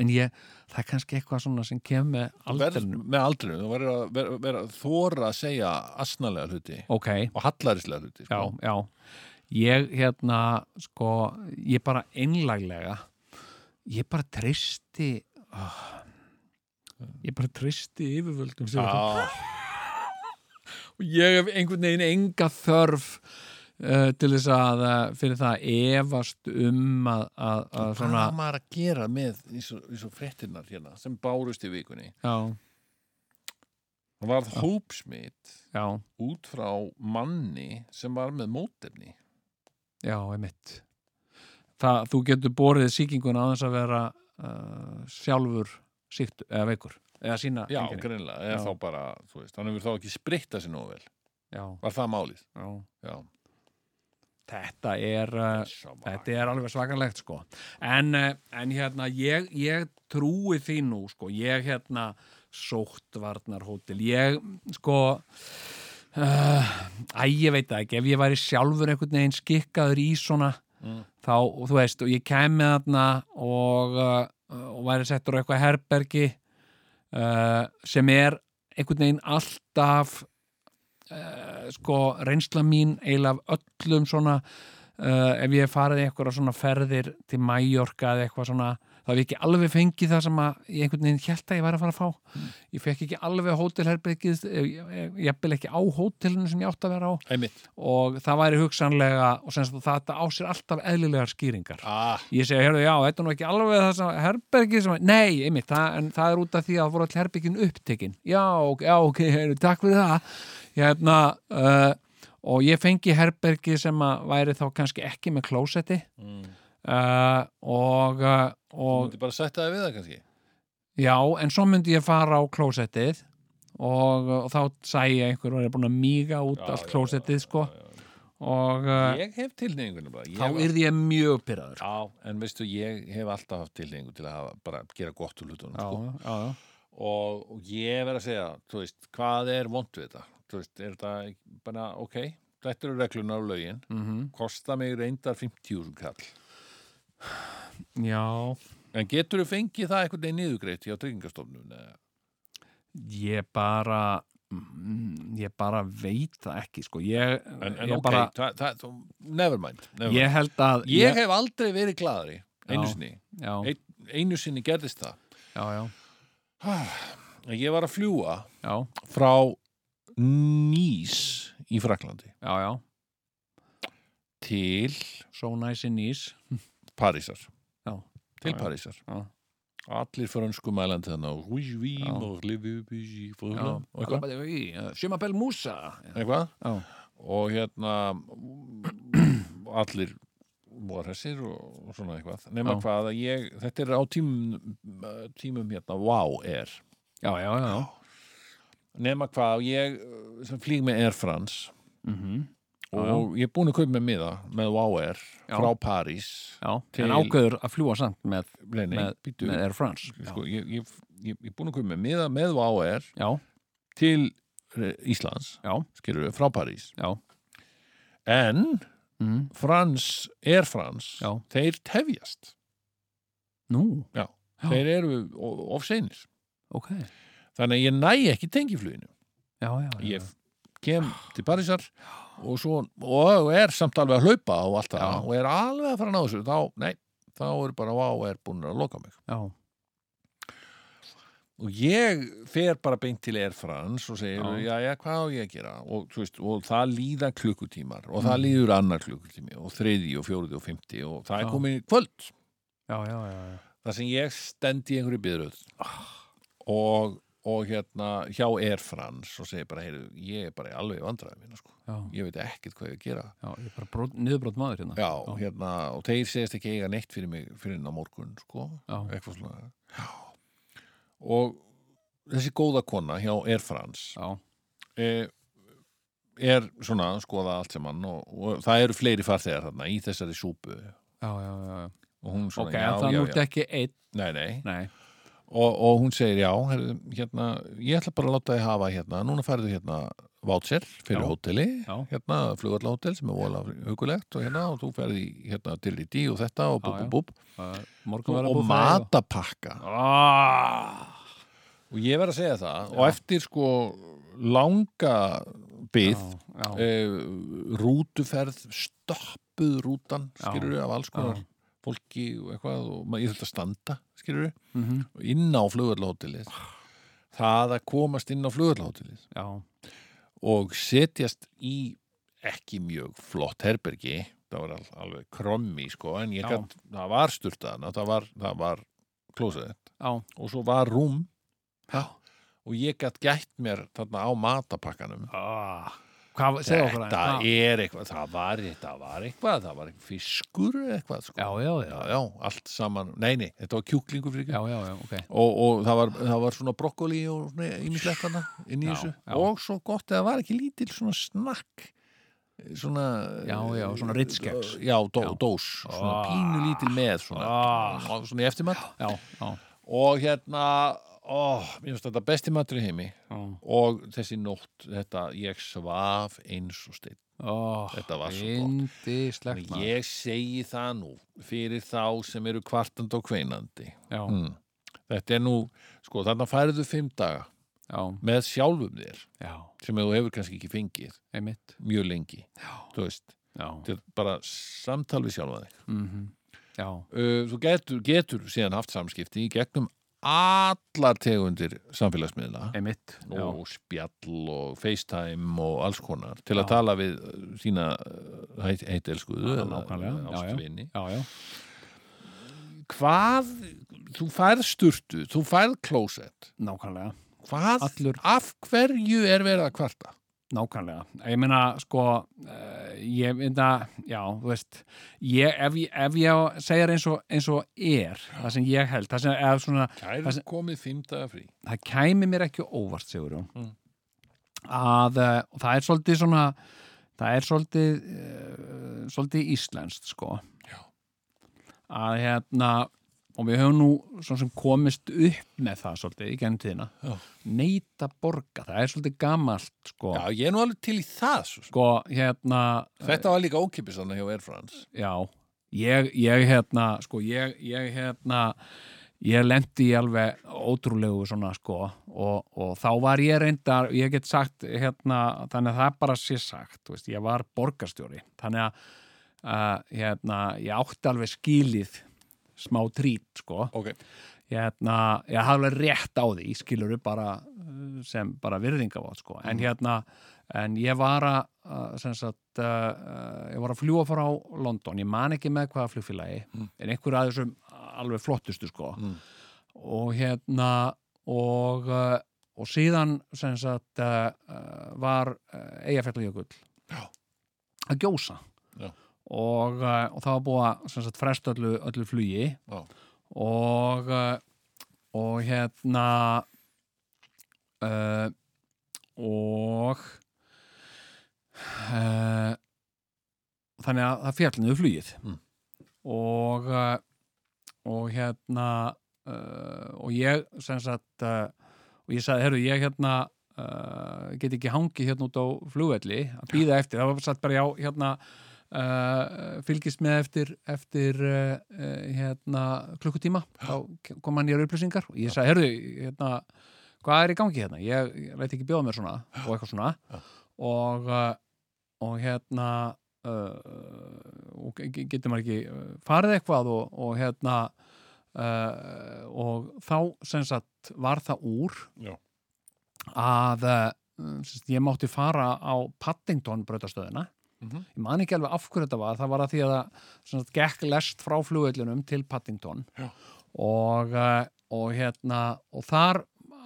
S3: en ég, það er kannski eitthvað svona sem kemur með
S1: Verð-
S3: aldrinum
S1: með aldrinum, þú verður að vera, vera, þóra að segja asnalega hluti
S3: ok,
S1: og hallarislega hluti sko.
S3: já, já ég hérna, sko ég bara einlæglega ég bara treysti oh, ég bara treysti yfirvöldum sem
S1: Já,
S3: og ég hef einhvern veginn enga þörf uh, til þess að uh, fyrir það að efast um að, að, að
S1: hvað
S3: svona
S1: á maður að gera með eins og, eins og fréttinnar hérna sem bárust í vikunni
S3: já,
S1: það varð hópsmitt
S3: já,
S1: út frá manni sem var með mótefni
S3: já, einmitt það, þú getur borið sýkinguna á þess að vera uh, sjálfur sýkt eða veikur eða sína
S1: já,
S3: einkenni.
S1: greinlega, eða
S3: Já.
S1: þá bara þú veist, hann hefur þá ekki spritta sér nógu vel
S3: já,
S1: var það málið
S3: já.
S1: já,
S3: þetta er uh,
S1: þetta
S3: Þetta er alveg svakalegt sko en, eh, en hérna ég, ég trúi því nú sko ég hérna sóttvarnar hótel ég sko uh, æ ég veit það ekki ef ég væri sjálfur einhvern veginn skikkaður í svona
S1: Mm.
S3: þá og þú veist og ég kæmi þarna og, uh, og væri settur á eitthvað herbergi uh, sem er einhvern veginn alltaf uh, sko reynsla mín eiginlega af öllum svona uh, ef ég hef farið í eitthvað svona ferðir til Mallorca eða eitthvað svona þá hef ég ekki alveg fengið það sem að ég einhvern veginn held að ég væri að fara að fá ég fekk ekki alveg hótelherbergið eh, ég jafnvel ekki á hótelinu sem ég átt að vera á
S1: einmitt
S3: og það væri hugsanlega og sem sagt þetta á sér alltaf eðlilegar skýringar
S1: ah,
S3: ég segi, heyrðu, já, þetta er nú ekki alveg það sem herbergi sem, að- nei, einmitt, það, en það er út af því að það voru all herbergin upptekin já, ok, já, ok, heyrðu, takk fyrir það hérna uh, og ég fengi herbergi sem að væri þá kannski ekki með klósetti
S1: mm.
S3: uh, og, uh,
S1: þú
S3: og
S1: myndi bara sætta það við það kannski
S3: já, en svo myndi ég fara á klósettið og, og þá sæi ég einhver og er búin að míga út
S1: Já,
S3: allt
S1: já,
S3: klósettið, sko
S1: já, já.
S3: og uh,
S1: ég hef tilneyingunum bara ég
S3: þá
S1: var-
S3: yrði ég mjög pyrraður
S1: Já, en veistu, ég hef alltaf haft tilhengu til að hafa, bara gera gott úr hlutunum sko.
S3: já, já, já
S1: og, og ég verð að segja, þú veist, hvað er vond við þetta? Þú veist, er þetta ekki bara, ok, þetta eru regluna á lögin,
S3: mhm.
S1: kosta mig reyndar 50.000 kall.
S3: Já,
S1: En getur þú fengið það einhvern veginn niðugreitt hjá tryggingastofnun? eða?
S3: ég bara mm, ég bara veit það ekki sko, ég,
S1: En, en
S3: ég
S1: ok,
S3: bara
S1: það, það, það, never mind. Never mind.
S3: ég held að
S1: Ég, hef aldrei verið gladari, einu
S3: Já.
S1: sinni.
S3: já,
S1: Ein, einu sinni gerðist það.
S3: já, já,
S1: En Ég var að fljúa
S3: já,
S1: frá Nýs í Fraklandi
S3: já, já
S1: til
S3: so nice in nice
S1: Parísar.
S3: Já.
S1: Til
S3: Já, já.
S1: Parísar.
S3: Já.
S1: Allir frönsku hérna, mælandi þannig og hús
S3: Já.
S1: vím og lifi upp í
S3: Já.
S1: og eitthvað.
S3: Sjumabel Musa
S1: eitthvað.
S3: Já.
S1: Og hérna allir voru þessir og og svona eitthvað. Nefna
S3: Já.
S1: hvað að ég, þetta er á tímum, tímum hérna, wow er.
S3: Já, já, já, já.
S1: Nefna hvað að ég uh, sem flýg með Air France
S3: Mm
S1: og ég er búin að kaupa með miða með wow er
S3: Já.
S1: frá París.
S3: já.
S1: Til-
S3: en ákveður að fljúa samt með,
S1: Nei, nei,
S3: Með-
S1: býtu.
S3: með Air France
S1: Sko, ég, ég, ég, ég er búin að kaupa með miða með wow er
S3: Já,
S1: til eh, Íslands,
S3: já,
S1: skilur við, frá París.
S3: já
S1: En Mhm.
S3: mm.
S1: Frans, Air France,
S3: Já.
S1: þeir tefjast.
S3: Nú,
S1: Já.
S3: Já.
S1: Þeir eru o- of seinir.
S3: ok Já,
S1: Þannig að ég næ ekki tengifluginu.
S3: já, já,
S1: Ég kem til Parísar og svo, og er samt alveg að hlaupa og allt
S3: Já.
S1: það og er alveg að fara að ná þessu. Þá, nei, þá er bara vá, er búin að loka mig.
S3: já,
S1: Og ég fer bara beint til Air France og segir,
S3: Já.
S1: já, já, hvað á ég að gera? Og, þú veist, og það líða klukkutímar og það líður annar klukkutími og þriði og fjóruði og fymti og það
S3: Já.
S1: er komið kvöld.
S3: já, já, já,
S1: þar sem ég stend í einhverju byrðröð og, og hérna hjá Air France og segi bara, heyrðu, ég er bara í alveg vandræði mína, sko.
S3: já,
S1: ég veit ekkert hvað ég á að gera
S3: já Ég er bara brot, niðurbrot maður hérna
S1: já, hérna, og þeir segist ekki eiga neitt fyrir mig fyrir en á morgun, sko
S3: Já.
S1: eitthvað svona já. og þessi góða kona hjá Air France
S3: já,
S1: eh, er svona að skoða allt sem hann og, og það eru fleiri farþegar þarna í þessari súpu
S3: já, já, já, já.
S1: og hún svona,
S3: ok, en það
S1: já,
S3: er
S1: já,
S3: nútt
S1: já,
S3: ekki einn
S1: nei, nei
S3: nei,
S1: og, og hún segir já, herðu, hérna, ég ætla bara að láta þið hafa hérna, núna færðu hérna voucher fyrir
S3: Já.
S1: hóteli,
S3: Já.
S1: hérna flugallahótel sem er vola hugulegt og hérna og þú ferði hérna til í dí og þetta og búb,
S3: Já, já.
S1: búb, búb
S3: morgun verður að
S1: og
S3: búið fræði
S1: matapakka
S3: Ah,
S1: og ég verð að segja það og eftir sko langa byð
S3: já,
S1: e, rútuferð stoppuð rútan,
S3: Já.
S1: skilur af alls konar fólki og eitthvað og maður, ég þurfti að standa, skilur
S3: mhm,
S1: inn á flugallahótelið
S3: Ah.
S1: það að komast inn á flugallahótelið
S3: já,
S1: og setjast í ekki mjög flott herbergi það var al- alveg krommi sko en ég
S3: Já.
S1: gat, það var styrtaðan það var, það var klósett
S3: já,
S1: og svo var rúm ha, og ég gætt gætt mér þarna á matapakkanum
S3: ah, hvað, segðu okkur
S1: þetta
S3: aðeins,
S1: er eitthvað það var, þetta var eitthvað, það var eitthvað fiskur eða eitthvað sko
S3: já, já,
S1: já,
S3: já,
S1: já, allt saman, nei, nei, þetta var kjúklingur fyrir ekki
S3: já, já, já, ok,
S1: og, og það, var, það var svona brokkoli og svona ímislegt hana inn í
S3: Já,
S1: þessu
S3: já.
S1: og svo gott eða var ekki lítil svona snakk svona
S3: Já, já, svona Ritz keks.
S1: já, dó,
S3: Já.
S1: dós, svona
S3: Ah.
S1: pínu lítil með svona,
S3: Ah.
S1: og svona í eftirmat
S3: já, já,
S1: og hérna ó, mér finnst þetta besti matur í heimi
S3: já,
S1: og þessi nótt, þetta ég svaf eins og steinn
S3: oh,
S1: Þetta var svo gott.
S3: indislegt,
S1: og ég segi það nú fyrir þá sem eru kvartandi og kveinandi
S3: já,
S1: mm. þetta er nú, sko, þarna færðu fimm daga
S3: já,
S1: með sjálfum þér
S3: já,
S1: sem þú hefur kannski ekki fengið
S3: einmitt,
S1: mjög lengi,
S3: já,
S1: þú veist
S3: já,
S1: þetta er bara samtal við sjálfa þig
S3: mhm, já,
S1: Uh, þú getur, getur síðan haft samskipti í gegnum allar tegundir samfélagsmiðla
S3: einmitt, já,
S1: og spjall og FaceTime og alls konar til að
S3: Já.
S1: tala við uh, sína uh, heit, heitelskuðu
S3: Já,
S1: eða
S3: nákvæmlega, já, já.
S1: ástvini
S3: já, já,
S1: hvað, þú færð sturtu þú færð klósett
S3: nákvæmlega,
S1: hvað,
S3: Allur-
S1: af hverju er verið að kvarta
S3: Nákvæmlega. Ég meina, sko, uh, ég meina, já, þú veist, ég, ef, ég- ef ég segir eins og, eins og er, það sem ég held, það sem, eða svona,
S1: Kæru
S3: Það sem-
S1: komið fimm daga frí
S3: það kæmi mér ekki á óvart, Sigurjón,
S1: Mm.
S3: að uh, það er svolítið svona, það er svolítið, uh, svolítið íslenskt, sko.
S1: Já.
S3: Að hérna, og við höfum nú svo sem komist upp með það svolítið í gennum tíðina,
S1: Já.
S3: neita borga, það er svolítið gamalt, sko.
S1: Já, ég er nú alveg til í það svo. sem.
S3: Sko, hérna,
S1: Þetta var líka ókipis hann hjá Air France
S3: Já, ég, ég hérna, sko, ég, ég hérna, ég lendi í alveg ótrúlegu svona, sko, og, og þá var ég reyndar, ég get sagt, hérna, þannig að það bara sé sagt, þú veist, ég var borgarstjóri, þannig að, uh, hérna, ég átti alveg skilið smá trít, sko,
S1: Ok,
S3: hérna, ég hafði alveg rétt á því, skilur bara uh, sem bara virðingavátt, sko,
S1: Mm.
S3: en hérna, en ég var að, uh, sem sagt, uh, uh, ég var að fljúa frá London, ég man ekki með hvaða flugfélagi,
S1: Mm.
S3: en einhver að þessum alveg flottustu, sko,
S1: Mm.
S3: og hérna, og, uh, og síðan, sem sagt, uh, uh, var uh, Eyjafjallajökull
S1: Já.
S3: að gjósa
S1: Já.
S3: og, uh, og það var búið að sem sagt, fresta öllu, öllu flugi
S1: Já.
S3: og uh, og hérna uh, og uh, þannig að það fjallinuðu flugið
S1: Mm.
S3: og uh, og hérna uh, og ég sem sagt uh, og ég sagði, herru, ég hérna uh, get ekki hangið hérna út á flugvelli að býða eftir, það var satt bara já, hérna uh, fylgist með eftir, eftir uh, uh, hérna, klukkutíma þá kom hann í upplýsingar og ég sagði, herru, hérna hvað er í gangi hérna, ég, ég læt ekki bjóða mér svona og eitthvað svona
S1: Já.
S3: og, uh, og hérna uh, og ge- ge- getur maður ekki uh, farið eitthvað og, og hérna uh, og þá sem sagt var það úr
S1: Já.
S3: að uh, sem sagt, ég mátti fara á Paddington brautastöðina
S1: Mhm.
S3: ég man ekki alveg af hverju þetta var það var að því að það sem sagt, gekk lest frá flugvellinum til Paddington
S1: Já.
S3: og, uh, og hérna og þar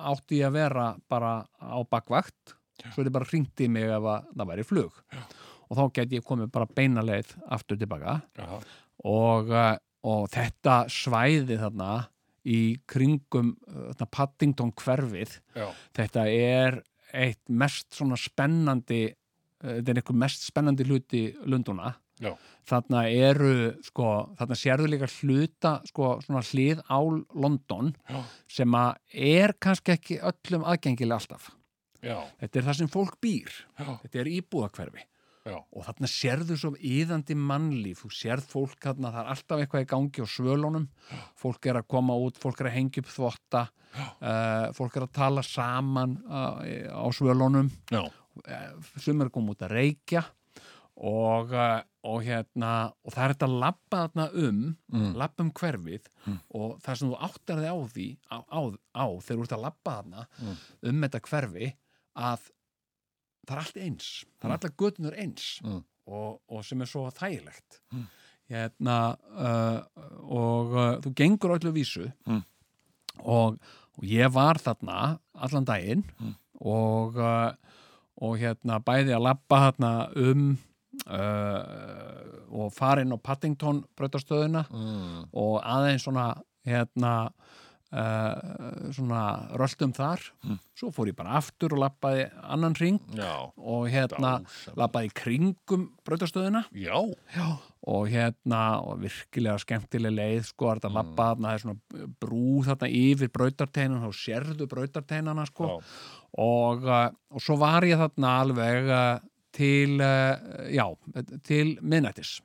S3: átti ég að vera bara á bakvakt svo þetta bara hringdi í mig ef að það væri flug Já. og þá get ég komið bara beina leið aftur tilbaka
S1: Aha.
S3: og, eh, og þetta svæði þarna í kringum eh, þarna Paddington hverfið
S1: já,
S3: þetta er eitt mest svona spennandi eh, þetta er einhver mest spennandi hluti Lunduna
S1: Já.
S3: þarna eru sko, þarna sérðu líka hluta sko, svona hlið á London
S1: Já.
S3: sem að er kannski ekki öllum aðgengilega alltaf
S1: já,
S3: Þetta er það sem fólk býr.
S1: já,
S3: Þetta er íbúðakverfi.
S1: já,
S3: Og þarna sérðu svo yðandi mannlíf. Þú sérð fólk þarna, það er alltaf eitthvað í gangi á svölunum. Fólk er að koma út, fólk er að hengja upp þvotta. Uh, fólk er að tala saman uh, á svölunum.
S1: já,
S3: Eh, sum er að koma út að reykja. Og, eh, og, hérna, og það er þetta að labba þarna um, mm. labba um hverfið
S1: Mm.
S3: og það sem þú áttar þig á því, á, á, á þegar þú ert að labba þarna
S1: Mm.
S3: um þetta hverfi að það er allt eins, það er allar götunar eins
S1: Mm.
S3: og, og sem er svo þægilegt.
S1: Mm.
S3: Hérna, uh, og uh, þú gengur á öllu vísu
S1: Mm.
S3: og, og ég var þarna allan daginn
S1: Mm.
S3: og, uh, og hérna bæði að labba þarna um uh, og farin á Paddington brautastöðuna
S1: mm,
S3: og aðeins svona hérna uh, svona röltum þar
S1: Mm.
S3: svo fór ég bara aftur og labbaði annan ring
S1: já,
S3: og hérna
S1: Dásamlegt.
S3: labbaði í kringum brautastöðuna
S1: já,
S3: og hérna og virkilega skemmtileg leið sko er þetta mm. labba þarna, það er svona brú þarna yfir brautarteinana og sérðu brautarteinana sko
S1: já,
S3: og, uh, og svo var ég þarna alveg uh, til uh, já, til minnættis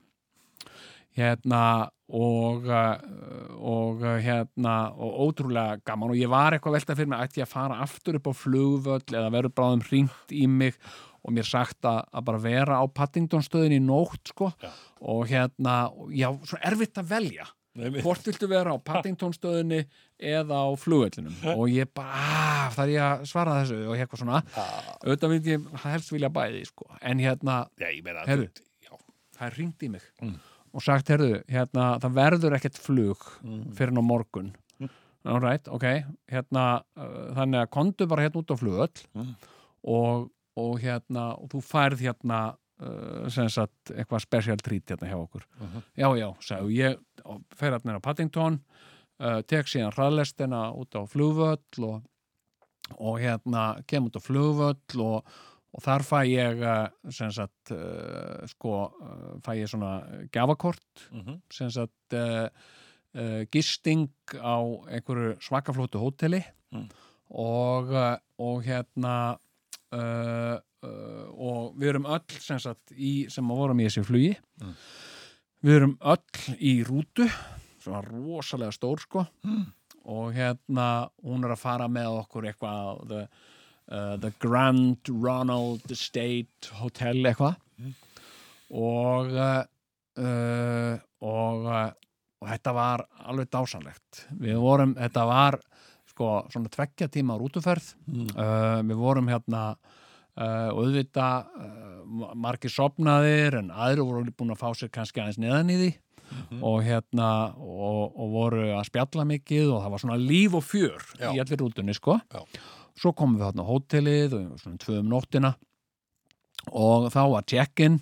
S3: hérna og, uh, og uh, hérna og ótrúlega gaman og ég var eitthvað velta fyrir mig ætti ég að fara aftur upp á flugvöll eða verður bráðum hringt í mig og mér sagt að, að bara vera á Paddington stöðin í nótt sko
S1: Já.
S3: og hérna, og já, svo erfitt að velja
S1: Nei, mér-
S3: hvort viltu vera á Paddington stöðinni eða á flugvellinum og ég bara, "Ah, þarf ég að svara þessu og eitthvað svona, auðvitað myndi ég helst vilja bæði, sko, en hérna
S1: já, ég meina
S3: Heyrðu.
S1: þú- já,
S3: það er ringt í mig
S1: Mm.
S3: og sagt, herðu, hérna, það verður ekkert flug fyrir en á morgun
S1: Mm.
S3: all right, ok, hérna uh, þannig að kondu bara hérna út á flugvöll
S1: Mm.
S3: og, og hérna og þú færð hérna uh, sem sagt, eitthvað special treat hérna hjá okkur
S1: Mhm.
S3: já, já, sagði ég og fer hérna inn á Paddington uh, tek síðan hraðlestina út á flugvöll og, og hérna kem út á flugvöll og, og þar fæ ég uh, sem sagt uh, sko, uh, fæ ég svona gjafakort
S1: mhm,
S3: sem sagt uh, uh, gisting á einhverju svakaflótu hóteli
S1: Mm.
S3: og, uh, og hérna uh, uh, og við erum öll sem sagt í, sem að vorum í þessi flugi
S1: Mm.
S3: við erum öll í rútu sem var rosalega stór sko
S1: Mm.
S3: og hérna hún er að fara með okkur eitthvað á the, uh, the Grand Ronald State Hotel eitthvað og uh, uh, og, uh, og þetta var alveg dásanlegt við vorum, þetta var sko, svona tveggja tíma rútuferð
S1: Mm.
S3: uh, við vorum hérna uh, auðvita uh, margir sopnaðir en aðrir voru búin að fá sér kannski aðeins neðan í því
S1: Mhm.
S3: og hérna og, og voru að spjalla mikið og það var svona líf og fjör
S1: Já.
S3: í allir rútunni sko
S1: Já.
S3: svo komum við þarna á hótelið og svona tvö um nóttina og þá var check-in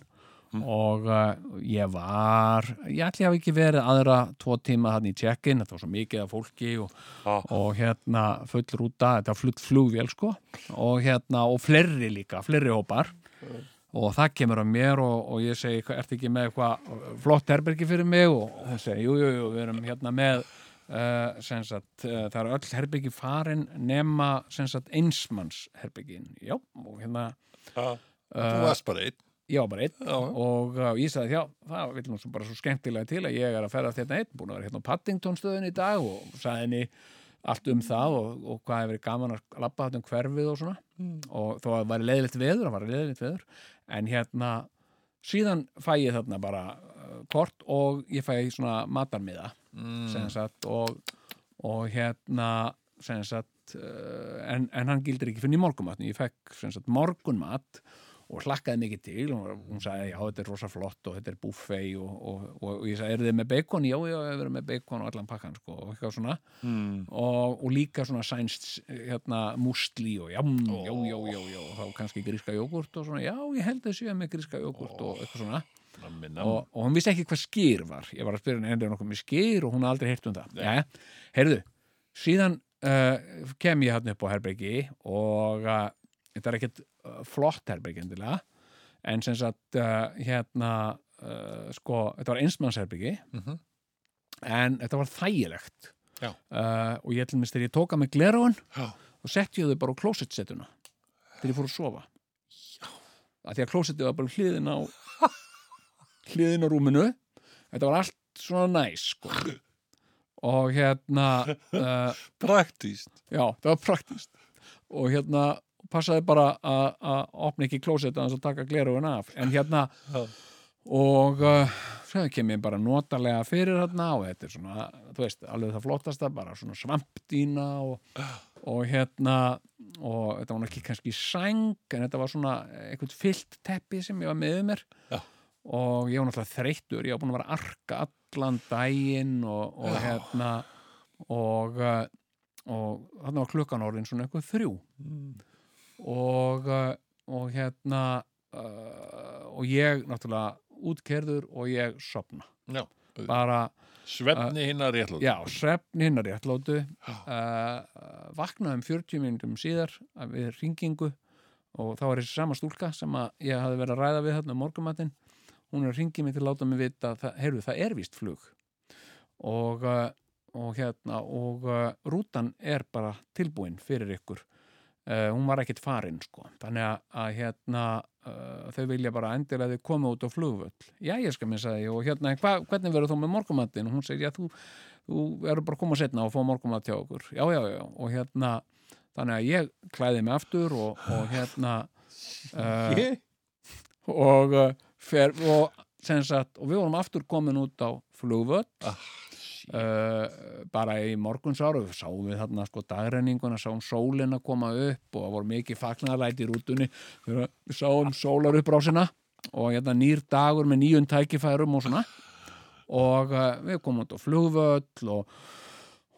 S1: Mm.
S3: og uh, ég var ég ætli hafi ekki verið aðra tvo tíma þarna í check-in, þetta var svo mikið af fólki og
S1: Já.
S3: og hérna full rúta, þetta var flutt flugvél sko og hérna og fleiri líka, fleiri hópar og það kemur að mér og, og ég segi, "Hvað, ertu ekki með eitthvað flott herbergi fyrir mig og og það segi, jú, jú, jú, við erum hérna með Uh, sem sagt, uh, það eru öll herbyggi farin nema sem sagt einsmanns herbyggin, já, og hérna
S1: Já.
S3: Uh,
S1: þú varst bara einn
S3: ég var bara einn
S1: Já.
S3: og uh, ég sagði já, það vil nú svo bara svo skemmtilega til að ég er að ferðast hérna einn, búin að vera hérna á Paddington stöðun í dag og sagði henni allt um það og, og hvað hefur verið gaman að labba þetta um hverfið og svona og þó að það væri leiðilegt veður, það væri leiðilegt veður en hérna, síðan fæ ég þarna bara uh, kort og ég fæ svona matarmiða
S1: Mm.
S3: sem sagt og, og hérna sem sagt uh, en, en hann gildir ekki fyrir í morgunmatn ég fekk sem sagt morgunmat og hlakkaði mikið til og hún sagði já þetta er rosa flott og þetta er buffet og, og, og, og ég sagði er þið með bacon? Já já við erum með bacon og allan pakkan sko og eitthvað svona
S1: Mm.
S3: og, og líka svona sænst hérna musli og jam,
S1: Ó.
S3: já, já, já, já, og þá kannski gríska jógurt og svona, já, ég held þessu ég með gríska jógurt og eitthvað svona
S1: Nammi, nammi.
S3: og, og hún vissi ekki hvað skýr var ég var að spyrja henni endur nokkuð með skýr og hún hafði aldrei heyrt um það ja. heyrðu, síðan uh, kem ég hann upp á herbyggi og uh, þetta er ekkit uh, flott herbyggi endilega en sem sagt uh, hérna uh, sko, þetta var einsmannsherbyggi
S1: Mhm.
S3: en þetta var þægilegt
S1: Já.
S3: uh, og ég til minnst þegar ég tóka með glerun
S1: Já.
S3: og setti ég þau bara á klósettsetuna þegar ég fór að sofa að því að klósettið var bara hliðin á hliðin á rúminu þetta var allt svona næs sko. og hérna uh,
S1: Praktíst.
S3: já, það var praktist og hérna passaði bara að að opna ekki klósettið aðeins að taka glerugin af en hérna
S1: Já.
S3: og uh, það kem ég bara notalega fyrir hérna og þetta er svona, þú veist, alveg það flottasta bara svona svampdýna og, og hérna og þetta var nú ekki kannski sæng en þetta var svona einhvern fyllt teppi sem ég var með um mér
S1: Já.
S3: og ég var náttúrulega þreyttur, ég var búin að vera að arka allan daginn og, og
S1: Já.
S3: hérna og, uh, og þarna var klukkan orðin svona eitthvað þrjú og, uh, og hérna uh, og ég náttúrulega útkerður og ég sopna
S1: Já.
S3: bara, Uh,
S1: Svefni hinnar réttlóð.
S3: já, svefnin er réttlótu uh, vaknaði um 40 minnum síðar að við ringingu og þá var þessi sama stúlka sem að ég hafði verið að ræða við þarna um morgumatinn hún er að ringi mig til að láta mig vita að það, heyrðu, það er víst flug og, uh, og hérna og uh, rútan er bara tilbúin fyrir ykkur uh, hún var ekkit farin sko þannig að, að hérna uh, þau vilja bara endilega að þau koma út á flugvöll já ég skal minn sagði ég og hérna hva, hvernig verður þú með morgumatinn og hún segir já þú, þú verður bara að koma setna og fá morgumat hjá okkur já já já og hérna þannig að ég klæði mig aftur og, og hérna uh,
S1: Ég?
S3: og, uh, fer, og, sem sagt, og við vorum aftur komin út á flugvöll uh, bara í morgunsáru sáum við þarna sko dagrenninguna sáum sólina koma upp og það voru mikið fagnaðalæti í rútunni þegar við sáum sólaruppbrásina og hérna nýr dagur með nýjum tækifærum og svona og uh, við komum út á flugvöll og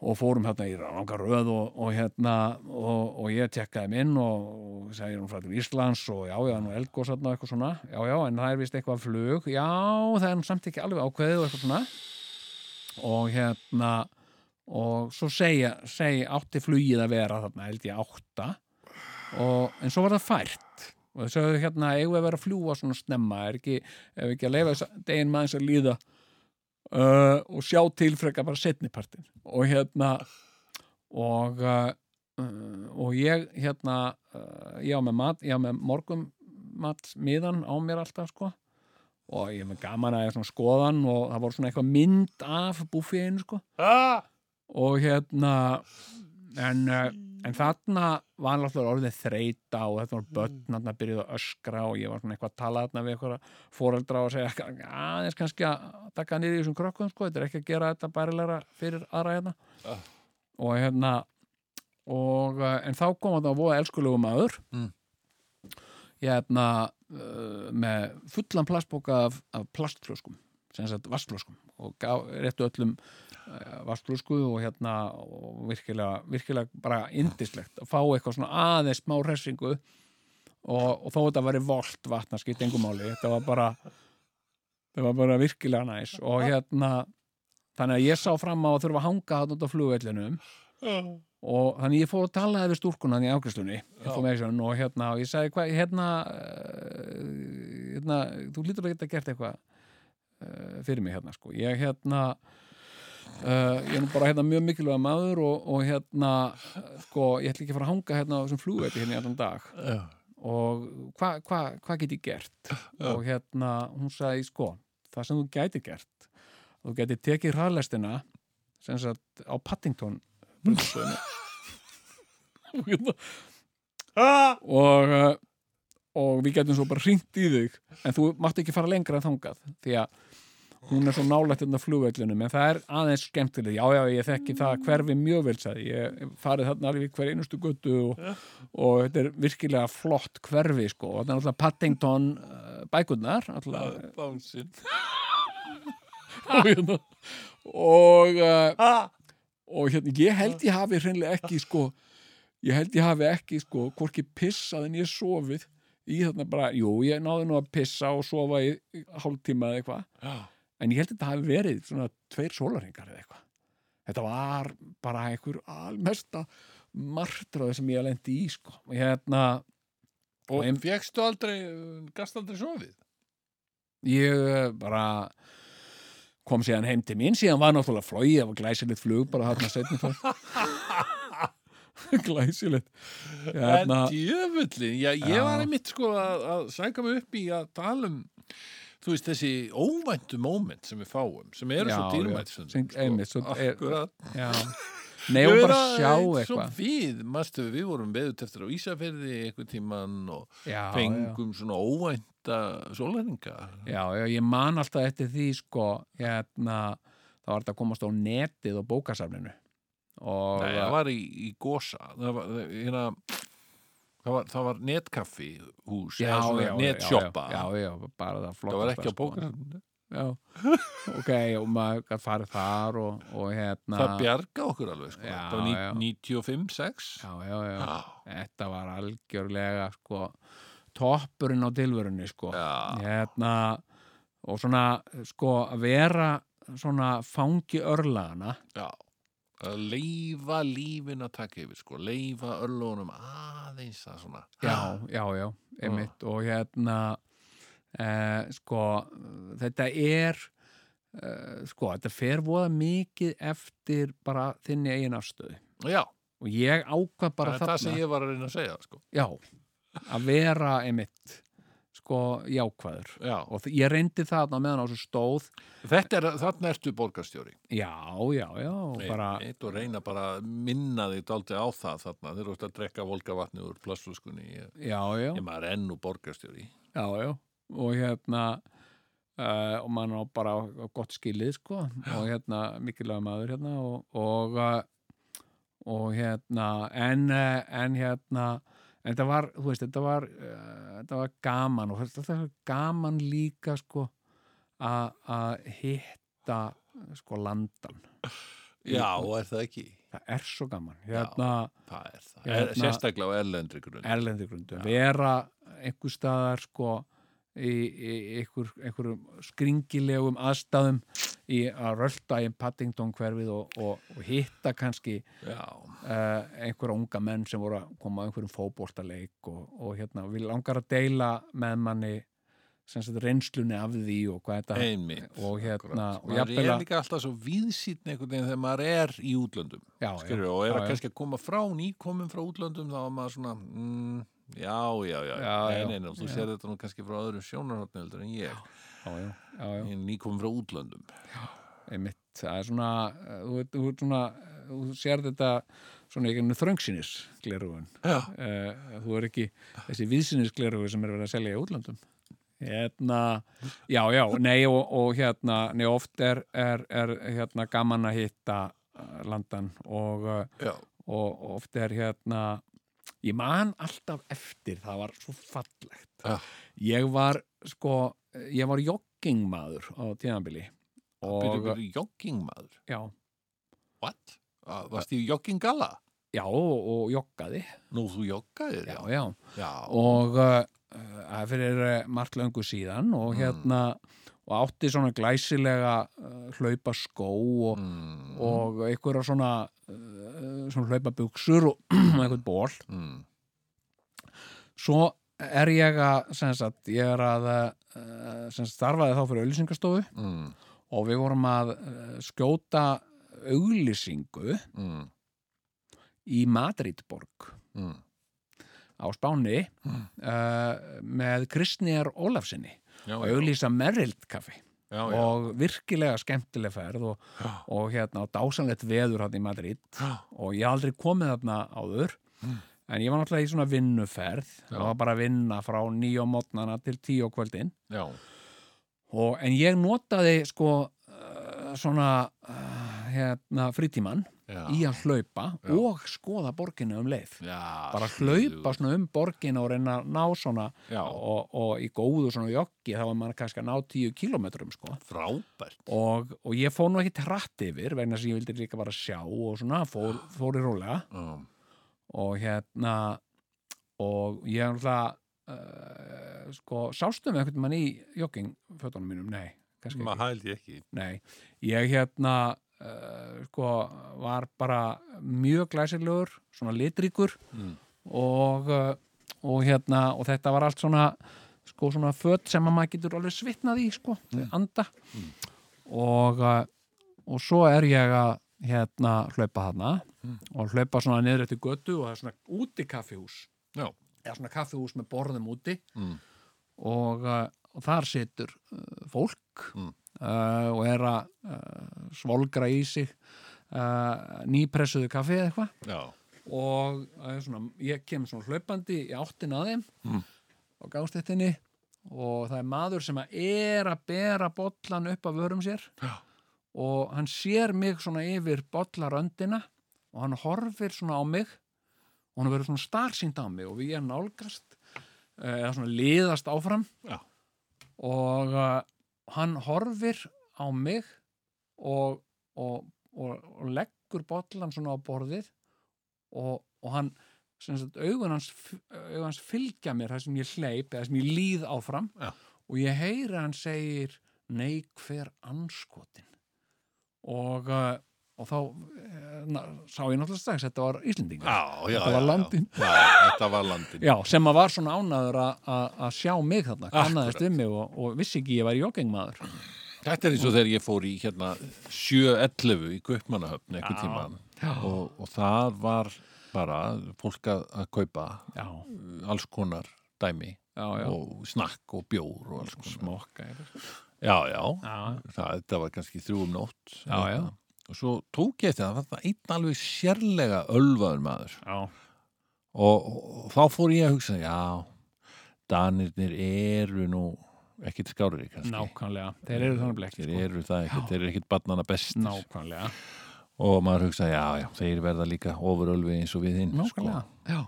S3: og fórum hérna í ranga röð og, og hérna og, og ég tekkaði minn og, og segir hún frá til Íslands og já, já, nú eldgós hérna og eitthvað svona, já, já, en það er vist eitthvað flug, já, það er nú samt ekki alveg ákveðið og eitthvað svona og hérna og svo segja, segja átti flugið að vera þarna, held ég átta og, en svo var það fært og þau sögðu hérna, eigum við að vera að fljúa svona snemma, er ekki, ef við ekki að leifa degin maður að líða uh, og sjá til frekar bara setnipartin og hérna og uh, uh, og ég hérna uh, ég á með mat, ég á með morgum mat miðan á mér alltaf sko og ég er með gaman að ég svona skoðan og það voru svona eitthvað mynd af búfiðinu sko
S1: Ah!
S3: og hérna en, eh, en þarna var alltaf orðið þreita og þetta var börn þarna byrjuð að öskra og ég var svona eitthvað að tala þarna við eitthvað fóreldra og segja aðeins kannski að taka niður í þessum krökkum sko, þetta er ekki að gera þetta bærilega fyrir aðra hérna
S1: Ah.
S3: og hérna og, eh, en þá kom þarna að voða elskulegu maður
S1: Mm.
S3: hérna eh, með fullan plastbóka af, af plastflöskum sem sagt vastflöskum og gá, réttu öllum vastlúsku og hérna og virkilega, virkilega bara indislegt að fá eitthvað svona aðeins smá hressingu og, og þó þetta væri volt vatna skipt engumáli þetta var bara þetta var bara virkilega næs og hérna þannig að ég sá fram á að þurfa að hanga þarna út á flugvellinum og þannig ég fór að tala við stúlkuna þannig í ákvæslunni information og hérna og ég sagði hvað, hérna, eh, hérna þú lítur að geta gert eitthvað eh, fyrir mig hérna sko ég hérna Uh, ég er nú bara hérna mjög mikilvæg maður og, og hérna, sko, ég ætla ekki að fara að hanga hérna á þessum flugveiti hérna í allan dag
S1: Já.
S3: og hvað hva, hva get ég gert og hérna hún sagði sko það sem þú gæti gert þú gæti tekið hraðlestina sem sagt á Paddington brunnstöðinu og hérna
S1: Ah!
S3: og, uh, og við getum svo bara hringt í þig en þú mátt ekki fara lengra en þangað því að hún er svo nálægt hérna flugveilunum en það er aðeins skemmtileg já já ég þekki það hverfi mjög vel sagði. ég ég farið þarna alveg í hver einustu götu og, og þetta er virkilega flott hverfi sko og þetta er alltaf Paddington uh, bækurnar alltaf,
S1: Bánsinn.
S3: og, hérna, og uh,
S1: Ah!
S3: og hérna, ég held ég hafi hreinlega ekki sko, ég held ég hafi ekki sko, hvorki pissað en ég sofið í þarna bara, jú, ég náði nú að pissa og sofa í í hálftíma eða eitthvað,
S1: Já.
S3: en ég held þetta hafi verið svona tveir sólarhingar eða eitthvað þetta var bara einhver almesta martraði sem ég lendi í sko, og hérna
S1: Og
S3: Nei.
S1: fegstu aldrei, uh, gast aldrei sofið?
S3: ég eh, bara kom síðan heim til mín síðan var náttúrulega flóið, það var glæsilegt flug bara þarna setni fyrr glæsilegt
S1: En
S3: hérna,
S1: djöfullin, já, ég
S3: Já.
S1: var einmitt sko að, að sæka mig upp í að tala um þú veist, þessi óvæntu moment sem við fáum, sem eru
S3: Já,
S1: svo
S3: já,
S1: dýrmætt stundum, sko.
S3: sem- einmitt, svo- er-
S1: Akkurat.
S3: já. Nei, og bara sjá
S1: eh, Svo
S3: eitthvað
S1: við, mastu, við vorum veðut eftir á Ísafirði einhvern tíman og
S3: Já, já.
S1: fengum svona óvænta sólæringa.
S3: Já, já, ég man alltaf eftir því sko, hérna þá var þetta að komast á netið og bókasafninu og
S1: Nei, það var í, í Gosa, það var, það- hérna, það var, það var netkaffi hús,
S3: já, já, já,
S1: netshoppa.
S3: já, já, já, bara það sko. flott
S1: Það var ekki á bókasafninu.
S3: já. ok, og maður gat farið þar og, og hérna
S1: Það bjarga okkur alveg, sko.
S3: Já,
S1: það var
S3: já.
S1: 95, 6.
S3: já, já, já,
S1: Já.
S3: þetta var algjörlega sko, toppurinn á tilverunni sko.
S1: Já.
S3: hérna og svona sko að vera svona fangi örlaðana
S1: Já. Að leifa lífin að taka yfir, sko. Leifa örlónum aðeins að svona.
S3: já, já, já, einmitt og hérna eh, sko, þetta er eh, sko, þetta fer voða mikið eftir bara þinni eigin afstöðu
S1: Já,
S3: og ég ákvað
S1: það
S3: bara
S1: er það sem
S3: þarna
S1: ég var að reyna að segja, sko.
S3: já, að vera einmitt sko, jákvæður
S1: Já.
S3: og þ- ég reyndi þarna meðan á þessu stóð
S1: Þetta er, þarna ertu borgarstjóri.
S3: já, já, já, bara
S1: Eitt og reyna bara að minna þig dálítið á það þarna. Þeir eru að drekka volgavatni úr plastflöskunni. Ég,
S3: já, já,
S1: ég maður er enn og borgarstjóri.
S3: já, já og hérna uh, og mann á bara gott skilið sko og hérna mikilvæg maður hérna og og, uh, og hérna en, uh, en hérna en þetta var, þú veist, þetta var uh, þetta var gaman og þetta var gaman líka sko að að hitta sko landan
S1: Já, er það ekki?
S3: það er svo gaman hérna
S1: Það er það.
S3: Ég
S1: Er,
S3: hérna-
S1: sérstaklega á erlendri grunni.
S3: erlendi grundu, vera einhver staðar sko í, í einhver, einhverjum skringilegum aðstæðum í að rölda í Paddington hverfið og, og, og hitta kannski
S1: Já.
S3: uh, einhverja unga menn sem voru að koma á einhverjum fótboltaleik og, og hérna, við langar að deila með manni sem sagt reynslunni af því og hvað þetta
S1: Einmitt.
S3: og hérna,
S1: Akkurat.
S3: og
S1: maður
S3: jafnvel
S1: er
S3: að-
S1: líka alltaf svo viðsýtn einhvern veginn þegar maður er í útlöndum
S3: já,
S1: skilur, og er
S3: já,
S1: að
S3: já.
S1: kannski að koma frá nýkomum frá útlöndum þá er maður svona mm, já, já, já,
S3: Já, já.
S1: nei, nei, nei, þú
S3: Já.
S1: sér þetta nú kannski frá öðru sjónarhóttni heldur en ég,
S3: já, já, já, já.
S1: ég er nýkomum frá útlöndum
S3: einmitt, það er svona eh, þú, veit- þú, ert svona eh, þú sér þetta svona ekki ennum þröngsinis glerugun
S1: já,
S3: Eh, þú er ekki þessi viðsinis glerugu sem er verið að selja í útlöndum hérna, já, já, nei og, og hérna, nei oft er, er, er hérna gaman að hitta eh, landan og, eh,
S1: já,
S3: og oft er hérna ég man alltaf eftir það var svo fallegt
S1: Já.
S3: ég var sko ég var joggingmaður á tíðanbili
S1: byrju, byrju, jogging maður
S3: Já,
S1: what? Ah, Varst í jogging gala?
S3: já og, og joggaði
S1: Nú, þú joggaðir,
S3: já,
S1: já,
S3: já.
S1: já,
S3: og uh, það fyrir eh, margt löngu síðan og hérna og átti svona glæsilega uh, hlaupa skó og,
S1: Mm,
S3: og einhverja svona, uh, svona hlaupa buksur og einhvern ból
S1: mm,
S3: svo er ég að sem sagt, ég er að uh, sem sagt, starfaði þá fyrir auðlýsingastofu
S1: mm,
S3: og við vorum að uh, skjóta auglýsingu
S1: mm,
S3: í Madridborg
S1: mm.
S3: á Spáni uh, með Kristnýjar Ólafsinni
S1: Já,
S3: og
S1: já,
S3: auðlýsa Merrild kaffi
S1: já, já,
S3: og virkilega skemmtileg ferð og,
S1: Já.
S3: og hérna og dásanlegt veður hann í Madrid
S1: Já. Hmm.
S3: og ég hef aldrei komið þarna áður en ég var náttúrulega í svona vinnuferð
S1: Já.
S3: og var bara að vinna frá nýjum mótnana til tíu á kvöldin
S1: já,
S3: og, en ég notaði sko uh, svona uh, hérna frítíman
S1: já,
S3: í að hlaupa
S1: Já.
S3: og skoða borginu um leið
S1: já,
S3: bara
S1: sniðugur.
S3: hlaupa svona um borgin og reyna að ná svona
S1: Já.
S3: og, og í góðu svona joggi þá er maður kannski að ná tíu kilometrum sko.
S1: frábært
S3: og, og ég fór nú ekki trætt yfir vegna sem ég vildi líka bara sjá og svona fór, fór í rólega
S1: um,
S3: og hérna og ég er alltaf uh, sko, sástu með einhvern mann í joggingfötunum mínum, nei kannski ekki,
S1: maður hældi ekki
S3: nei ég hérna uh, sko, var bara mjög glæsilegur, svona litríkur
S1: Mm.
S3: og, uh, og hérna og þetta var allt svona sko svona fött sem að maður getur alveg svitnað í sko, mm. anda og, uh, og eh, svo er ég að hérna hlaupa hana og hlaupa svona niður eftir götu og það er svona úti kaffihús
S1: Já.
S3: eða svona kaffihús með borðum úti
S1: Mm.
S3: og, uh, og þar situr uh, fólk
S1: Mm.
S3: uh, og er að uh, svolgra í sig uh, nýpressuðu kaffi eða eitthvað
S1: já,
S3: og það er svona, ég kem svona hlaupandi í áttin að þeim
S1: Mm.
S3: á gástættinni og það er maður sem að er að bera bollan upp af vörum sér
S1: Já.
S3: og hann sér mig svona yfir bollaröndina og hann horfir svona á mig og hann verður svona starsýnd á mig og við erum nálgast eh, eða svona liðast áfram
S1: Já.
S3: og uh, hann horfir á mig og, og, og, og leggur bollan svona á borðið og, og hann sem sagt, augun hans, augun hans fylgja mér það sem ég hleyp eða sem ég líð áfram
S1: Já.
S3: og ég heyri að hann segir nei hver anskotin og, uh, og þá eh, na, sá ég náttúrulega strax þetta var Íslendingur
S1: já, já
S3: Þetta
S1: já,
S3: var
S1: já.
S3: landinn.
S1: Já, þetta var landin
S3: Já, sem að var svona ánaður að sjá mig þarna, kannaðist
S1: Akkúrat.
S3: um mig og, og vissi ekki ég var joggingmaður.
S1: Þetta er eins og þegar ég fór í hérna 7.11 í Kaupmannahöfn einhvern tímann og, og það var bara fólk að, að kaupa
S3: Já,
S1: uh, alls konar dæmi
S3: já, já.
S1: og snakk og bjór og alls konar
S3: smokka. er-
S1: Já, já,
S3: Já,
S1: það, þetta var kannski þrjú um nótt
S3: Já, já.
S1: Og svo tók ég eftir að það var það einn alveg sérlega ölvaður maður
S3: já,
S1: og, og, og þá fór ég að hugsa já, danirnir eru nú ekkit skárið kannski
S3: nákvæmlega. Þeir eru þannig blekki,
S1: Þeir
S3: sko.
S1: eru það ekkert, þeir eru ekkert barnana bestir
S3: Nákvæmlega.
S1: og maður hugsa, já, já, þeir verða líka ofurölvi eins og við hinn Sko,
S3: Nákvæmlega. Já,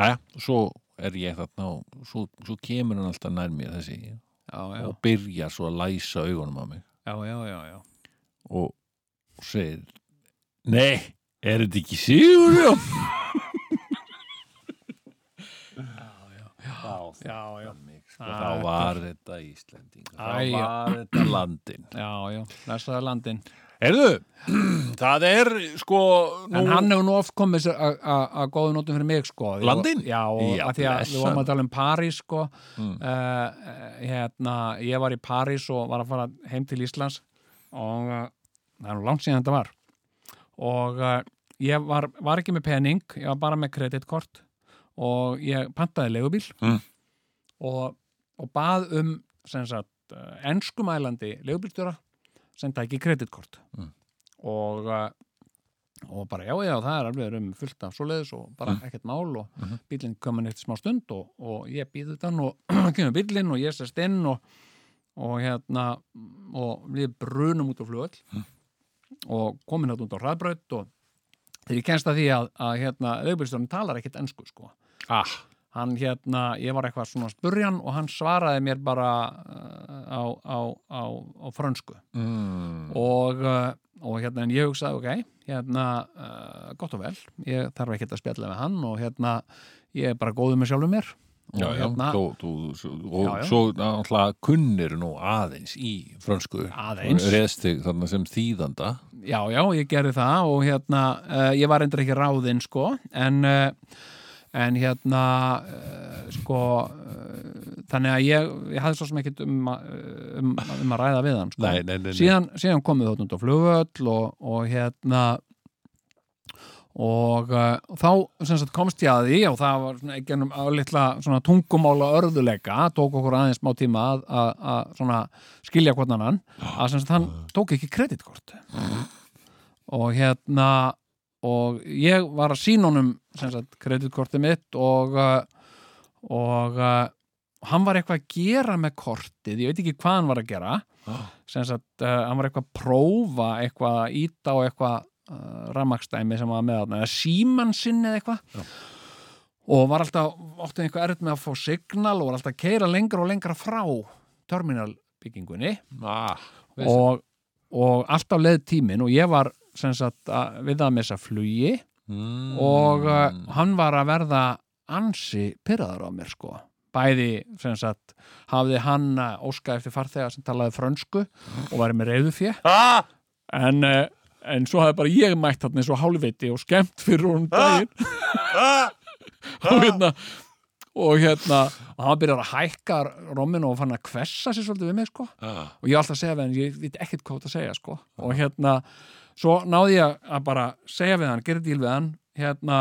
S1: Jæja, og svo er ég þarna og svo, svo kemur hann alltaf nær mér þessi
S3: já, já,
S1: og byrjar svo að læsa augunum á mig
S3: já, já, já, já.
S1: og, og segir Nei, er þetta ekki Sigurjón? já,
S3: Já, já,
S1: Sko,
S3: Æ,
S1: þá var þetta Íslending þá
S3: Æ, já.
S1: var þetta landin
S3: já, já. Næstaða landin.
S1: Herðu, það er sko nú,
S3: En hann hefur nú oft komið sér að- að að góðu nótum fyrir mig, sko. Ég-
S1: Landinn?
S3: Já, og
S1: Já,
S3: að því að við
S1: blessaður.
S3: vorum að tala um París, sko.
S1: Mm.
S3: Uh, hérna, ég var í París og var að fara heim til Íslands og uh, það er nú langt síðan þetta var. Og uh, ég var, var ekki með pening, ég var bara með kreditkort og ég pantaði legubíl
S1: Mm.
S3: og, og bað um, sem sagt, uh, enskumælandi legubílstjóra sem tæki kreditkort.
S1: Mm.
S3: Og... Uh, og bara já, já, það er alveg um fullt af svoleiðis og bara ekkert mál og mm -hmm. bílinn komin eftir smá stund og, og ég býði þann og kemur bílinn og ég sest inn og, og hérna og við brunum út á flugöll og komin hérna út á hraðbraut og þegar ég kenst að því að, að hérna, auðbjörnstjórn talar ekkert ensku sko
S1: ah,
S3: hann hérna, ég var eitthvað svona að spurja hann og hann svaraði mér bara uh, á, á, á, á frönsku
S1: mm,
S3: og, uh, og hérna en ég hugsaði ok, hérna uh, gott og vel, ég þarf ekki að spjalla með hann og hérna ég er bara góður með sjálfum mér og
S1: Já, já,
S3: hérna
S1: þú, þú, svo, og
S3: Já, já.
S1: svo náttúrulega kunnir nú aðeins í frönsku
S3: Aðeins.
S1: reðstig þarna sem þýðanda
S3: já, já, ég gerði það og hérna uh, ég var endur ekki ráðinn sko en, uh, en hérna uh, sko uh, þannig að ég, ég hafði svo sem ekkit um, að- um, um að ræða við hann sko.
S1: Nei, nei, nei, nei.
S3: síðan, síðan komið þótt út á flugvöll og, og hérna og uh, þá sem sagt, komst ég að því og það var svona, genum litla svona, tungumála örðuleika tók okkur aðeins smá tíma að, að, að svona, skilja hvort annan að sem sagt, hann tók ekki kreditkort og hérna og ég var að sína honum sem sagt, kreditkortið mitt og uh, og uh, hann var eitthvað að gera með kortið ég veit ekki hvað hann var að gera
S1: Ah.
S3: sem sagt, uh, hann var eitthvað að prófa eitthvað að íta á eitthvað uh, rammakstæmi sem var með þarna eða símann sinni eða eitthvað
S1: Já.
S3: og var alltaf óttið eitthvað erut með að fá signal og var alltaf að keira lengra og lengra frá terminalbyggingunni
S1: ah, og,
S3: og, og alltaf leið tíminn og ég var sem sagt að, við að missa flugi
S1: mm,
S3: og uh, hann var að verða ansi pyrraður á mér sko bæði sem sagt hafði hann uh, óskað eftir farþega sem talaði frönsku og var með reyðufjö
S1: ah,
S3: en, uh, en svo hafði bara ég mætt hann eins og hálfviti og skemmt fyrir hún daginn
S1: ah,
S3: og hérna og hérna, og hann byrjar að hækka rommin og fann að hvessa sér svolítið við mig sko
S1: ah,
S3: og ég er alltaf að segja við hann, ég veit ekkert hvað þú ert að segja sko og hérna, svo náði ég að bara segja við hann, gera díl við hann hérna,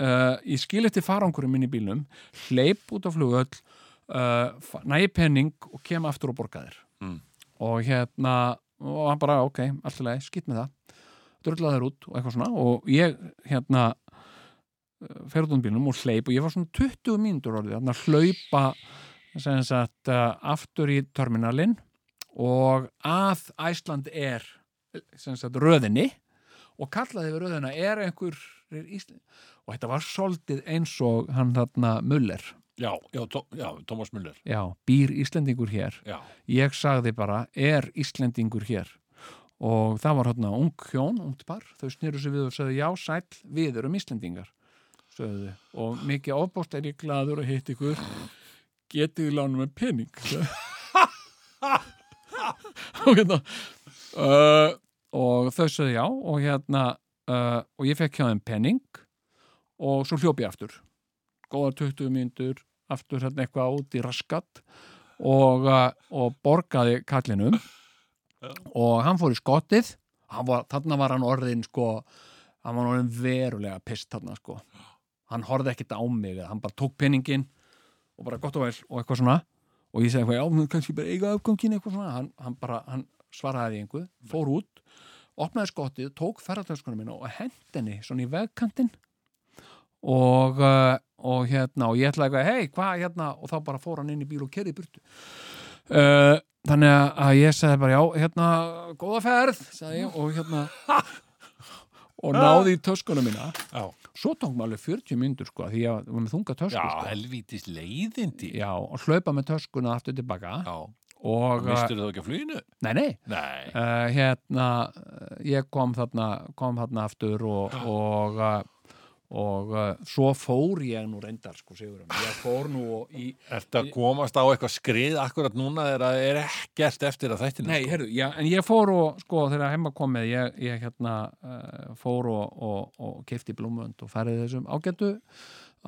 S3: uh, ég skil eftir farangurum minn í bílnum, hleyp út á flugöll uh, nægi penning og kem aftur og borga þér
S1: Mm.
S3: og hérna og hann bara, ok, allt í lagi, skýtt með það drölla þér út og eitthvað svona og ég, hérna ferði út um bílnum og hleyp og ég var svona 20 mínútur orðið, þannig að hlaupa sem sagt uh, aftur í terminalinn og að Æsland er sem sagt röðinni og kallaði við röðina er einhver Ísland og þetta var soldið eins og hann þarna Muller,
S1: já, já, tó, já, Thomas Müller
S3: já, býr Íslendingur hér
S1: já,
S3: ég sagði bara er Íslendingur hér og það var hérna ung hjón, ungt par þau snýru sig við og sagði já sæll við erum Íslendingar sögðu. þau. og mikið ofbóst er ég gladur að hitt ykkur getið lánum með pening og hérna uh, og þau sagði já og hérna uh, og ég fekk hjá þeim pening og svo hljóp ég aftur góða 20 mínútur aftur hérna eitthvað út í raskat og, uh, og borgaði kallinum og hann fór í skottið Hann var, þarna var hann orðin sko hann var orðin verulega pist þarna sko hann horfði ekkert á mig eða hann bara tók penningin og bara gott og vel og eitthvað svona og ég segi eitthvað, já, nú kannski bara eiga afgangin eitthvað svona, hann, hann bara, hann svaraði einhver, fór út opnaði skottið, tók ferðartöskunum minna og hendi henni svona í vegkantinn og, uh, og hérna og ég ætlaði eitthvað, hei, hvað hérna og þá bara fór hann inn í bíl og kerði burtu uh, þannig að- að ég sagði bara, já, hérna, góða ferð sagði ég og hérna og náði í töskunum mína
S1: já,
S3: svo tók maður alveg 40 myndur sko því ég var með þunga tösku
S1: já
S3: sko.
S1: helvítis leiðindi
S3: Já, og hlaupa með töskuna aftur tilbaka
S1: já,
S3: og, eh,
S1: mistur þá ekki að fluginu
S3: nei, nei
S1: nei,
S3: uh, hérna, eh, ég kom þarna kom þarna aftur og og, uh, og uh, svo fór ég nú reyndar sko Sigurðan, ég fór nú og í
S1: ertu að komast á eitthvað skrið akkurat núna þegar það er ekkert eftir að sko? þættinu
S3: Nei, heyrðu, já, en ég fór og sko þegar heima komið, ég, ég hérna uh, fór og, og, og kefti blómvönd og færið þessum ágætu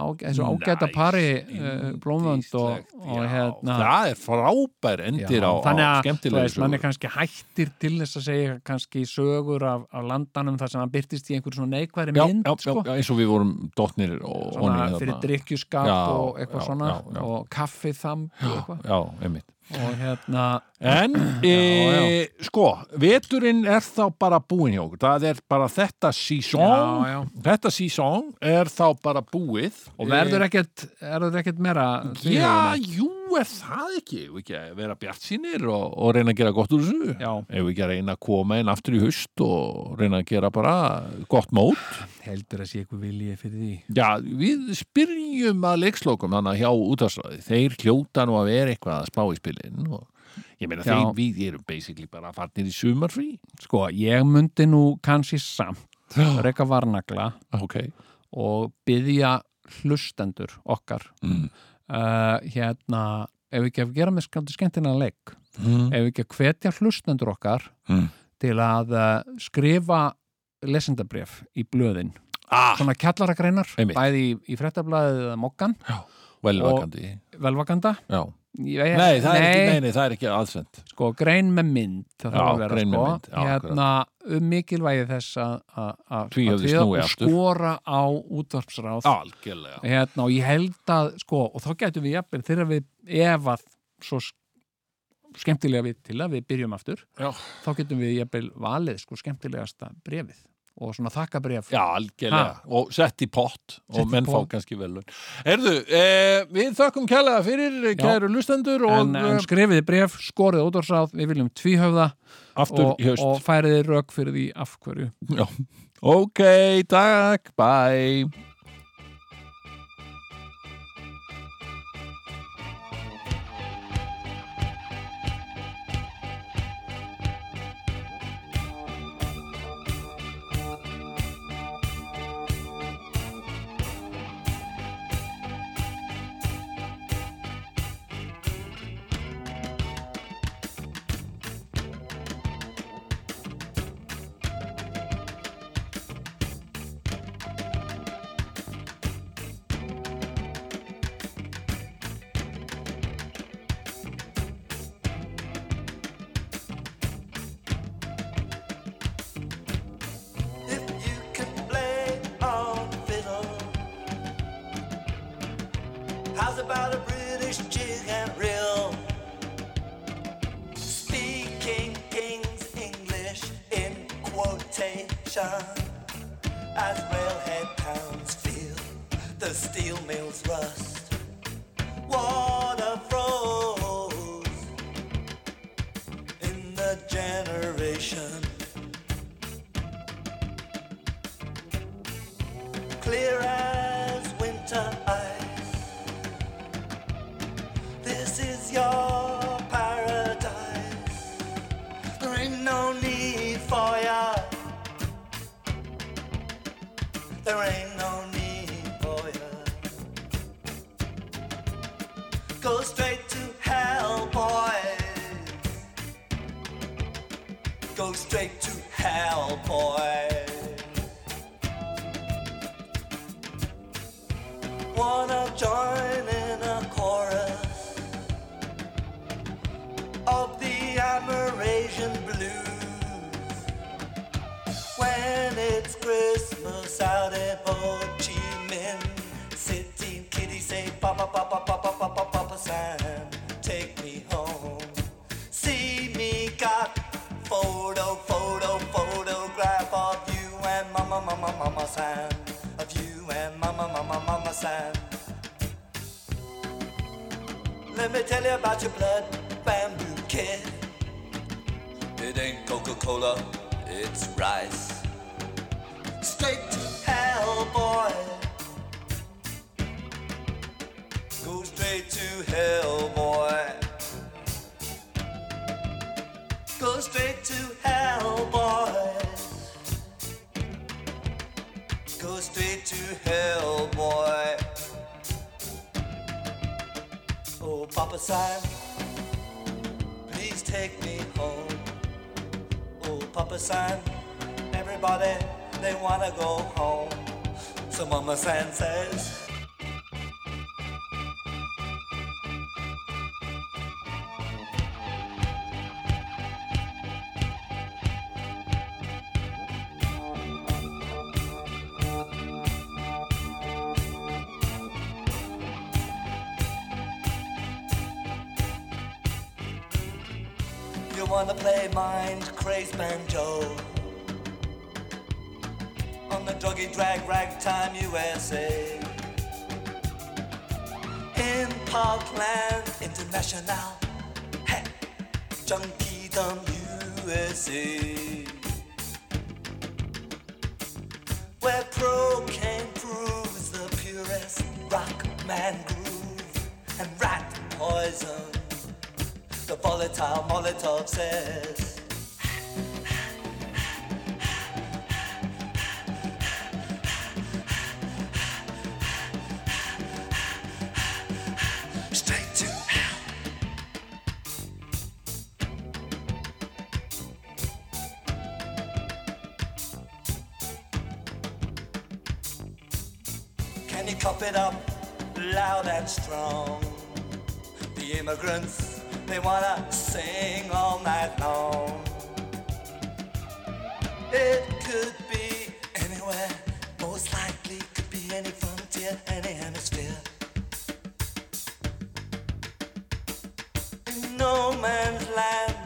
S3: á, þessu ágæta
S1: Nice,
S3: pari uh, blómvönd og,
S1: Yndislegt,
S3: og
S1: já.
S3: hérna
S1: það er frábær
S3: Já,
S1: endir á,
S3: þannig
S1: á
S3: að, þú
S1: skemmtilegu
S3: veist, mann er kannski hættir til þess að segja kannski sögur af, af landanum þar sem hann byrtist í einhver svona neikværi
S1: já,
S3: mynd
S1: já, já,
S3: sko.
S1: já, eins og við vorum dotnir og hérna.
S3: svona
S1: honum
S3: fyrir
S1: þarna.
S3: drikkjuskap
S1: Já,
S3: og eitthvað
S1: já,
S3: svona
S1: já, já.
S3: og kaffitham og eitthvað
S1: já, einmitt
S3: og hérna,
S1: En, e, sko, veturinn er þá bara búin hjá okkur. Það er bara þetta sísón,
S3: Já, já.
S1: þetta sísón er þá bara búið.
S3: og verður ekkert verður ekkert meira
S1: ekki? Já, jú, er það ekki. Ef ekki að vera bjart sínir og, og reyna að gera gott úr þessu.
S3: Já.
S1: Ef ekki að reyna að koma inn aftur í haust og reyna að gera bara gott mót.
S3: heldur að sé eitthvað viljið fyrir því
S1: Já, við spyrjum að leikslokum þannig að hjá útastræði. Þeir hljóta nú að vera eitthvað að spá í spilin og ég meina
S3: Já.
S1: þeir við erum basically bara farnir í sumarfrí.
S3: sko, ég myndi nú kannski samt reyka varnagla
S1: Ah, Ok.
S3: og byðja hlustendur okkar
S1: Mm.
S3: uh, hérna, ef við ekki að gera með skaldi skemmtina leik
S1: Mm.
S3: ef við ekki að hvetja hlustendur okkar
S1: Mm.
S3: til að uh, skrifa lesendabref í blöðin
S1: Ah,
S3: svona kjallaragreinar,
S1: Einmitt.
S3: bæði í, í frettablaðið eða mokkan,
S1: velvakandi.
S3: velvakanda
S1: Já.
S3: ég,
S1: Nei, það er ekki, Eh, nei, nei, það er ekki aðsend.
S3: sko, grein með mynd
S1: Já,
S3: það þarf að vera,
S1: grein með
S3: sko,
S1: mynd, já,
S3: hérna, um mikilvægi þess að að- að-
S1: Tvíhöfði
S3: að tryggja
S1: snúi
S3: og
S1: aftur.
S3: skora á útvarpsráð
S1: Algjörlega.
S3: hérna, og ég held að sko, og þá getum við jafnir þegar við ef að svo s- skemmtilega við til að við byrjum aftur
S1: Já.
S3: þá getum við jafnir valið sko, skemmtilegasta brefið og svona þakka bref
S1: Já, algjörlega. Og sett í pott
S3: Sett
S1: og
S3: í
S1: menn fá
S3: pott.
S1: kannski velun. Erðu, eh, við þökkum kælega fyrir eh,
S3: Já.
S1: kæru lustendur og
S3: en, en
S1: eh,
S3: skrifiði bref, skoriði útvarpsráð við viljum tvíhöfða
S1: aftur
S3: og,
S1: í haust.
S3: og færiði rauk fyrir því af hverju
S1: Já. Ok, takk, bye.
S4: How's about a British jig and reel? Speaking King's English in quotation as railhead towns feel the steel mills rust. Water froze in the generation. clear as winter ice. This is your paradise. There ain't no need for ya. There ain't no need for ya. Go straight to hell, boys. Go straight to hell, boys. wanna join in a chorus of the Amerasian blues when it's Christmas out in Ho Chi Minh City. Kitty say papa papa papa papa papa Sam, take me home. See me got photo photo photograph of you and mama mama mama Sam, of you and mama mama mama Sam. Let me tell you about your blood bamboo kid. It ain't Coca Cola, it's rice. Straight to hell, boy. Go straight to hell, boy. Go straight to hell, boy. Go straight to hell, boy. Oh, Papa Sam, please take me home. Oh, Papa Sam, everybody, they wanna go home. So Mama Sam says, You wanna play mind crazed banjo on the druggy drag ragtime USA in Parkland International. Hey, junkiedom USA, where pro can proves the purest rock man groove and rat poison the volatile Molotov says. Straight to hell. Can you cop it up loud and strong? The immigrants, they wanna sing all night long. It could be anywhere, most likely could be any frontier, any hemisphere. In no man's land.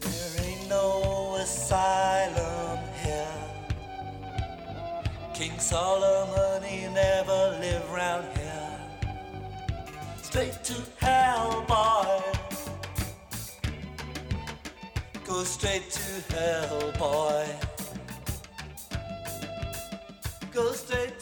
S4: There ain't no asylum here. King Solomon, he never lived round here. Straight to hell, boy. Go straight to hell, boy. Go straight Oh, Oh,